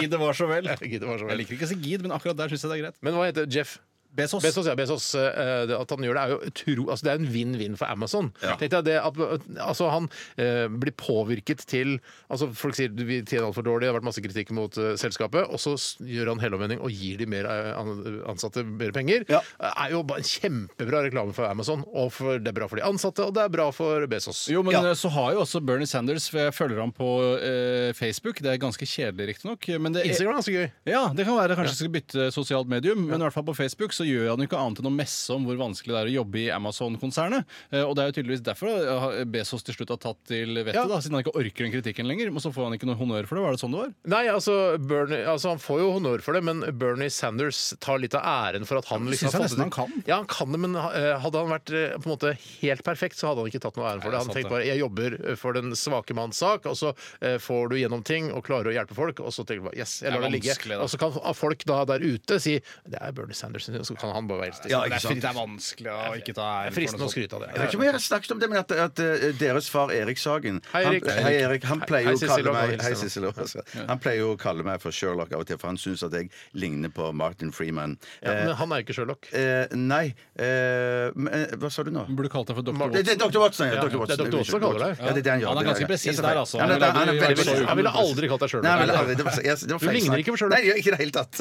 S3: Gid det var så vel.
S1: Gid, det var så vel.
S3: Jeg liker ikke å si gid, men akkurat der syns jeg det er greit.
S1: Men hva heter Jeff?
S3: Bezos.
S1: Bezos, ja, Bezos eh, det, At han gjør det, er jo utro, altså det er en vinn-vinn for Amazon. Tenkte jeg det at, altså Han eh, blir påvirket til altså Folk sier vi tjener altfor dårlig, det har vært masse kritikk mot eh, selskapet, og så s- gjør han helomvending og gir de mer eh, an- ansatte mer penger.
S2: Ja.
S1: Det er jo bare en kjempebra reklame for Amazon, og for, det er bra for de ansatte, og det er bra for Bezos.
S3: Jo, men
S2: Ja.
S3: eh, så har jo også Bernie Sanders for Jeg følger ham på eh, Facebook. Det er ganske kjedelig, riktignok. men det-
S1: Instagram er ganske gøy.
S3: Ja, det kan være kanskje jeg skal bytte sosialt medium, men i hvert fall på Facebook så så gjør han jo ikke annet enn å messe om hvor vanskelig det er å jobbe i Amazon-konsernet. Eh, Og det er jo tydeligvis derfor da, har Bezos til slutt har tatt til vettet,
S1: Ja.
S3: da, siden han ikke orker den kritikken lenger. Men så får han ikke noe honnør for det. Var det sånn det var?
S1: Nei, altså, Bernie, altså Han får jo honnør for det, men Bernie Sanders tar litt av æren for at han liksom
S3: synes jeg
S1: det-
S3: nesten han kan.
S1: Ja, han kan det, men eh, hadde han vært eh, på en måte helt perfekt, så hadde han ikke tatt noe æren for
S3: Nei,
S1: det. Han
S3: sant
S1: tenkte
S3: det.
S1: bare jeg jobber eh, for den svake manns sak, og så eh, får du gjennom ting og klarer å hjelpe folk, og så tenker du bare yes, jeg
S3: Det er
S1: lar det ligge.
S3: vanskelig, da.
S1: Og så kan folk da der ute si det er Bernie Sanders, og så kan han bare være helt stille.
S2: Ja, ikke sant.
S3: Det er vanskelig å ikke ta
S1: Det
S3: æren
S1: er fristende å skryte av
S2: Jeg vet
S1: det.
S2: ikke om jeg har snakket om det, men at, at eh, deres far Erik Sagen
S1: Hei, Erik.
S2: Han, hei, Erik. Han pleier
S1: Hei,
S2: jo å
S1: Sissel,
S2: kalle
S1: og
S2: meg
S1: hils
S2: Hei,
S1: til
S2: Sissel, også. Han pleier jo å kalle meg for Sherlock av og til, for han syns at jeg ligner på Martin Freeman.
S1: Ja,
S2: Eh,
S1: men han er jo ikke Sherlock.
S2: eh, nei eh, men, eh, Hva sa du nå?
S3: Burde kalt deg for Dr.
S2: Det,
S3: Watson.
S2: det er Dr. Watson.
S1: Ja,
S2: Ja, Dr. Watson.
S1: det er Dr. Watson han kaller deg.
S2: Ja, det er det han gjør.
S3: Han er
S2: det
S3: ganske
S2: det.
S3: presis
S2: Ja, det er
S3: der, altså.
S2: feil. Ja, det er- Han er
S3: Han
S2: veldig
S3: ville-
S2: presis.
S1: Han ville aldri kalt deg Sherlock.
S2: Nei, han ville aldri- det var, jeg, det var
S1: Du
S2: feil
S1: ligner
S2: snakk.
S1: ikke på Sherlock.
S2: Nei, jeg gjør ikke i det hele tatt.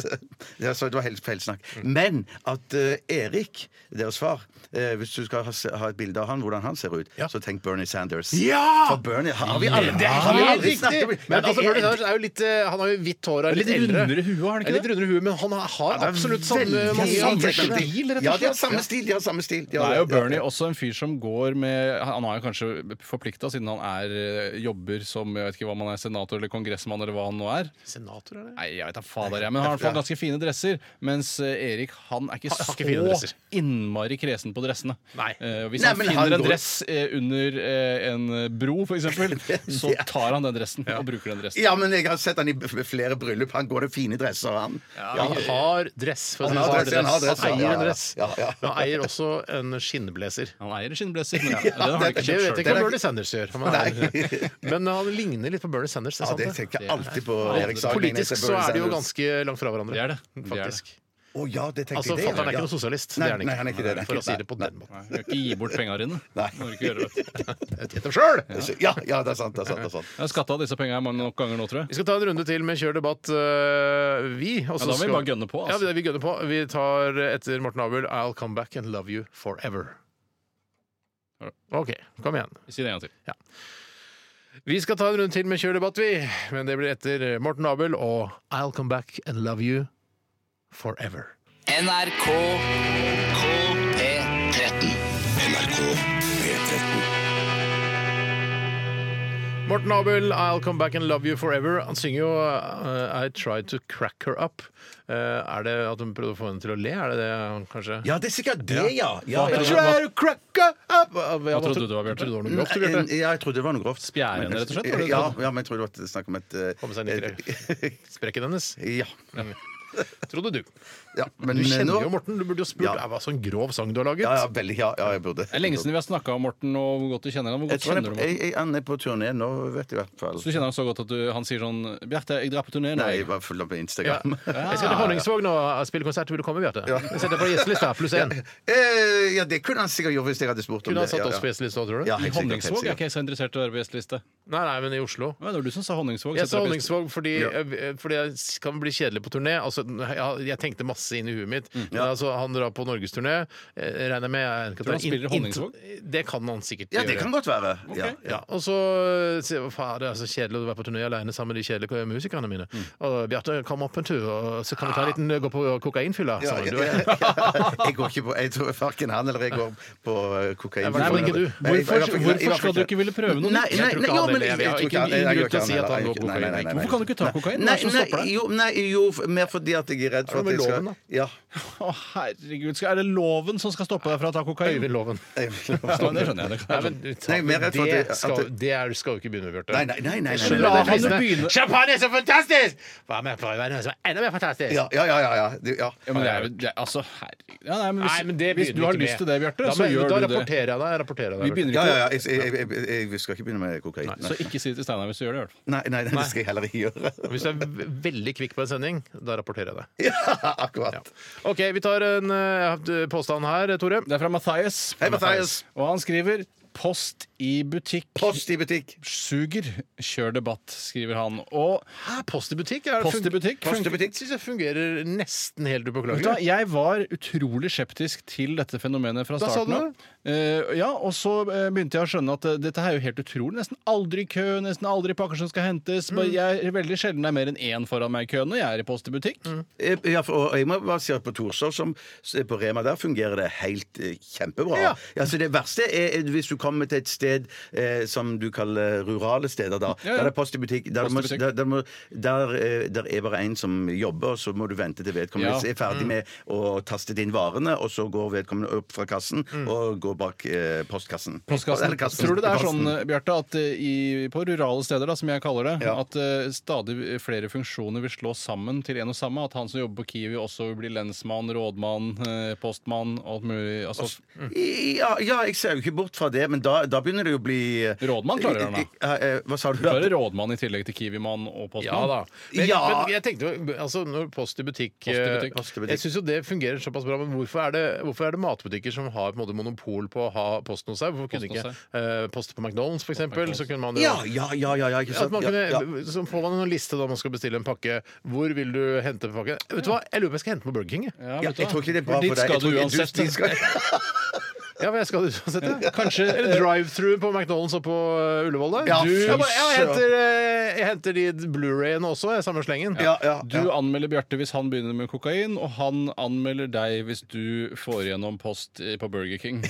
S2: Det er, så, det var helt feil snakk. Men at eh, Erik, deres far eh, Hvis du skal ha, se- ha et bilde av han, hvordan han ser ut,
S1: Ja.
S2: så tenk Bernie Sanders.
S1: Ja!
S2: For Bernie har vi aldri,
S1: Det er
S2: har vi
S1: helt
S2: aldri snakket om.
S1: riktig! Men altså, Bernie Sanders er jo litt, eh, han har jo hvitt hår og er
S3: Litt
S1: litt eldre.
S3: rundere hue, har han ikke
S1: Ja, Litt
S3: det?
S1: rundere hue, men han har
S2: det er
S1: absolutt samme
S2: veldig
S1: mange
S2: samme
S1: antrekk.
S2: stil,
S3: rett og
S2: Ja, de har
S3: slett.
S2: samme stil. De har samme stil. De
S3: Det
S2: har-
S3: er jo
S2: ja, ja.
S3: Bernie også en fyr som går med Han har jo kanskje forplikta, siden han er eh, jobber som jeg vet ikke hva man er, senator eller kongressmann eller hva han nå er.
S1: Senator, er det?
S3: Nei, jeg vet da fader, jeg. Men han har i hvert fall ganske fine dresser. Mens eh, Erik han er ikke
S1: Han har ikke fine
S3: så
S1: dresser.
S3: innmari kresen på dressene.
S1: Nei.
S3: Eh, hvis
S2: Nei,
S3: han
S2: men
S3: finner
S2: han
S3: en
S2: går-
S3: dress eh, under eh, en bro, f.eks., så tar han den dressen og bruker den dressen.
S2: Ja, men jeg har sett han i b- flere bryllup. Han går i fine dresser, han. Ja,
S1: Han har dress. For å si
S2: Han
S1: det
S2: har
S1: sånn.
S2: dress, han har dress,
S1: Han
S2: ja,
S1: eier
S2: ja,
S1: en
S2: ja.
S1: dress.
S2: Ja, ja.
S1: Men Han eier også en skinnblazer.
S3: Han eier skinnblazer, men den har han
S2: det-
S3: ikke
S1: Det vet
S3: kjøpt
S1: jeg
S3: sjøl.
S1: ikke hva Bernie Sanders gjør. Han
S2: Nei.
S1: er- Men han ligner litt på Bernie Sanders. Det
S2: Ja,
S1: er sant,
S2: det
S1: det.
S2: tenker jeg alltid på. Erik Sagen.
S1: Politisk så er de jo ganske langt fra
S3: Det
S1: hverandre.
S3: er det. det, er det.
S1: Faktisk.
S2: Å ja, det tenkte
S1: Altså,
S2: jeg.
S1: Fatter'n er ikke noen sosialist.
S2: Nei,
S1: Det er han
S2: nei, han er ikke det, det er
S1: For å
S2: ikke-
S1: si det på
S2: nei,
S1: den måten.
S3: Nei, jeg kan ikke gi bort penga dine.
S2: Nei.
S3: Må du ikke gjøre, vet du.
S1: Jeg vet det selv.
S2: noe ja, ja, det er sant. det er sant, det er sant.
S3: Jeg har skatta disse penga mange nok ganger nå, tror jeg.
S1: Vi skal ta en runde til med Kjør debatt, øh, vi. og så
S3: Ja, da må vi
S1: skal-
S3: bare gønne på, altså.
S1: Ja, det er vi gønner på. Vi tar etter Morten Abel 'I'll Come Back and Love You Forever'. OK, kom igjen.
S3: Si det en gang til.
S1: Vi skal ta en runde til med Kjør debatt, vi. Men det blir etter Morten Abel og 'I'll Come Back and Love You Forever'.
S9: NRK P13.
S4: NRK P13.
S1: Morten Abel, 'I'll Come Back and Love You Forever'. Han synger jo øh, 'I Tried To Crack Her Up'. Eh, er det at hun prøvde å få henne til å le? Er det det, han kanskje?
S2: Ja, det er sikkert det, ja. ja, ja,
S1: I
S2: ja.
S1: tried to crack her up. Hva
S3: trodde du det var, Bjarte?
S1: Trodde det var noe grovt, du, Bjarte?
S2: En- Eh, Ja, jeg trodde det var noe grovt.
S3: Spjærene,
S2: Men-
S3: rett og slett, var det det
S2: Ja,
S3: du trodde?
S2: ja, men jeg trodde det var snakk om et eh,
S1: sånn? Komme seg ned i Sprekken hennes,
S2: eh, Ja.
S1: trodde du.
S2: ja men eh,
S1: Du kjenner
S2: nå-
S1: jo Morten. Du burde jo spurt
S2: Ja.
S1: ja. hva sånn grov sang du har laget.
S2: Ja, ja, veldig. Ja, ja jeg burde.
S3: Det er lenge siden vi har snakka om Morten og hvor godt du kjenner ham. Hvor
S2: jeg
S3: godt
S2: tror han er,
S3: kjenner du
S2: på-
S3: Morten?
S2: jeg, jeg, han er på turné nå, vet du i hvert fall.
S3: Så du kjenner ham så godt at du, han sier sånn 'Bjarte, jeg drar på turné'. nå,
S2: Nei, jeg
S3: jeg».
S2: var full av på Instagram.
S1: Jeg skal til Honningsvåg nå og spille konsert. Vil du komme, Bjarte? Jeg setter deg på gjestelista pluss én.
S2: Eh, ja, det kunne han sikkert gjort hvis jeg hadde spurt om
S1: Kunne
S2: det.
S1: ha satt
S2: Ja,
S1: oss
S2: ja.
S1: på gjestelista, tror du?
S2: Ja,
S3: I
S2: helt sikkert, helt
S3: Honningsvåg er
S2: sikkert.
S3: ikke jeg så interessert i å være på gjesteliste.
S1: Nei, nei, men i Oslo.
S3: Nei, Det var du som sa Honningsvåg.
S1: Jeg
S3: setter
S1: sa
S3: deg på gjesteliste.
S1: Honningsvåg fordi, fordi jeg kan bli kjedelig på turné. Altså, ja, jeg tenkte masse inn i huet mitt. Men altså, han drar på norgesturné. Eh, Regner med jeg-
S3: Tror du han spiller i
S1: Inn-
S3: Honningsvåg?
S1: Det kan han sikkert
S2: Ja, det kan godt være. Ja,
S1: Ja,
S2: ja.
S1: og så sier jeg faen, det er så kjedelig å være på turné alene sammen med de kjedelige musikerne mine.
S2: Mm.
S1: Og Bjarte, kom opp en tur, og så kan vi ta en liten gå på kokainfylla
S2: Ja,
S1: sammen.
S2: ja,
S1: Du er-
S2: Jeg går ikke på Jeg tror verken han eller jeg går på eh, kokain.
S1: Nei, men ikke du.
S2: Nei, jeg- jeg-
S3: Hvorfor-
S2: jeg- jeg-
S3: hvorfor
S2: jeg- jeg-
S3: skal du ikke ville prøve noe nytt?
S2: Nei,
S3: Jeg
S2: nei,
S1: tror ikke
S2: nei, jo,
S1: han
S2: men
S1: heller-
S2: jeg-
S1: jeg
S2: jeg
S1: har ikke
S2: tror ikke han-
S1: ingen
S2: jeg- jeg
S1: grunn til å si at
S2: gjør ikke han
S1: han
S2: heller.
S1: går på
S2: Nei, nei, nei, nei,
S3: Hvorfor
S2: nei.
S3: kan du ikke ta kokain?
S2: Nei,
S3: Hva er det som
S2: nei,
S3: stopper deg?
S2: Jo, nei, jo, mer fordi at jeg er redd for
S1: Er
S2: at
S1: det
S2: jeg
S1: med
S2: skal
S1: loven, da?
S2: Ja.
S3: Å, herregud. Skal, er det loven som skal stoppe deg fra å ta kokain?
S1: Øyvind Loven.
S3: Ja, det skjønner jeg. Det
S1: Nei,
S3: kan jeg
S1: men,
S3: skjønne.
S2: Nei, mer rett for at det-
S1: det,
S2: at
S1: skal,
S2: det-
S1: det er, skal jo ikke begynne med, Bjarte.
S2: Nei, nei, nei. nei, nei,
S1: La
S2: nei,
S1: han
S2: nei, nei, nei.
S1: begynne! Champagne er så fantastisk! Hva med prøve noe som er enda mer fantastisk?
S2: Ja, ja, ja. ja, ja. Du, ja.
S3: Ja, men det er jo det, er- Altså, herregud. Ja, nei, men hvis,
S1: Nei, men det
S3: hvis
S1: begynner
S3: du har
S1: ikke med.
S3: lyst til det, Bjarte,
S1: Da
S3: så
S1: mener- da
S3: gjør du det.
S1: rapporterer jeg deg. Jeg rapporterer
S3: Vi
S1: deg. Bjarte.
S3: begynner
S2: Ja,
S3: ikke
S2: ja, ja. Jeg, jeg, jeg, jeg, jeg skal ikke begynne med kokain. Nei,
S3: Så ikke si det til Steinar hvis du gjør det. i hvert fall.
S2: nei, nei, det skal jeg heller ikke gjøre.
S1: Hvis du er ve- veldig kvikk på en sending, da rapporterer jeg deg.
S2: Ja, akkurat.
S1: OK, vi tar en eh, påstand her, Tore.
S3: Det er fra Mathias.
S2: Hei, Mathias.
S3: Og han skriver Post i butikk
S2: Post i butikk!
S3: suger. Kjør debatt, skriver han. Og
S1: Hæ, post i butikk? Er det
S3: Post i
S1: fun-
S3: butikk?
S1: Post i butikk syns jeg fungerer nesten helt
S3: Vet du hva,
S1: upåklagelig.
S3: jeg var utrolig skeptisk til dette fenomenet fra
S1: Da sa
S3: starten
S1: du
S3: av. Eh, ja, og så eh, begynte jeg å skjønne at eh, dette her er jo helt utrolig. Nesten aldri kø, nesten aldri pakker som skal hentes.
S1: Mm.
S3: Bare Jeg er veldig sjelden det er mer enn én foran meg i køen når jeg er i post i butikk.
S1: Mm.
S2: Eh, Ja, for, og jeg må bare si at på Torshov, som på Rema, der fungerer det helt eh, kjempebra.
S1: Ja.
S2: Ja. så det verste er er hvis du kommer til et sted eh, som du kaller rurale steder, da.
S3: Ja, ja.
S2: Der er post i butikk. Der,
S3: Post i
S2: må,
S3: butikk.
S2: der, der, må, der, eh, der er bare en som jobber, og så må du vente til vedkommende
S3: Ja. Mm.
S2: er ferdig med å taste inn varene, og så går vedkommende opp fra kassen og går bak eh, postkassen. Eller kassen.
S3: Mm. Tror du det er
S2: Posten.
S3: sånn, eh, Bjarte, at eh, i, på rurale steder, da, som jeg kaller det,
S2: Ja.
S3: at eh, stadig flere funksjoner vil slå sammen til en og samme? At han som jobber på Kiwi også blir lensmann, rådmann, eh, postmann og alt mulig? Altså,
S2: Ja, ja, jeg ser jo ikke bort fra det, men da, da begynner det jo å bli eh,
S3: Rådmann klarer han, da.
S2: da. eh, Hva sa du? da?
S3: bare rådmann i tillegg til Kiwi-mann og
S1: Ja
S3: postmann?
S1: da. Men,
S2: Ja.
S1: men jeg tenkte jo, altså når Post i butikk,
S3: i butikk.
S1: eh,
S2: Post i butikk.
S1: Jeg syns jo det fungerer såpass bra, men hvorfor er det, hvorfor er det matbutikker som har på en måte monopol på å ha posten hos seg? Hvorfor kunne
S3: Posten
S1: ikke
S3: hos
S1: eh, post på McDonald's, for eksempel?
S3: McDonald's.
S1: Så kunne man jo
S2: Ja, ja, ja, ja, ja, ikke
S1: At
S2: sant?
S1: man
S2: Ja,
S1: kunne,
S2: ja.
S1: Så får man en liste da man skal bestille en pakke. Hvor vil du hente pakken? Vet du hva, Jeg lurer på om jeg skal hente på Burger King. Jeg,
S3: Ja,
S2: Ja,
S3: vet du
S2: jeg
S3: hva?
S2: tror ikke det er
S3: For
S2: bra
S3: dit
S2: for deg.
S3: skal
S2: Jeg tror
S3: du
S2: ikke du-
S3: uansett.
S2: de skal-
S1: ja, men jeg skal uansett, jeg.
S3: Kanskje,
S1: Eller drive-through på McDonald's og på eh, Ullevål. der.
S2: Ja,
S1: Du-
S2: fy
S1: jeg, bare, jeg,
S2: søren.
S1: henter, eh, jeg henter de Blu-rayene også, jeg, samme slengen.
S2: Ja, ja,
S3: Du
S2: ja.
S3: anmelder Bjarte hvis han begynner med kokain, og han anmelder deg hvis du får igjennom post eh, på Burger King.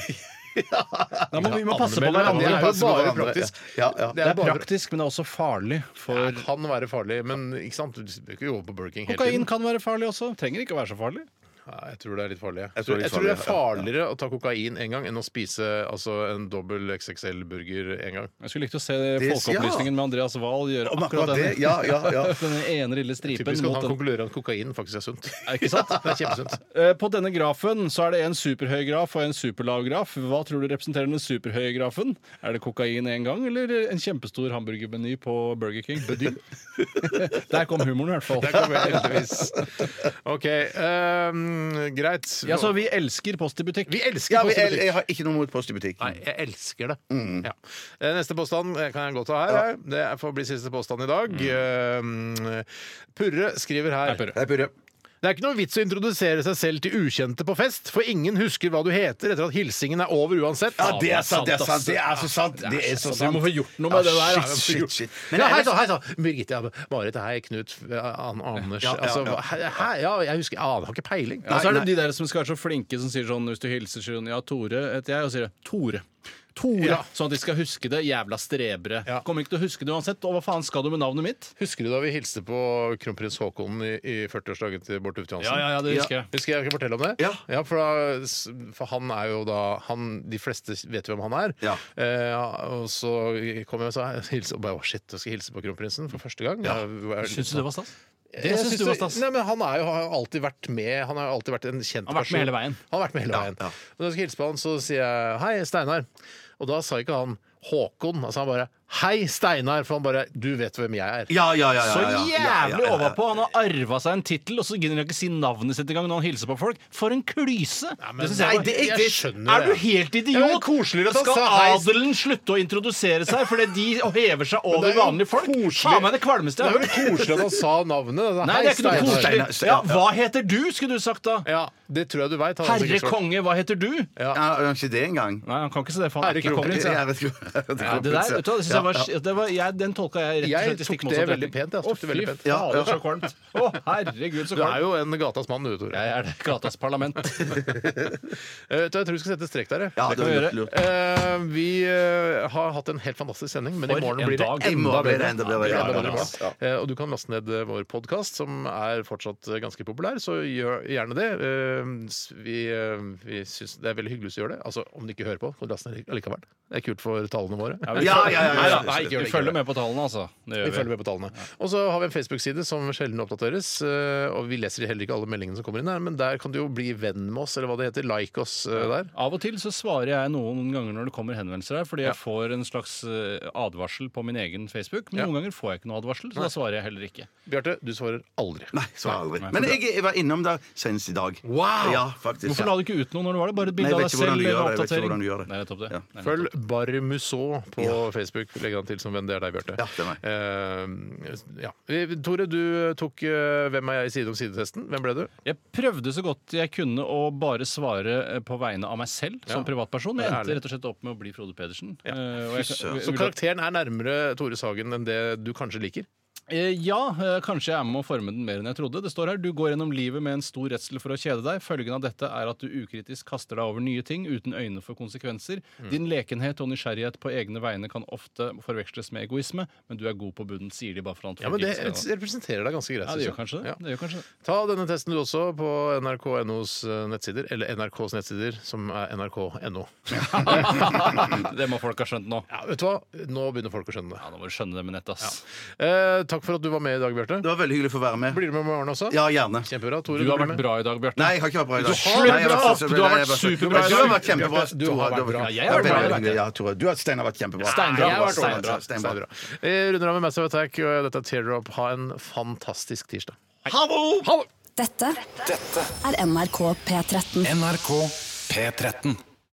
S3: Da må, vi må passe på
S1: Anmelder Det er
S2: Ja,
S3: hverandre.
S1: jo
S2: passe på
S1: bare
S2: hverandre.
S1: praktisk.
S2: Ja, ja.
S1: Det
S3: Det
S1: er
S3: er
S1: bare-
S3: praktisk, men det er også farlig. For
S1: Det kan være farlig, men ikke sant? du bør ikke gå over på Burger King hele
S3: kokain
S1: tiden.
S3: kan være farlig også. Trenger ikke å være så farlig.
S1: Ja, jeg tror det er litt farlig. Jeg
S2: Jeg tror
S1: tror,
S2: det er
S1: jeg tror det er
S2: litt farlig,
S1: farligere å ta kokain en gang enn å spise altså, en dobbel XXL-burger en gang.
S3: Jeg skulle likt å se
S2: Det-
S3: Folkeopplysningen med Andreas Wahl gjøre
S2: Om
S3: akkurat
S2: akkurat det.
S3: denne,
S2: Ja, ja, ja.
S3: denne ene lille stripen
S1: Typisk at
S3: mot
S1: han
S3: den.
S1: konkluderer at kokain faktisk er sunt.
S3: Er Ikke sant?
S1: Det er kjempesunt.
S3: Eh, På denne grafen så er det en superhøy graf og en superlav graf. Hva tror du representerer den superhøye grafen? Er det kokain en gang, eller en kjempestor hamburgermeny på Burger King? Der kom
S1: Der
S3: humoren, i hvert fall.
S1: kommer jeg heldigvis. OK. ehm, greit.
S3: Ja, så vi elsker post i butikk.
S1: Vi elsker
S2: Ja,
S1: post i
S2: jeg,
S1: butikk.
S2: jeg har ikke noe mot post i butikk.
S1: Nei, jeg elsker det.
S2: Mm.
S1: Ja. Eh, Neste påstand eh, kan jeg godt ta her. jeg. Det er- får bli siste påstand i dag.
S2: Mm.
S1: Eh, Purre skriver her
S3: Nei, Purre.
S2: Jeg burde-
S1: Det er ikke noe vits å introdusere seg selv til ukjente på fest, for ingen husker hva du heter etter at hilsingen er over uansett.
S2: Ja, det er sant, det er
S3: ass.
S2: sant. Det er så sant. Det er så
S3: Vi må
S2: sant.
S3: få gjort noe med det der.
S2: Shit, shit, shit.
S1: Men
S2: Men
S1: ja, hei
S2: ellers-
S1: sann, hei sann! Birgitte, ja, Marit, hei, Knut, eh, An Anders
S2: Ja, ja,
S1: altså,
S2: ja.
S1: hei, hei, ja, jeg husker Jeg aner, har ikke peiling.
S3: Og så er det de der som skal være så flinke som sier sånn hvis du hilser sånn Ja, Tore heter jeg, og sier Tore. Tore.
S1: Ja.
S3: Sånn at de skal huske det. Jævla strebere.
S1: Ja.
S3: Kommer ikke til å huske det uansett. Og hva faen skal du med navnet mitt?
S1: Husker du da vi hilste på kronprins Haakon i, i 40-årsdagen til Bård Tufte Johansen?
S3: Ja, ja, ja, det husker jeg.
S1: Husker jeg ikke fortelle om det?
S2: Ja.
S1: for, da, for han er jo da han, De fleste vet hvem han er.
S2: Ja.
S1: Eh, og så kom jeg og sa hilse, og bare, «Å, shit, jeg skal hilse på kronprinsen for første gang. Ja.
S3: Syns du det var stas?
S1: Jeg
S3: Det syns
S1: syns
S3: du var
S1: det-
S3: stas.
S1: Nei, men han er jo, har jo alltid vært med. Han har jo alltid vært en kjent
S3: Han har vært med hele veien.
S1: Han har vært med hele veien.
S2: ja.
S1: Og Når jeg skal hilse på han, så sier jeg 'Hei, Steinar'. Og da sa ikke han Håkon. Altså han bare 'Hei, Steinar', for han bare 'Du vet hvem jeg er'.
S2: Ja, ja, ja. ja,
S3: Så
S2: ja, ja, ja, ja,
S3: jævlig
S2: ja.
S3: overpå. Han har arva seg en tittel, og så gidder han ikke si navnet sitt engang når han hilser på folk. For en klyse!
S1: men-
S3: synes jeg
S1: Nei,
S3: var-
S1: det er ikke-
S3: Jeg
S1: skjønner
S3: Er du
S1: det.
S3: helt
S1: Ja, men
S3: idiot?
S1: koseligere at han
S3: Skal
S1: sa hei.
S3: adelen slutte å introdusere seg fordi de hever seg
S1: det
S3: over
S1: er jo
S3: vanlige folk?
S1: koselig.
S3: Faen meg det
S1: Det
S3: kvalmeste jeg
S1: er
S3: har
S1: jo
S3: hørt.
S1: koselig at han sa navnet. Altså,
S3: Nei,
S1: «Hei,
S3: det er ikke noe
S1: Steinar».
S2: Steinar,
S3: koselig. Ja,
S2: Steinar, ja.
S3: hva heter du, skulle du sagt da?
S1: Ja, det tror jeg du veit.
S3: Herre konge, hva heter du? Nei,
S2: Ja, det var ikke det engang.
S3: han kan ikke se det, for han
S1: Herre
S3: er ikke konge.
S1: kronprins,
S2: Det
S1: ja.
S3: Ja,
S2: er et-
S3: Det der, vet du, hva, det synes jeg var,
S2: Ja, ja.
S3: det var, jeg, den tolka jeg rett og
S1: Jeg
S3: slett i
S1: tok
S3: stikk
S1: det
S3: motsatt
S1: veldig pent, jeg tok det veldig pent.
S3: Å, fy fader, så kvalmt. Å, herregud, så
S1: Du er
S3: kvalmt.
S1: jo en gatas mann, du, Tore.
S3: Jeg er det gatas parlament.
S1: Eh, vet du, jeg tror vi skal sette strek der. jeg.
S2: Ja, det var
S3: vi
S2: lurt,
S3: gjøre.
S2: lurt.
S1: Eh, vi eh, har hatt en helt fantastisk sending, men
S3: For
S1: i morgen
S3: en
S1: blir det
S3: dag.
S2: I
S1: enda
S2: morgen blir
S1: bedre.
S2: det enda bedre,
S1: Ja,
S2: ja,
S1: enda bedre i
S2: ja, ja.
S1: morgen. Eh, Og du kan laste ned eh, vår podkast, som er fortsatt eh, ganske populær, så gjør gjerne det. Eh, s- Vi, eh, vi syns det er veldig hyggelig hvis du gjør det. Altså, om du ikke hører på, kan du laste ned likevel. Det er kult for tallene våre.
S2: Ja, ja, ja, ja,
S3: Nei,
S2: ja,
S3: da, nei,
S2: det-
S3: vi følger med på tallene, altså. Det
S1: Vi
S3: gjør
S1: følger
S3: vi.
S1: med på tallene. Og så har vi en Facebook-side som sjelden oppdateres. eh, Og vi leser heller ikke alle meldingene som kommer inn her, men der kan du jo bli venn med oss, eller hva det heter. Like oss eh, der.
S3: Av og til så svarer jeg noen ganger når det kommer henvendelser her, fordi jeg får en slags eh, advarsel på min egen Facebook. Men
S1: Ja.
S3: noen ganger får jeg ikke noe advarsel, så da svarer jeg heller ikke.
S1: Bjarte, du svarer aldri.
S2: Nei, svarer aldri. Men jeg, jeg var innom der senest i dag.
S1: Wow!
S2: Ja, faktisk.
S3: Hvorfor
S2: ja.
S3: la du ikke ut noe når det var det? Bare
S2: Nei,
S3: et bilde
S2: jeg
S3: av
S2: vet
S3: deg
S2: ikke hvordan
S3: selv
S2: du
S3: eller
S2: gjør det, jeg vet ikke
S3: oppdatering?
S2: hvordan du gjør det.
S3: Nei, nettopp det.
S2: Ja.
S3: Nei, nettopp
S1: Følg
S3: det.
S1: Barmusso på Facebook. Legg han til som venn. Det er deg, Bjarte.
S2: Ja, det er meg.
S1: Eh, ja. Eh, Tore, du tok eh, Hvem er jeg i side om side-testen. Hvem ble du?
S3: Jeg prøvde så godt jeg kunne å bare svare eh, på vegne av meg selv som
S1: Ja.
S3: privatperson.
S1: Det
S3: Jeg
S1: er
S3: endte
S1: ærlig.
S3: rett og slett opp med å bli Frode Pedersen. Eh, og jeg-
S2: søren.
S1: Så
S3: vil at-
S1: karakteren er nærmere Tore Sagen enn det du kanskje liker?
S3: Eh, Ja, eh, kanskje jeg er med å forme den mer enn jeg trodde. Det står her du går gjennom livet med en stor redsel for å kjede deg. Følgen av dette er at du ukritisk kaster deg over nye ting uten øyne for konsekvenser.
S1: Mm.
S3: Din lekenhet og nysgjerrighet på egne vegne kan ofte forveksles med egoisme, men du er god på bunnen, sier de bare for at
S1: Ja, men
S3: folk
S1: Det
S3: ikke skal-
S1: representerer deg ganske greit.
S3: ja, det gjør
S1: synes
S3: kanskje
S1: jeg.
S3: det.
S1: Ja.
S3: det, gjør kanskje det.
S1: Ta denne testen du også på nrk.nos eh, nettsider, eller NRKs nettsider, som er nrk.no.
S3: det må folk ha skjønt nå.
S1: Ja, vet du hva? Nå begynner folk å skjønne det.
S3: Ja, Nå må du skjønne det med nett, ass.
S1: Eh, takk for at du var med i dag, Bjarte.
S2: Det var veldig hyggelig å få være med.
S1: Blir du med i morgen også?
S2: Ja, gjerne.
S1: Kjempebra. Tore,
S3: Du har
S1: blir
S3: vært
S1: med.
S3: bra i dag, Bjarte.
S2: Nei, jeg har ikke vært bra i dag.
S3: slipper
S2: Nei, jeg
S3: opp!
S2: så-
S3: Du har vært
S2: jeg var-
S3: superbra
S2: Du
S3: i
S2: har
S3: dag.
S2: vært kjempebra.
S1: Bjarte, du
S2: Tore,
S1: har vært bra.
S2: veldig-
S3: Ja, jeg har vært bra i dag.
S2: veldig- Ja, Tore. Du har Steinar har vært kjempebra.
S3: Steinbra.
S1: Jeg har vært
S3: Steinbra.
S1: bra. Steinbra. Eh, Runder av med Massive Attack, og dette er Teardrop. Ha en fantastisk tirsdag.
S3: Oh,
S5: Dette er NRK P13.
S6: NRK P13.